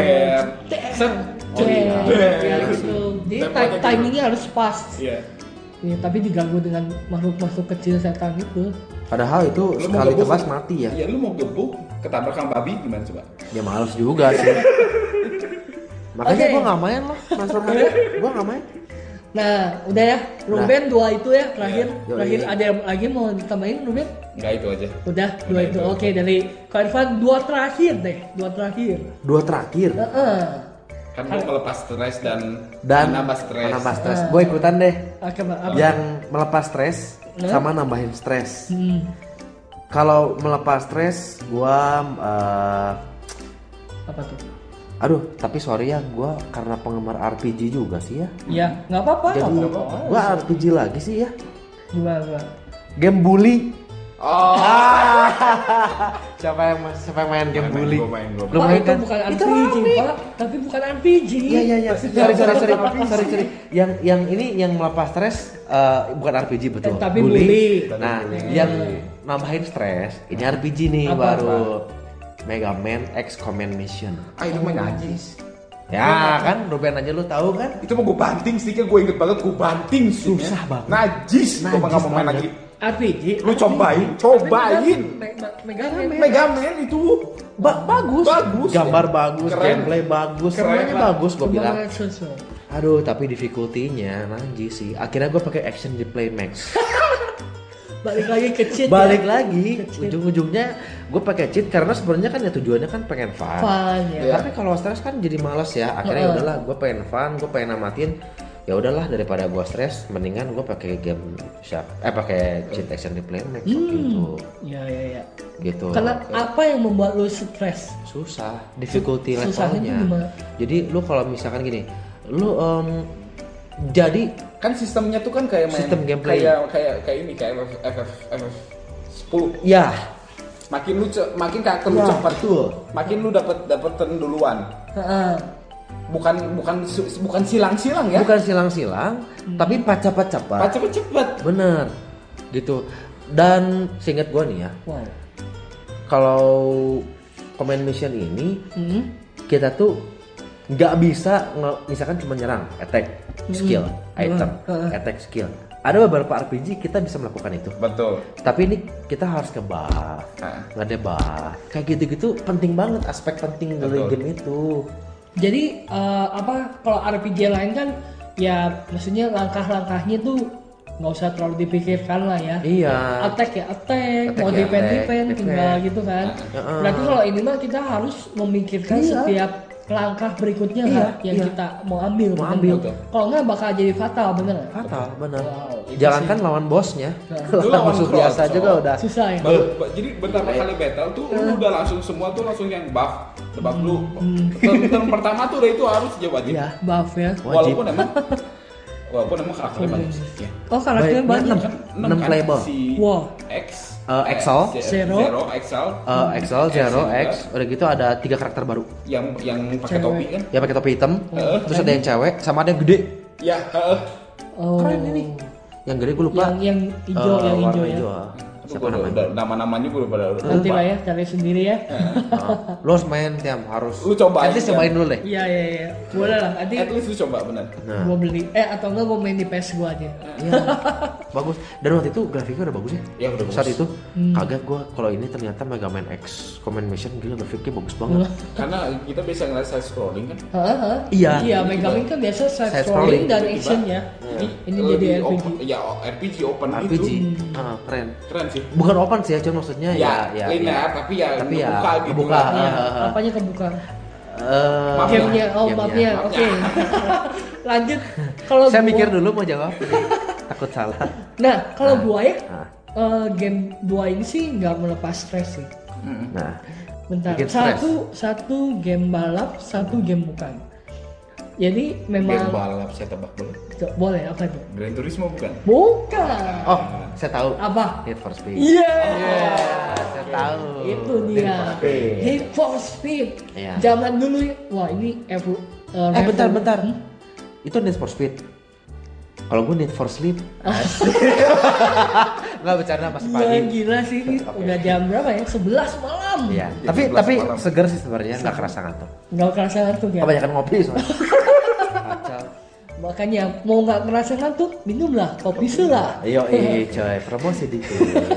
[SPEAKER 3] Ter. Set. Oh
[SPEAKER 1] Cet, ya
[SPEAKER 3] Iya.
[SPEAKER 1] gitu. Jadi
[SPEAKER 3] Temponya
[SPEAKER 1] ti-
[SPEAKER 3] gitu.
[SPEAKER 1] timingnya harus pas.
[SPEAKER 3] Iya.
[SPEAKER 1] Ya, tapi diganggu dengan makhluk-makhluk kecil setan itu.
[SPEAKER 2] Padahal itu
[SPEAKER 3] Lu mau
[SPEAKER 2] sekali
[SPEAKER 3] gebuk,
[SPEAKER 2] tebas mati ya.
[SPEAKER 3] Iya, lu mau gebuk ketabrak sama babi gimana coba?
[SPEAKER 2] Ya males juga sih. Makanya
[SPEAKER 1] Oke.
[SPEAKER 2] gua nggak main lah Monster Hunter. gua nggak main.
[SPEAKER 1] Nah, udah ya. Ruben dua itu ya terakhir.
[SPEAKER 2] Yoi.
[SPEAKER 1] Terakhir ada yang lagi mau ditambahin Ruben?
[SPEAKER 3] Enggak itu aja.
[SPEAKER 1] Udah, dua itu. Oke, dari Kak Irfan dua terakhir deh, dua terakhir.
[SPEAKER 2] Dua terakhir
[SPEAKER 1] Heeh.
[SPEAKER 3] Kan lu melepas stres dan,
[SPEAKER 2] dan
[SPEAKER 3] menambah stres. Nah.
[SPEAKER 2] Menambah stres. Gua ikutan deh.
[SPEAKER 1] Oke, Mbak. Ah, Apa?
[SPEAKER 2] Yang melepas stres
[SPEAKER 1] Nah.
[SPEAKER 2] sama nambahin stres.
[SPEAKER 1] Hmm.
[SPEAKER 2] Kalau melepas stres, gua eh,
[SPEAKER 1] Apa tuh?
[SPEAKER 2] aduh, tapi sorry ya, gua karena penggemar RPG juga sih ya.
[SPEAKER 1] Ya, nggak apa-apa.
[SPEAKER 2] Jadi
[SPEAKER 1] nggak apa-apa.
[SPEAKER 2] gua RPG lagi sih ya.
[SPEAKER 1] Gimana, gimana?
[SPEAKER 2] Game bully.
[SPEAKER 3] Oh,
[SPEAKER 2] siapa yang siapa yang main game
[SPEAKER 3] Main, main,
[SPEAKER 2] bully?
[SPEAKER 3] gua main, gua main.
[SPEAKER 1] Pak, itu
[SPEAKER 2] kan?
[SPEAKER 1] bukan RPG, Pak. Tapi bukan RPG.
[SPEAKER 2] Iya iya iya. Sorry sorry sorry. sorry sorry. Yang yang ini yang melepas stres eh, bukan RPG
[SPEAKER 1] Eh,
[SPEAKER 2] betul.
[SPEAKER 1] tapi bully.
[SPEAKER 2] Nah, yang nambahin stres ini RPG nih
[SPEAKER 1] Apa?
[SPEAKER 2] baru Mega Man X Command Mission.
[SPEAKER 3] ah itu mah najis.
[SPEAKER 2] Ya kan, Ruben aja lu tahu kan?
[SPEAKER 3] itu mah gue banting sticknya gue inget banget gue banting sticknya.
[SPEAKER 2] Susah banget.
[SPEAKER 3] najis gue mah gak mau main lagi
[SPEAKER 2] Najis
[SPEAKER 1] RPG.
[SPEAKER 3] lu cobain cobain
[SPEAKER 1] Megang
[SPEAKER 3] Mega Man itu
[SPEAKER 2] Ba- bagus.
[SPEAKER 3] Bagus.
[SPEAKER 2] Gambar bagus,
[SPEAKER 3] Keren.
[SPEAKER 2] gameplay bagus,
[SPEAKER 3] Keren
[SPEAKER 2] semuanya
[SPEAKER 3] lah.
[SPEAKER 2] bagus gua bilang.
[SPEAKER 1] Sosial.
[SPEAKER 2] Aduh, tapi difficulty-nya nanti sih. Akhirnya gua pakai action di Playmax.
[SPEAKER 1] balik lagi ke cheat
[SPEAKER 2] balik
[SPEAKER 1] ya.
[SPEAKER 2] lagi
[SPEAKER 1] Cheat.
[SPEAKER 2] ujung-ujungnya gue pakai cheat karena sebenarnya kan ya tujuannya kan pengen fun,
[SPEAKER 1] Fun, ya.
[SPEAKER 3] Iya.
[SPEAKER 2] tapi kalau stres kan jadi males ya akhirnya
[SPEAKER 1] Heeh.
[SPEAKER 2] udahlah gue pengen fun gue pengen namatin ya udahlah daripada gue stres mendingan gue pakai game shark eh pakai cheat action replay max gitu
[SPEAKER 1] ya ya ya
[SPEAKER 2] gitu
[SPEAKER 1] karena apa yang membuat lu stres
[SPEAKER 2] susah difficulty
[SPEAKER 1] Susahnya
[SPEAKER 2] levelnya
[SPEAKER 1] tuh gimana?
[SPEAKER 2] jadi lu kalau misalkan gini lu em, jadi
[SPEAKER 3] kan sistemnya tuh kan kayak main
[SPEAKER 2] Sistem gameplay.
[SPEAKER 3] kayak kayak kayak ini kayak FF FF FF 10
[SPEAKER 2] ya
[SPEAKER 3] makin lu ce- makin karakter lu
[SPEAKER 2] Ya,
[SPEAKER 3] cepat
[SPEAKER 2] betul.
[SPEAKER 3] makin lu dapat dapat duluan
[SPEAKER 1] Heeh.
[SPEAKER 3] bukan bukan su- bukan silang-silang ya
[SPEAKER 2] bukan silang-silang
[SPEAKER 1] Hmm.
[SPEAKER 2] tapi pacap-pacapan
[SPEAKER 3] cepet cepet
[SPEAKER 2] Bener, gitu. Dan seingat gua nih ya,
[SPEAKER 1] wow
[SPEAKER 2] kalau command mission ini
[SPEAKER 1] hmm.
[SPEAKER 2] kita tuh nggak bisa nge- misalkan cuma nyerang, attack, skill, item,
[SPEAKER 1] Hmm. Heeh.
[SPEAKER 2] attack, skill. Ada beberapa RPG kita bisa melakukan itu.
[SPEAKER 3] betul
[SPEAKER 2] Tapi ini kita harus ke buff,
[SPEAKER 3] Heeh.
[SPEAKER 2] ngedebuff. Kayak gitu-gitu penting banget aspek penting dari
[SPEAKER 3] Betul.
[SPEAKER 2] game itu.
[SPEAKER 1] jadi eh, apa kalau RPG lain kan ya maksudnya langkah-langkahnya tuh nggak usah terlalu dipikirkan lah ya
[SPEAKER 2] Iya.
[SPEAKER 1] attack ya attack,
[SPEAKER 2] Attack
[SPEAKER 1] mau
[SPEAKER 2] ya
[SPEAKER 1] defend
[SPEAKER 2] attack,
[SPEAKER 1] defend
[SPEAKER 2] defend.
[SPEAKER 1] tinggal gitu kan.
[SPEAKER 2] Heeh.
[SPEAKER 1] Berarti kalau ini mah kita harus memikirkan
[SPEAKER 2] Iya.
[SPEAKER 1] setiap langkah berikutnya
[SPEAKER 2] Iya,
[SPEAKER 1] kan yang
[SPEAKER 2] iya.
[SPEAKER 1] kita mau ambil.
[SPEAKER 2] Mau
[SPEAKER 1] bener
[SPEAKER 2] ambil.
[SPEAKER 1] nggak? Kalau nggak bakal jadi fatal bener nggak?
[SPEAKER 2] Fatal, bener.
[SPEAKER 1] Wow, itu
[SPEAKER 2] Jangankan lawan bosnya,
[SPEAKER 1] Nah.
[SPEAKER 3] Lu
[SPEAKER 2] lawan
[SPEAKER 3] lawan
[SPEAKER 2] musuh
[SPEAKER 3] Cross,
[SPEAKER 2] biasa
[SPEAKER 3] so.
[SPEAKER 2] juga udah
[SPEAKER 1] Susah ya.
[SPEAKER 3] Baru- ba- jadi pertama kali battle tuh lu udah langsung semua tuh langsung yang buff the buff lu turn, turn pertama tuh udah itu harus aja wajib
[SPEAKER 2] Iya.
[SPEAKER 1] Buff ya.
[SPEAKER 3] walaupun emang walaupun emang karakternya banyak sih ya.
[SPEAKER 1] Oh karakternya
[SPEAKER 2] Baik,
[SPEAKER 1] banyak.
[SPEAKER 3] Kan
[SPEAKER 2] Enam playable.
[SPEAKER 3] si
[SPEAKER 1] Wow.
[SPEAKER 3] X
[SPEAKER 2] Eh,
[SPEAKER 3] eh,
[SPEAKER 2] Excel.
[SPEAKER 1] Zero.
[SPEAKER 3] Zero Excel
[SPEAKER 2] Eh, Excel, Zero,
[SPEAKER 3] juga.
[SPEAKER 2] X, udah gitu ada tiga karakter baru.
[SPEAKER 3] yang yang pakai
[SPEAKER 1] Cewek.
[SPEAKER 3] topi kan
[SPEAKER 2] Ya pakai topi hitam,
[SPEAKER 1] Oh,
[SPEAKER 2] terus ada yang cewek, sama ada yang gede.
[SPEAKER 3] ya heeh.
[SPEAKER 1] Oh.
[SPEAKER 2] Keren ini. Yang gede gue lupa.
[SPEAKER 1] Yang yang hijau
[SPEAKER 2] Eh,
[SPEAKER 1] yang
[SPEAKER 2] warna
[SPEAKER 1] hijau ya.
[SPEAKER 2] hijau. Siapa
[SPEAKER 3] Gua udah-
[SPEAKER 2] namanya?
[SPEAKER 3] udah- nama-namanya gue udah pada
[SPEAKER 1] Nanti lah ya cari sendiri ya.
[SPEAKER 2] Nah, Lo harus main tiap harus.
[SPEAKER 3] Lu cobain,
[SPEAKER 2] Nanti
[SPEAKER 3] Tiam.
[SPEAKER 2] cobain dulu deh.
[SPEAKER 1] Iya iya iya. Boleh lah. Nanti
[SPEAKER 2] Eh,
[SPEAKER 3] at least lu coba bener
[SPEAKER 2] Nah,
[SPEAKER 1] gua beli eh atau enggak gua main di PS gua aja.
[SPEAKER 2] iya. bagus. Dan waktu itu grafiknya udah bagus ya.
[SPEAKER 3] Ya, udah bagus.
[SPEAKER 2] Saat itu
[SPEAKER 1] Hmm.
[SPEAKER 2] kaget gue kalau ini ternyata Mega Man X Command Mission gila grafiknya bagus banget.
[SPEAKER 3] karena kita bisa ngeliat side scrolling kan
[SPEAKER 1] Heeh, heeh.
[SPEAKER 2] Iya.
[SPEAKER 1] Iya, Mega Man kan biasa
[SPEAKER 2] Side
[SPEAKER 1] side
[SPEAKER 2] scrolling, Iya.
[SPEAKER 1] scrolling dan
[SPEAKER 3] tiba-tiba.
[SPEAKER 1] action ya. Ini jadi
[SPEAKER 3] lebih
[SPEAKER 1] RPG.
[SPEAKER 3] open, ya RPG open
[SPEAKER 2] RPG,
[SPEAKER 3] gitu
[SPEAKER 1] Hmm.
[SPEAKER 2] Ah, keren.
[SPEAKER 3] keren sih
[SPEAKER 2] Bukan open sih ya, cuman maksudnya ya,
[SPEAKER 3] ya,
[SPEAKER 2] ya,
[SPEAKER 3] linear tapi ya
[SPEAKER 2] Tapi ya,
[SPEAKER 3] ngebuka gitu
[SPEAKER 2] ngebuka.
[SPEAKER 3] lah.
[SPEAKER 1] Iya,
[SPEAKER 2] Ah, ah, ah.
[SPEAKER 1] apanya kebuka?
[SPEAKER 2] Eh,
[SPEAKER 3] Maaf ya.
[SPEAKER 1] Gamenya, oh
[SPEAKER 2] gamenya.
[SPEAKER 1] mapnya,
[SPEAKER 3] Mapnya.
[SPEAKER 1] oke. Lanjut, kalau
[SPEAKER 2] Saya
[SPEAKER 1] gua-
[SPEAKER 2] mikir dulu mau jawab. Takut salah.
[SPEAKER 1] Nah, kalau gua ya,
[SPEAKER 2] Nah,
[SPEAKER 1] eh, game dua ini sih nggak melepas stres sih.
[SPEAKER 2] nah.
[SPEAKER 1] Bentar,
[SPEAKER 2] Bikin stres.
[SPEAKER 1] satu satu game balap, satu game bukan. Jadi
[SPEAKER 3] game
[SPEAKER 1] memang
[SPEAKER 3] balap saya tebak dulu
[SPEAKER 1] Tuh, boleh apa tuh?
[SPEAKER 3] Gran Turismo bukan
[SPEAKER 1] Bukan.
[SPEAKER 2] Oh, saya tahu.
[SPEAKER 1] Apa?
[SPEAKER 2] Need for Speed.
[SPEAKER 1] Iya.
[SPEAKER 2] Saya tahu.
[SPEAKER 1] itu
[SPEAKER 2] Need for
[SPEAKER 1] dia
[SPEAKER 2] Speed.
[SPEAKER 1] Need for Speed
[SPEAKER 2] Iya.
[SPEAKER 1] zaman dulu ya wah ini evo- uh,
[SPEAKER 2] Eh, bentar,
[SPEAKER 1] revo-
[SPEAKER 2] bentar. Itu Need for Speed. Kalau gue Need for Sleep. Nggak bercanda pas
[SPEAKER 1] Gila,
[SPEAKER 2] pagi.
[SPEAKER 1] gila sih ini
[SPEAKER 2] Oke.
[SPEAKER 1] udah jam berapa ya 11 malam
[SPEAKER 2] Iya,
[SPEAKER 3] Jam
[SPEAKER 2] tapi
[SPEAKER 3] 11
[SPEAKER 2] tapi
[SPEAKER 3] malam.
[SPEAKER 2] seger sih sebenarnya, nggak kerasa ngantuk.
[SPEAKER 1] nggak kerasa ngantuk ya
[SPEAKER 2] Kebanyakan ngopi soalnya. Kacau.
[SPEAKER 1] makanya mau nggak kerasa ngantuk minumlah kopi sela
[SPEAKER 2] Ayo, eh, coy, promosi dikit.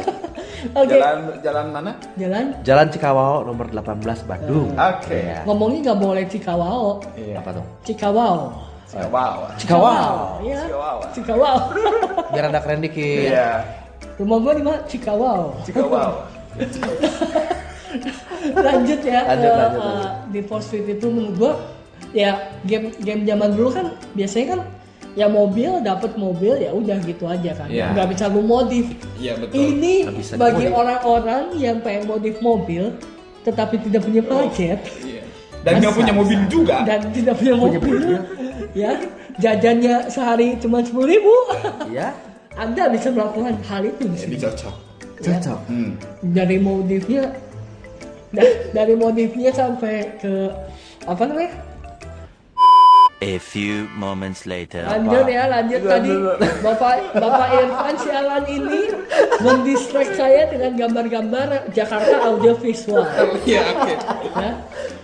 [SPEAKER 1] oke
[SPEAKER 3] jalan jalan mana
[SPEAKER 1] jalan
[SPEAKER 2] Jalan Cikawao nomor 18 Bandung.
[SPEAKER 3] Oke.
[SPEAKER 2] Iya.
[SPEAKER 1] ngomongnya nggak boleh cikawao
[SPEAKER 3] iya
[SPEAKER 2] Apa tuh?
[SPEAKER 1] cikawao
[SPEAKER 3] wow
[SPEAKER 2] Cikawao.
[SPEAKER 1] ya
[SPEAKER 3] Cikawao.
[SPEAKER 1] cikawao
[SPEAKER 2] Biar ada keren dikit.
[SPEAKER 3] iya
[SPEAKER 1] rumah gua di mana cikawao
[SPEAKER 3] Cikawao
[SPEAKER 1] lanjut ya eh,
[SPEAKER 2] Lanjut, lanjut,
[SPEAKER 1] eh,
[SPEAKER 2] lanjut.
[SPEAKER 1] di Force Fit itu menurut gua ya game game zaman dulu kan biasanya kan ya mobil dapat mobil ya udah gitu aja kan
[SPEAKER 3] Iya.
[SPEAKER 1] nggak bisa lu modif
[SPEAKER 3] iya betul
[SPEAKER 1] ini
[SPEAKER 2] Nggak bisa
[SPEAKER 1] bagi
[SPEAKER 2] dimodif.
[SPEAKER 1] orang-orang yang pengen modif mobil tetapi tidak
[SPEAKER 2] Oh.
[SPEAKER 1] punya budget
[SPEAKER 3] Iya. dan nggak punya mobil juga
[SPEAKER 1] dan tidak punya
[SPEAKER 2] Punya
[SPEAKER 1] mobil
[SPEAKER 2] mobil.
[SPEAKER 1] ya jajannya sehari cuma sepuluh ribu
[SPEAKER 2] Iya.
[SPEAKER 1] anda bisa melakukan hal itu di sini
[SPEAKER 3] jadi cocok
[SPEAKER 2] Cocok.
[SPEAKER 3] hmm.
[SPEAKER 1] dari modifnya da- dari modifnya sampai ke apa namanya
[SPEAKER 4] A few moments later.
[SPEAKER 1] Lanjut ya, lanjut tadi Bapak Bapak Irfan sialan ini mendistract saya dengan gambar-gambar Jakarta audiovisual.
[SPEAKER 3] iya oke
[SPEAKER 1] Ya.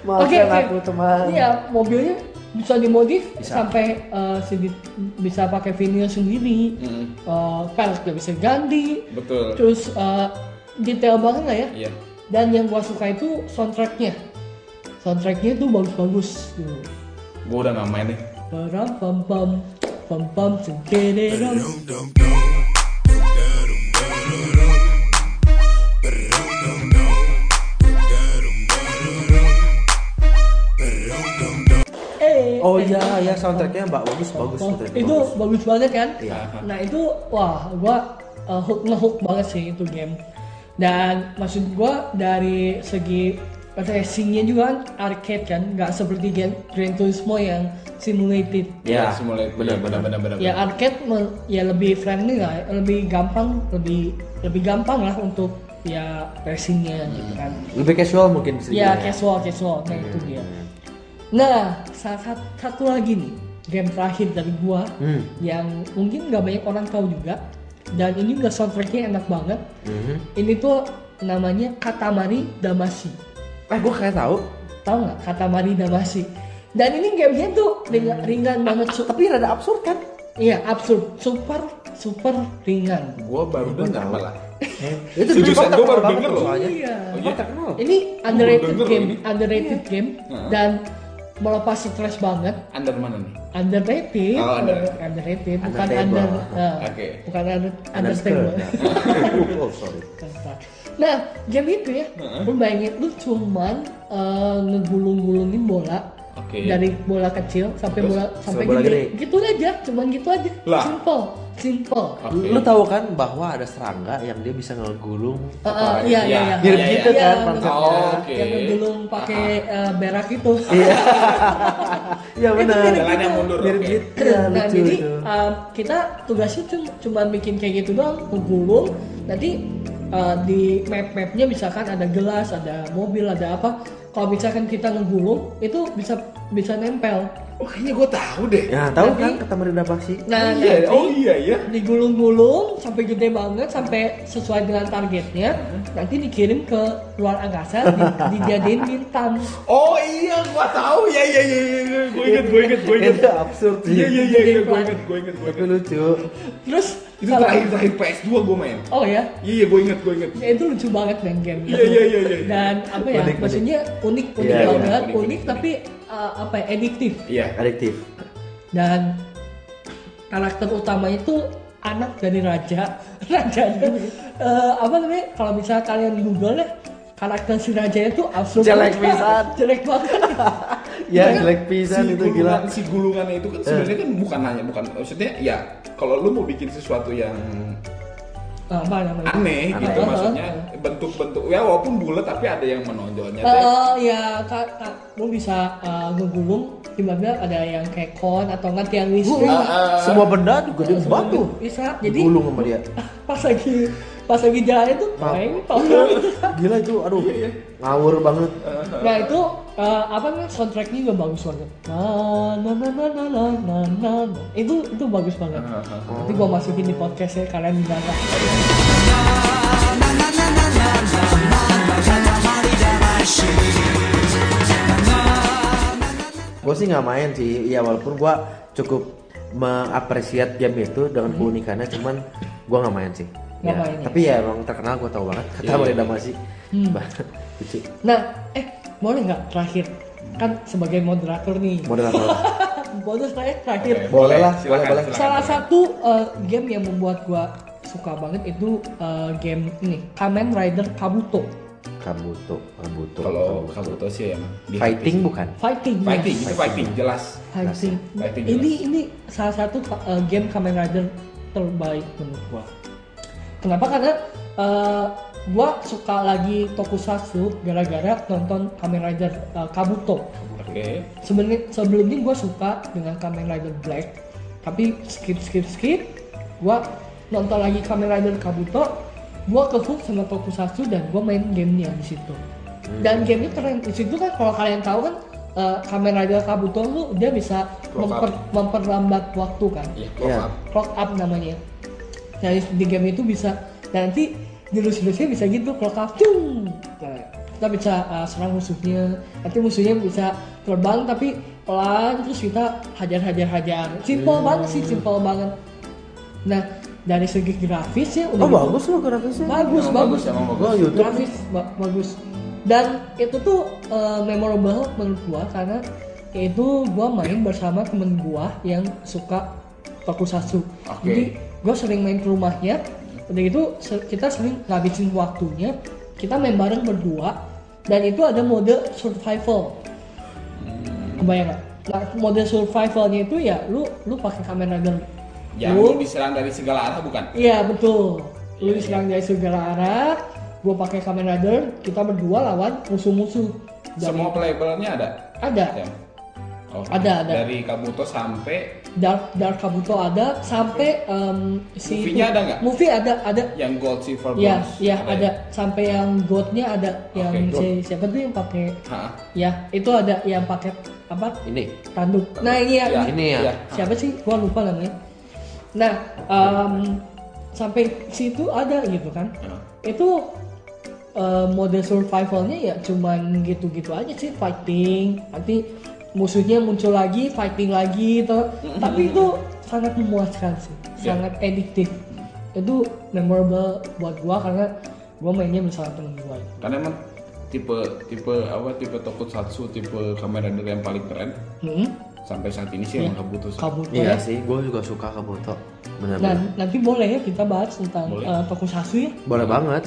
[SPEAKER 2] Maafkan aku, teman.
[SPEAKER 1] Iya, mobilnya bisa dimodif sampai eh, sedikit- bisa pakai video sendiri.
[SPEAKER 3] Hmm.
[SPEAKER 1] Eh, velgnya bisa ganti.
[SPEAKER 3] betul
[SPEAKER 1] Terus eh, detail banget lah ya.
[SPEAKER 3] iya
[SPEAKER 1] Dan yang gua suka itu soundtracknya. Soundtracknya itu bagus-bagus. Gitu.
[SPEAKER 3] gue udah nggak main nih
[SPEAKER 1] Param pam pam pam pam sendiri. Eh,
[SPEAKER 2] ya soundtracknya mbak bagus bagus
[SPEAKER 1] Oh,
[SPEAKER 2] soundtracknya
[SPEAKER 1] itu
[SPEAKER 2] bagus.
[SPEAKER 1] bagus banget kan?
[SPEAKER 2] Iya.
[SPEAKER 1] Nah itu wah gua uh, hook ngehook banget sih itu game. Dan maksud gua dari segi racingnya juga kan arcade kan, nggak seperti game Gran Turismo yang simulated.
[SPEAKER 2] Ya,
[SPEAKER 3] simulasi
[SPEAKER 2] benar, benar.
[SPEAKER 3] Iya, benar.
[SPEAKER 1] Ya arcade me- ya lebih friendly lah, lebih gampang, lebih lebih gampang lah untuk ya racingnya gitu kan.
[SPEAKER 2] lebih casual mungkin bisa
[SPEAKER 1] Ya
[SPEAKER 2] dibilang
[SPEAKER 1] casual casual, nah itu dia. Nah sa- sa- satu lagi nih game terakhir dari gua
[SPEAKER 2] Hmm.
[SPEAKER 1] yang mungkin nggak banyak orang tahu juga dan ini juga soundtracknya enak banget.
[SPEAKER 2] Mhm.
[SPEAKER 1] Ini tuh namanya Katamari Damacy.
[SPEAKER 2] eh gue kayak tahu
[SPEAKER 1] Tahu nggak Katamari Damacy? Dan ini gamenya tuh ringan, ringan banget, su-
[SPEAKER 2] tapi rada absurd kan
[SPEAKER 1] iya absurd, super super ringan.
[SPEAKER 3] Gua baru dengar malah.
[SPEAKER 2] itu
[SPEAKER 3] Jujur,
[SPEAKER 2] Jepang
[SPEAKER 3] saya-
[SPEAKER 2] terkenal
[SPEAKER 3] gua Iya. baru
[SPEAKER 2] banget
[SPEAKER 3] denger loh.
[SPEAKER 2] soalnya.
[SPEAKER 1] Iya.
[SPEAKER 2] Jepang terkenal
[SPEAKER 1] Ini underrated
[SPEAKER 3] denger loh
[SPEAKER 1] game,
[SPEAKER 3] ini.
[SPEAKER 1] underrated game
[SPEAKER 3] Nah.
[SPEAKER 1] dan melepas stres banget.
[SPEAKER 3] Under mana nih?
[SPEAKER 1] Underrated,
[SPEAKER 3] Oh, underrated.
[SPEAKER 1] underrated, bukan
[SPEAKER 2] Undertable.
[SPEAKER 1] under, eh,
[SPEAKER 3] Oke.
[SPEAKER 1] bukan under,
[SPEAKER 2] Understand.
[SPEAKER 1] understable.
[SPEAKER 2] oh sorry
[SPEAKER 1] Nah, game itu ya, lu bayangin lu cuman eh, ngegulung-gulungin bola
[SPEAKER 3] Oke.
[SPEAKER 1] dari bola kecil sampai
[SPEAKER 3] Terus,
[SPEAKER 1] bola sampai
[SPEAKER 2] bola
[SPEAKER 1] gede.
[SPEAKER 2] gede.
[SPEAKER 1] gitu aja, cuman gitu aja,
[SPEAKER 3] Lah.
[SPEAKER 1] simple, simple.
[SPEAKER 3] Oke.
[SPEAKER 2] Lu tahu kan bahwa ada serangga yang dia bisa ngegulung
[SPEAKER 1] Eh, eh, iya,
[SPEAKER 3] Apa?
[SPEAKER 1] iya,
[SPEAKER 3] Iya,
[SPEAKER 1] iya.
[SPEAKER 2] mirip
[SPEAKER 3] Iya,
[SPEAKER 2] gitu
[SPEAKER 1] iya.
[SPEAKER 2] kan
[SPEAKER 1] Iya,
[SPEAKER 2] konsepnya.
[SPEAKER 3] Oh, oke. Ah,
[SPEAKER 1] Yang ngegulung pakai eh, berak itu.
[SPEAKER 2] Iya benar.
[SPEAKER 3] Jalannya mundur.
[SPEAKER 2] Mirip
[SPEAKER 3] oke.
[SPEAKER 2] gitu. Ya,
[SPEAKER 1] nah
[SPEAKER 2] lucu
[SPEAKER 1] jadi
[SPEAKER 2] itu.
[SPEAKER 1] um, kita tugasnya cum- cuma bikin kayak gitu doang menggulung nanti uh, di map-mapnya misalkan ada gelas ada mobil ada apa kalau misalkan kita ngegulung itu bisa bisa nempel
[SPEAKER 3] Oh, kayaknya gua tahu deh.
[SPEAKER 2] Ya, tahu
[SPEAKER 1] Nanti-
[SPEAKER 2] kan ketemu Rida Baksi?
[SPEAKER 1] nah
[SPEAKER 3] iya,
[SPEAKER 1] nanti
[SPEAKER 3] oh iya ya.
[SPEAKER 1] digulung-gulung sampai gede banget sampai sesuai dengan targetnya nanti dikirim ke luar angkasa di, dijadiin bintang
[SPEAKER 3] Oh iya, gua tahu. Ya ya ya ya. ya. Gua inget, gua inget, gua inget.
[SPEAKER 2] Itu gitu, absurd sih.
[SPEAKER 3] Iya iya iya, iya, gua inget, gua inget, gua
[SPEAKER 2] Tapi
[SPEAKER 3] inget.
[SPEAKER 2] lucu.
[SPEAKER 1] terus
[SPEAKER 3] Itu
[SPEAKER 1] kalau-
[SPEAKER 3] terakhir terakhir PS2 gua main.
[SPEAKER 1] oh ya
[SPEAKER 3] Iya iya, gua inget, gua inget.
[SPEAKER 1] Ya, itu lucu banget dan game gitu.
[SPEAKER 3] Iya, iya, iya, iya.
[SPEAKER 1] dan apa ya
[SPEAKER 2] Unik, unik.
[SPEAKER 1] maksudnya unik unik
[SPEAKER 2] Iya,
[SPEAKER 1] banget
[SPEAKER 3] iya,
[SPEAKER 1] unik,
[SPEAKER 3] unik, unik.
[SPEAKER 1] tapi uh, apa ya ediktif
[SPEAKER 3] Iya.
[SPEAKER 2] Adiktif.
[SPEAKER 1] dan karakter utamanya itu anak dari raja raja eh, apa namanya kalau misalnya kalian google ya karakter si raja itu absurd banget.
[SPEAKER 2] Jelek pisan.
[SPEAKER 1] jelek banget
[SPEAKER 2] Ya, jelek pisan
[SPEAKER 3] si
[SPEAKER 2] itu gila. Eh.
[SPEAKER 3] gulungan, si gulungannya itu kan sebenarnya kan bukan hanya bukan maksudnya ya kalau lu mau bikin sesuatu yang
[SPEAKER 1] Nah, apa namanya
[SPEAKER 3] aneh, gitu
[SPEAKER 1] Aneh.
[SPEAKER 3] maksudnya bentuk-bentuk ya walaupun bulat tapi ada yang menonjolnya
[SPEAKER 1] Eh,
[SPEAKER 3] teh.
[SPEAKER 1] eh, ya kak, kak lu bisa eh, ngegulung tiba-tiba ada yang kayak kon atau enggak tiang listrik
[SPEAKER 2] Uh, Ah, Semua benda juga dia batu.
[SPEAKER 1] bisa jadi
[SPEAKER 2] Digulung sama dia.
[SPEAKER 1] pas lagi pas lagi eh, jalannya tuh
[SPEAKER 2] Maaf. Iya.
[SPEAKER 1] peng tolong.
[SPEAKER 2] Gila itu, aduh. Ngawur banget.
[SPEAKER 1] nah itu eh, apa namanya soundtracknya juga bagus banget na na na na na na na na na. itu itu bagus banget
[SPEAKER 3] Ah,
[SPEAKER 1] nanti gua masukin di podcastnya kalian bisa
[SPEAKER 2] Gue sih nggak main sih, ya walaupun gue cukup mengapresiat game itu dengan keunikannya, cuman gue Mhm. nggak main sih.
[SPEAKER 1] Nggak
[SPEAKER 2] Ya, Iya. Hmm.
[SPEAKER 1] main ya?
[SPEAKER 2] Tapi ya emang terkenal gue tahu banget. Kata yeah, masih, lucu.
[SPEAKER 1] nah eh boleh nggak terakhir kan sebagai moderator nih
[SPEAKER 2] Moderator.
[SPEAKER 1] bonus saya terakhir
[SPEAKER 3] Oke,
[SPEAKER 2] Boleh lah,
[SPEAKER 3] silakan,
[SPEAKER 2] boleh, boleh.
[SPEAKER 3] silakan.
[SPEAKER 1] salah satu eh, game yang membuat gua suka banget itu eh, game ini Kamen Rider Kabuto
[SPEAKER 2] Kabuto, Kabuto.
[SPEAKER 3] kalau
[SPEAKER 2] Kabuto.
[SPEAKER 3] Kabuto sih emang di
[SPEAKER 2] Fighting
[SPEAKER 3] HP sih.
[SPEAKER 2] bukan?
[SPEAKER 1] fighting
[SPEAKER 3] fighting itu fighting jelas
[SPEAKER 1] Fighting.
[SPEAKER 3] Fighting
[SPEAKER 1] Ini ini salah satu uh, game Kamen Rider terbaik menurut gua. Kenapa? Karena uh, gua suka lagi tokusatsu gara-gara nonton Kamen Rider uh, Kabuto.
[SPEAKER 3] oke
[SPEAKER 1] Sebenarnya sebelumnya gua suka dengan Kamen Rider Black, tapi skip skip skip. Gua nonton lagi Kamen Rider Kabuto, gua ke hook sama tokusatsu dan gua main gamenya di situ. Dan gamenya keren di situ kan kalau kalian tahu kan uh, Kamen Rider Kabuto tuh dia bisa
[SPEAKER 3] Clock up.
[SPEAKER 1] memper- memperlambat waktu kan,
[SPEAKER 3] iya
[SPEAKER 2] Iya.
[SPEAKER 3] yeah.
[SPEAKER 1] clock up namanya. Jadi di game itu bisa dan nanti jurus-jurusnya bisa gitu clock up cung. Nah, kita bisa uh, serang musuhnya, nanti musuhnya bisa terbang tapi pelan terus kita hajar-hajar-hajar. Simple banget sih, simple banget. Nah dari segi grafisnya udah
[SPEAKER 2] Oh
[SPEAKER 1] gitu.
[SPEAKER 2] bagus loh grafisnya.
[SPEAKER 1] bagus,
[SPEAKER 3] Emang
[SPEAKER 1] bagus,
[SPEAKER 3] bagus, emang bagus.
[SPEAKER 2] Gua YouTube.
[SPEAKER 1] grafis ba- bagus dan itu tuh eh, memorable menurut gua karena itu gua main bersama temen gua yang suka tokusatsu
[SPEAKER 3] Oke. Hmm.
[SPEAKER 1] jadi gua sering main ke rumahnya udah gitu se- kita sering ngabisin waktunya kita main
[SPEAKER 3] Hmm.
[SPEAKER 1] bareng berdua dan itu ada mode survival kebayang nggak? Nah, mode survivalnya itu ya lu lu pakai Kamen Rider.
[SPEAKER 3] Ya,
[SPEAKER 1] Lu-
[SPEAKER 3] lu diserang dari segala arah bukan?
[SPEAKER 1] Iya betul. Lu diserang dari segala arah. Gue pakai Kamen Rider. Kita berdua lawan musuh-musuh. Dari-
[SPEAKER 3] Semua playable-nya ada.
[SPEAKER 1] ada
[SPEAKER 3] Ya. Oh,
[SPEAKER 1] Ada, ada.
[SPEAKER 3] Dari Kabuto sampai
[SPEAKER 1] Dark Dark Kabuto ada sampai em, si
[SPEAKER 3] Movie-nya
[SPEAKER 1] itu-
[SPEAKER 3] ada nggak?
[SPEAKER 1] Movie ada ada.
[SPEAKER 3] yang Gold Silver Bronze.
[SPEAKER 1] Ya, ya
[SPEAKER 3] ya?
[SPEAKER 1] ada sampai yang godnya ada Ya, yang
[SPEAKER 3] God.
[SPEAKER 1] si- siapa tuh yang pakai
[SPEAKER 3] Hah?
[SPEAKER 1] ya itu ada yang pakai apa
[SPEAKER 2] Ini.
[SPEAKER 1] tanduk. Nah ini ya,
[SPEAKER 3] Ya,
[SPEAKER 1] ini.
[SPEAKER 2] Ini ya.
[SPEAKER 3] Iya.
[SPEAKER 1] siapa sih gua lupa namanya. Nah em, sampai situ ada gitu kan.
[SPEAKER 3] Hah?
[SPEAKER 1] itu eh, mode survivalnya ya cuman gitu-gitu aja sih fighting nanti musuhnya muncul lagi fighting lagi toh. tapi itu sangat memuaskan sih
[SPEAKER 3] Ya.
[SPEAKER 1] sangat addictive itu memorable buat gua karena gua mainnya bersama temen gua
[SPEAKER 3] Karena emang tipe tipe apa tipe tokusatsu tipe kamera dulu yang paling keren
[SPEAKER 1] hmm?
[SPEAKER 3] sampai saat ini sih emang Kabuto sih.
[SPEAKER 1] Kabuto
[SPEAKER 2] Iya
[SPEAKER 1] ya.
[SPEAKER 2] sih, gue juga suka Kabuto. Benar-benar.
[SPEAKER 1] dan nanti boleh ya kita bahas tentang
[SPEAKER 3] Boleh.
[SPEAKER 1] eh, tokusatsu ya
[SPEAKER 2] Boleh banget.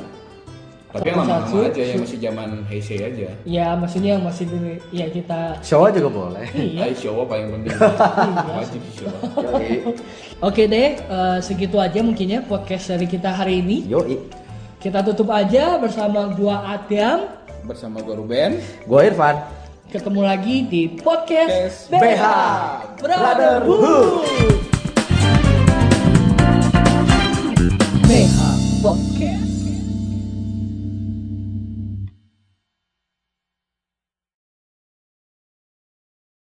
[SPEAKER 3] Tapi yang lama-lama
[SPEAKER 1] Tokusatsu,
[SPEAKER 3] aja yang masih zaman Heisei aja.
[SPEAKER 1] ya maksudnya yang masih dulu ya kita
[SPEAKER 2] Showa juga boleh.
[SPEAKER 1] iya
[SPEAKER 3] Ai Showa paling penting. Wajib sih Showa.
[SPEAKER 1] Oke deh, eh, segitu aja mungkin ya podcast dari kita hari ini.
[SPEAKER 2] Yoi.
[SPEAKER 1] Kita tutup aja bersama gua Adam.
[SPEAKER 3] Bersama gue Ruben.
[SPEAKER 2] Gue Irfan.
[SPEAKER 1] Ketemu lagi di podcast
[SPEAKER 3] Podcast
[SPEAKER 1] BH
[SPEAKER 3] BH
[SPEAKER 1] Brotherhood.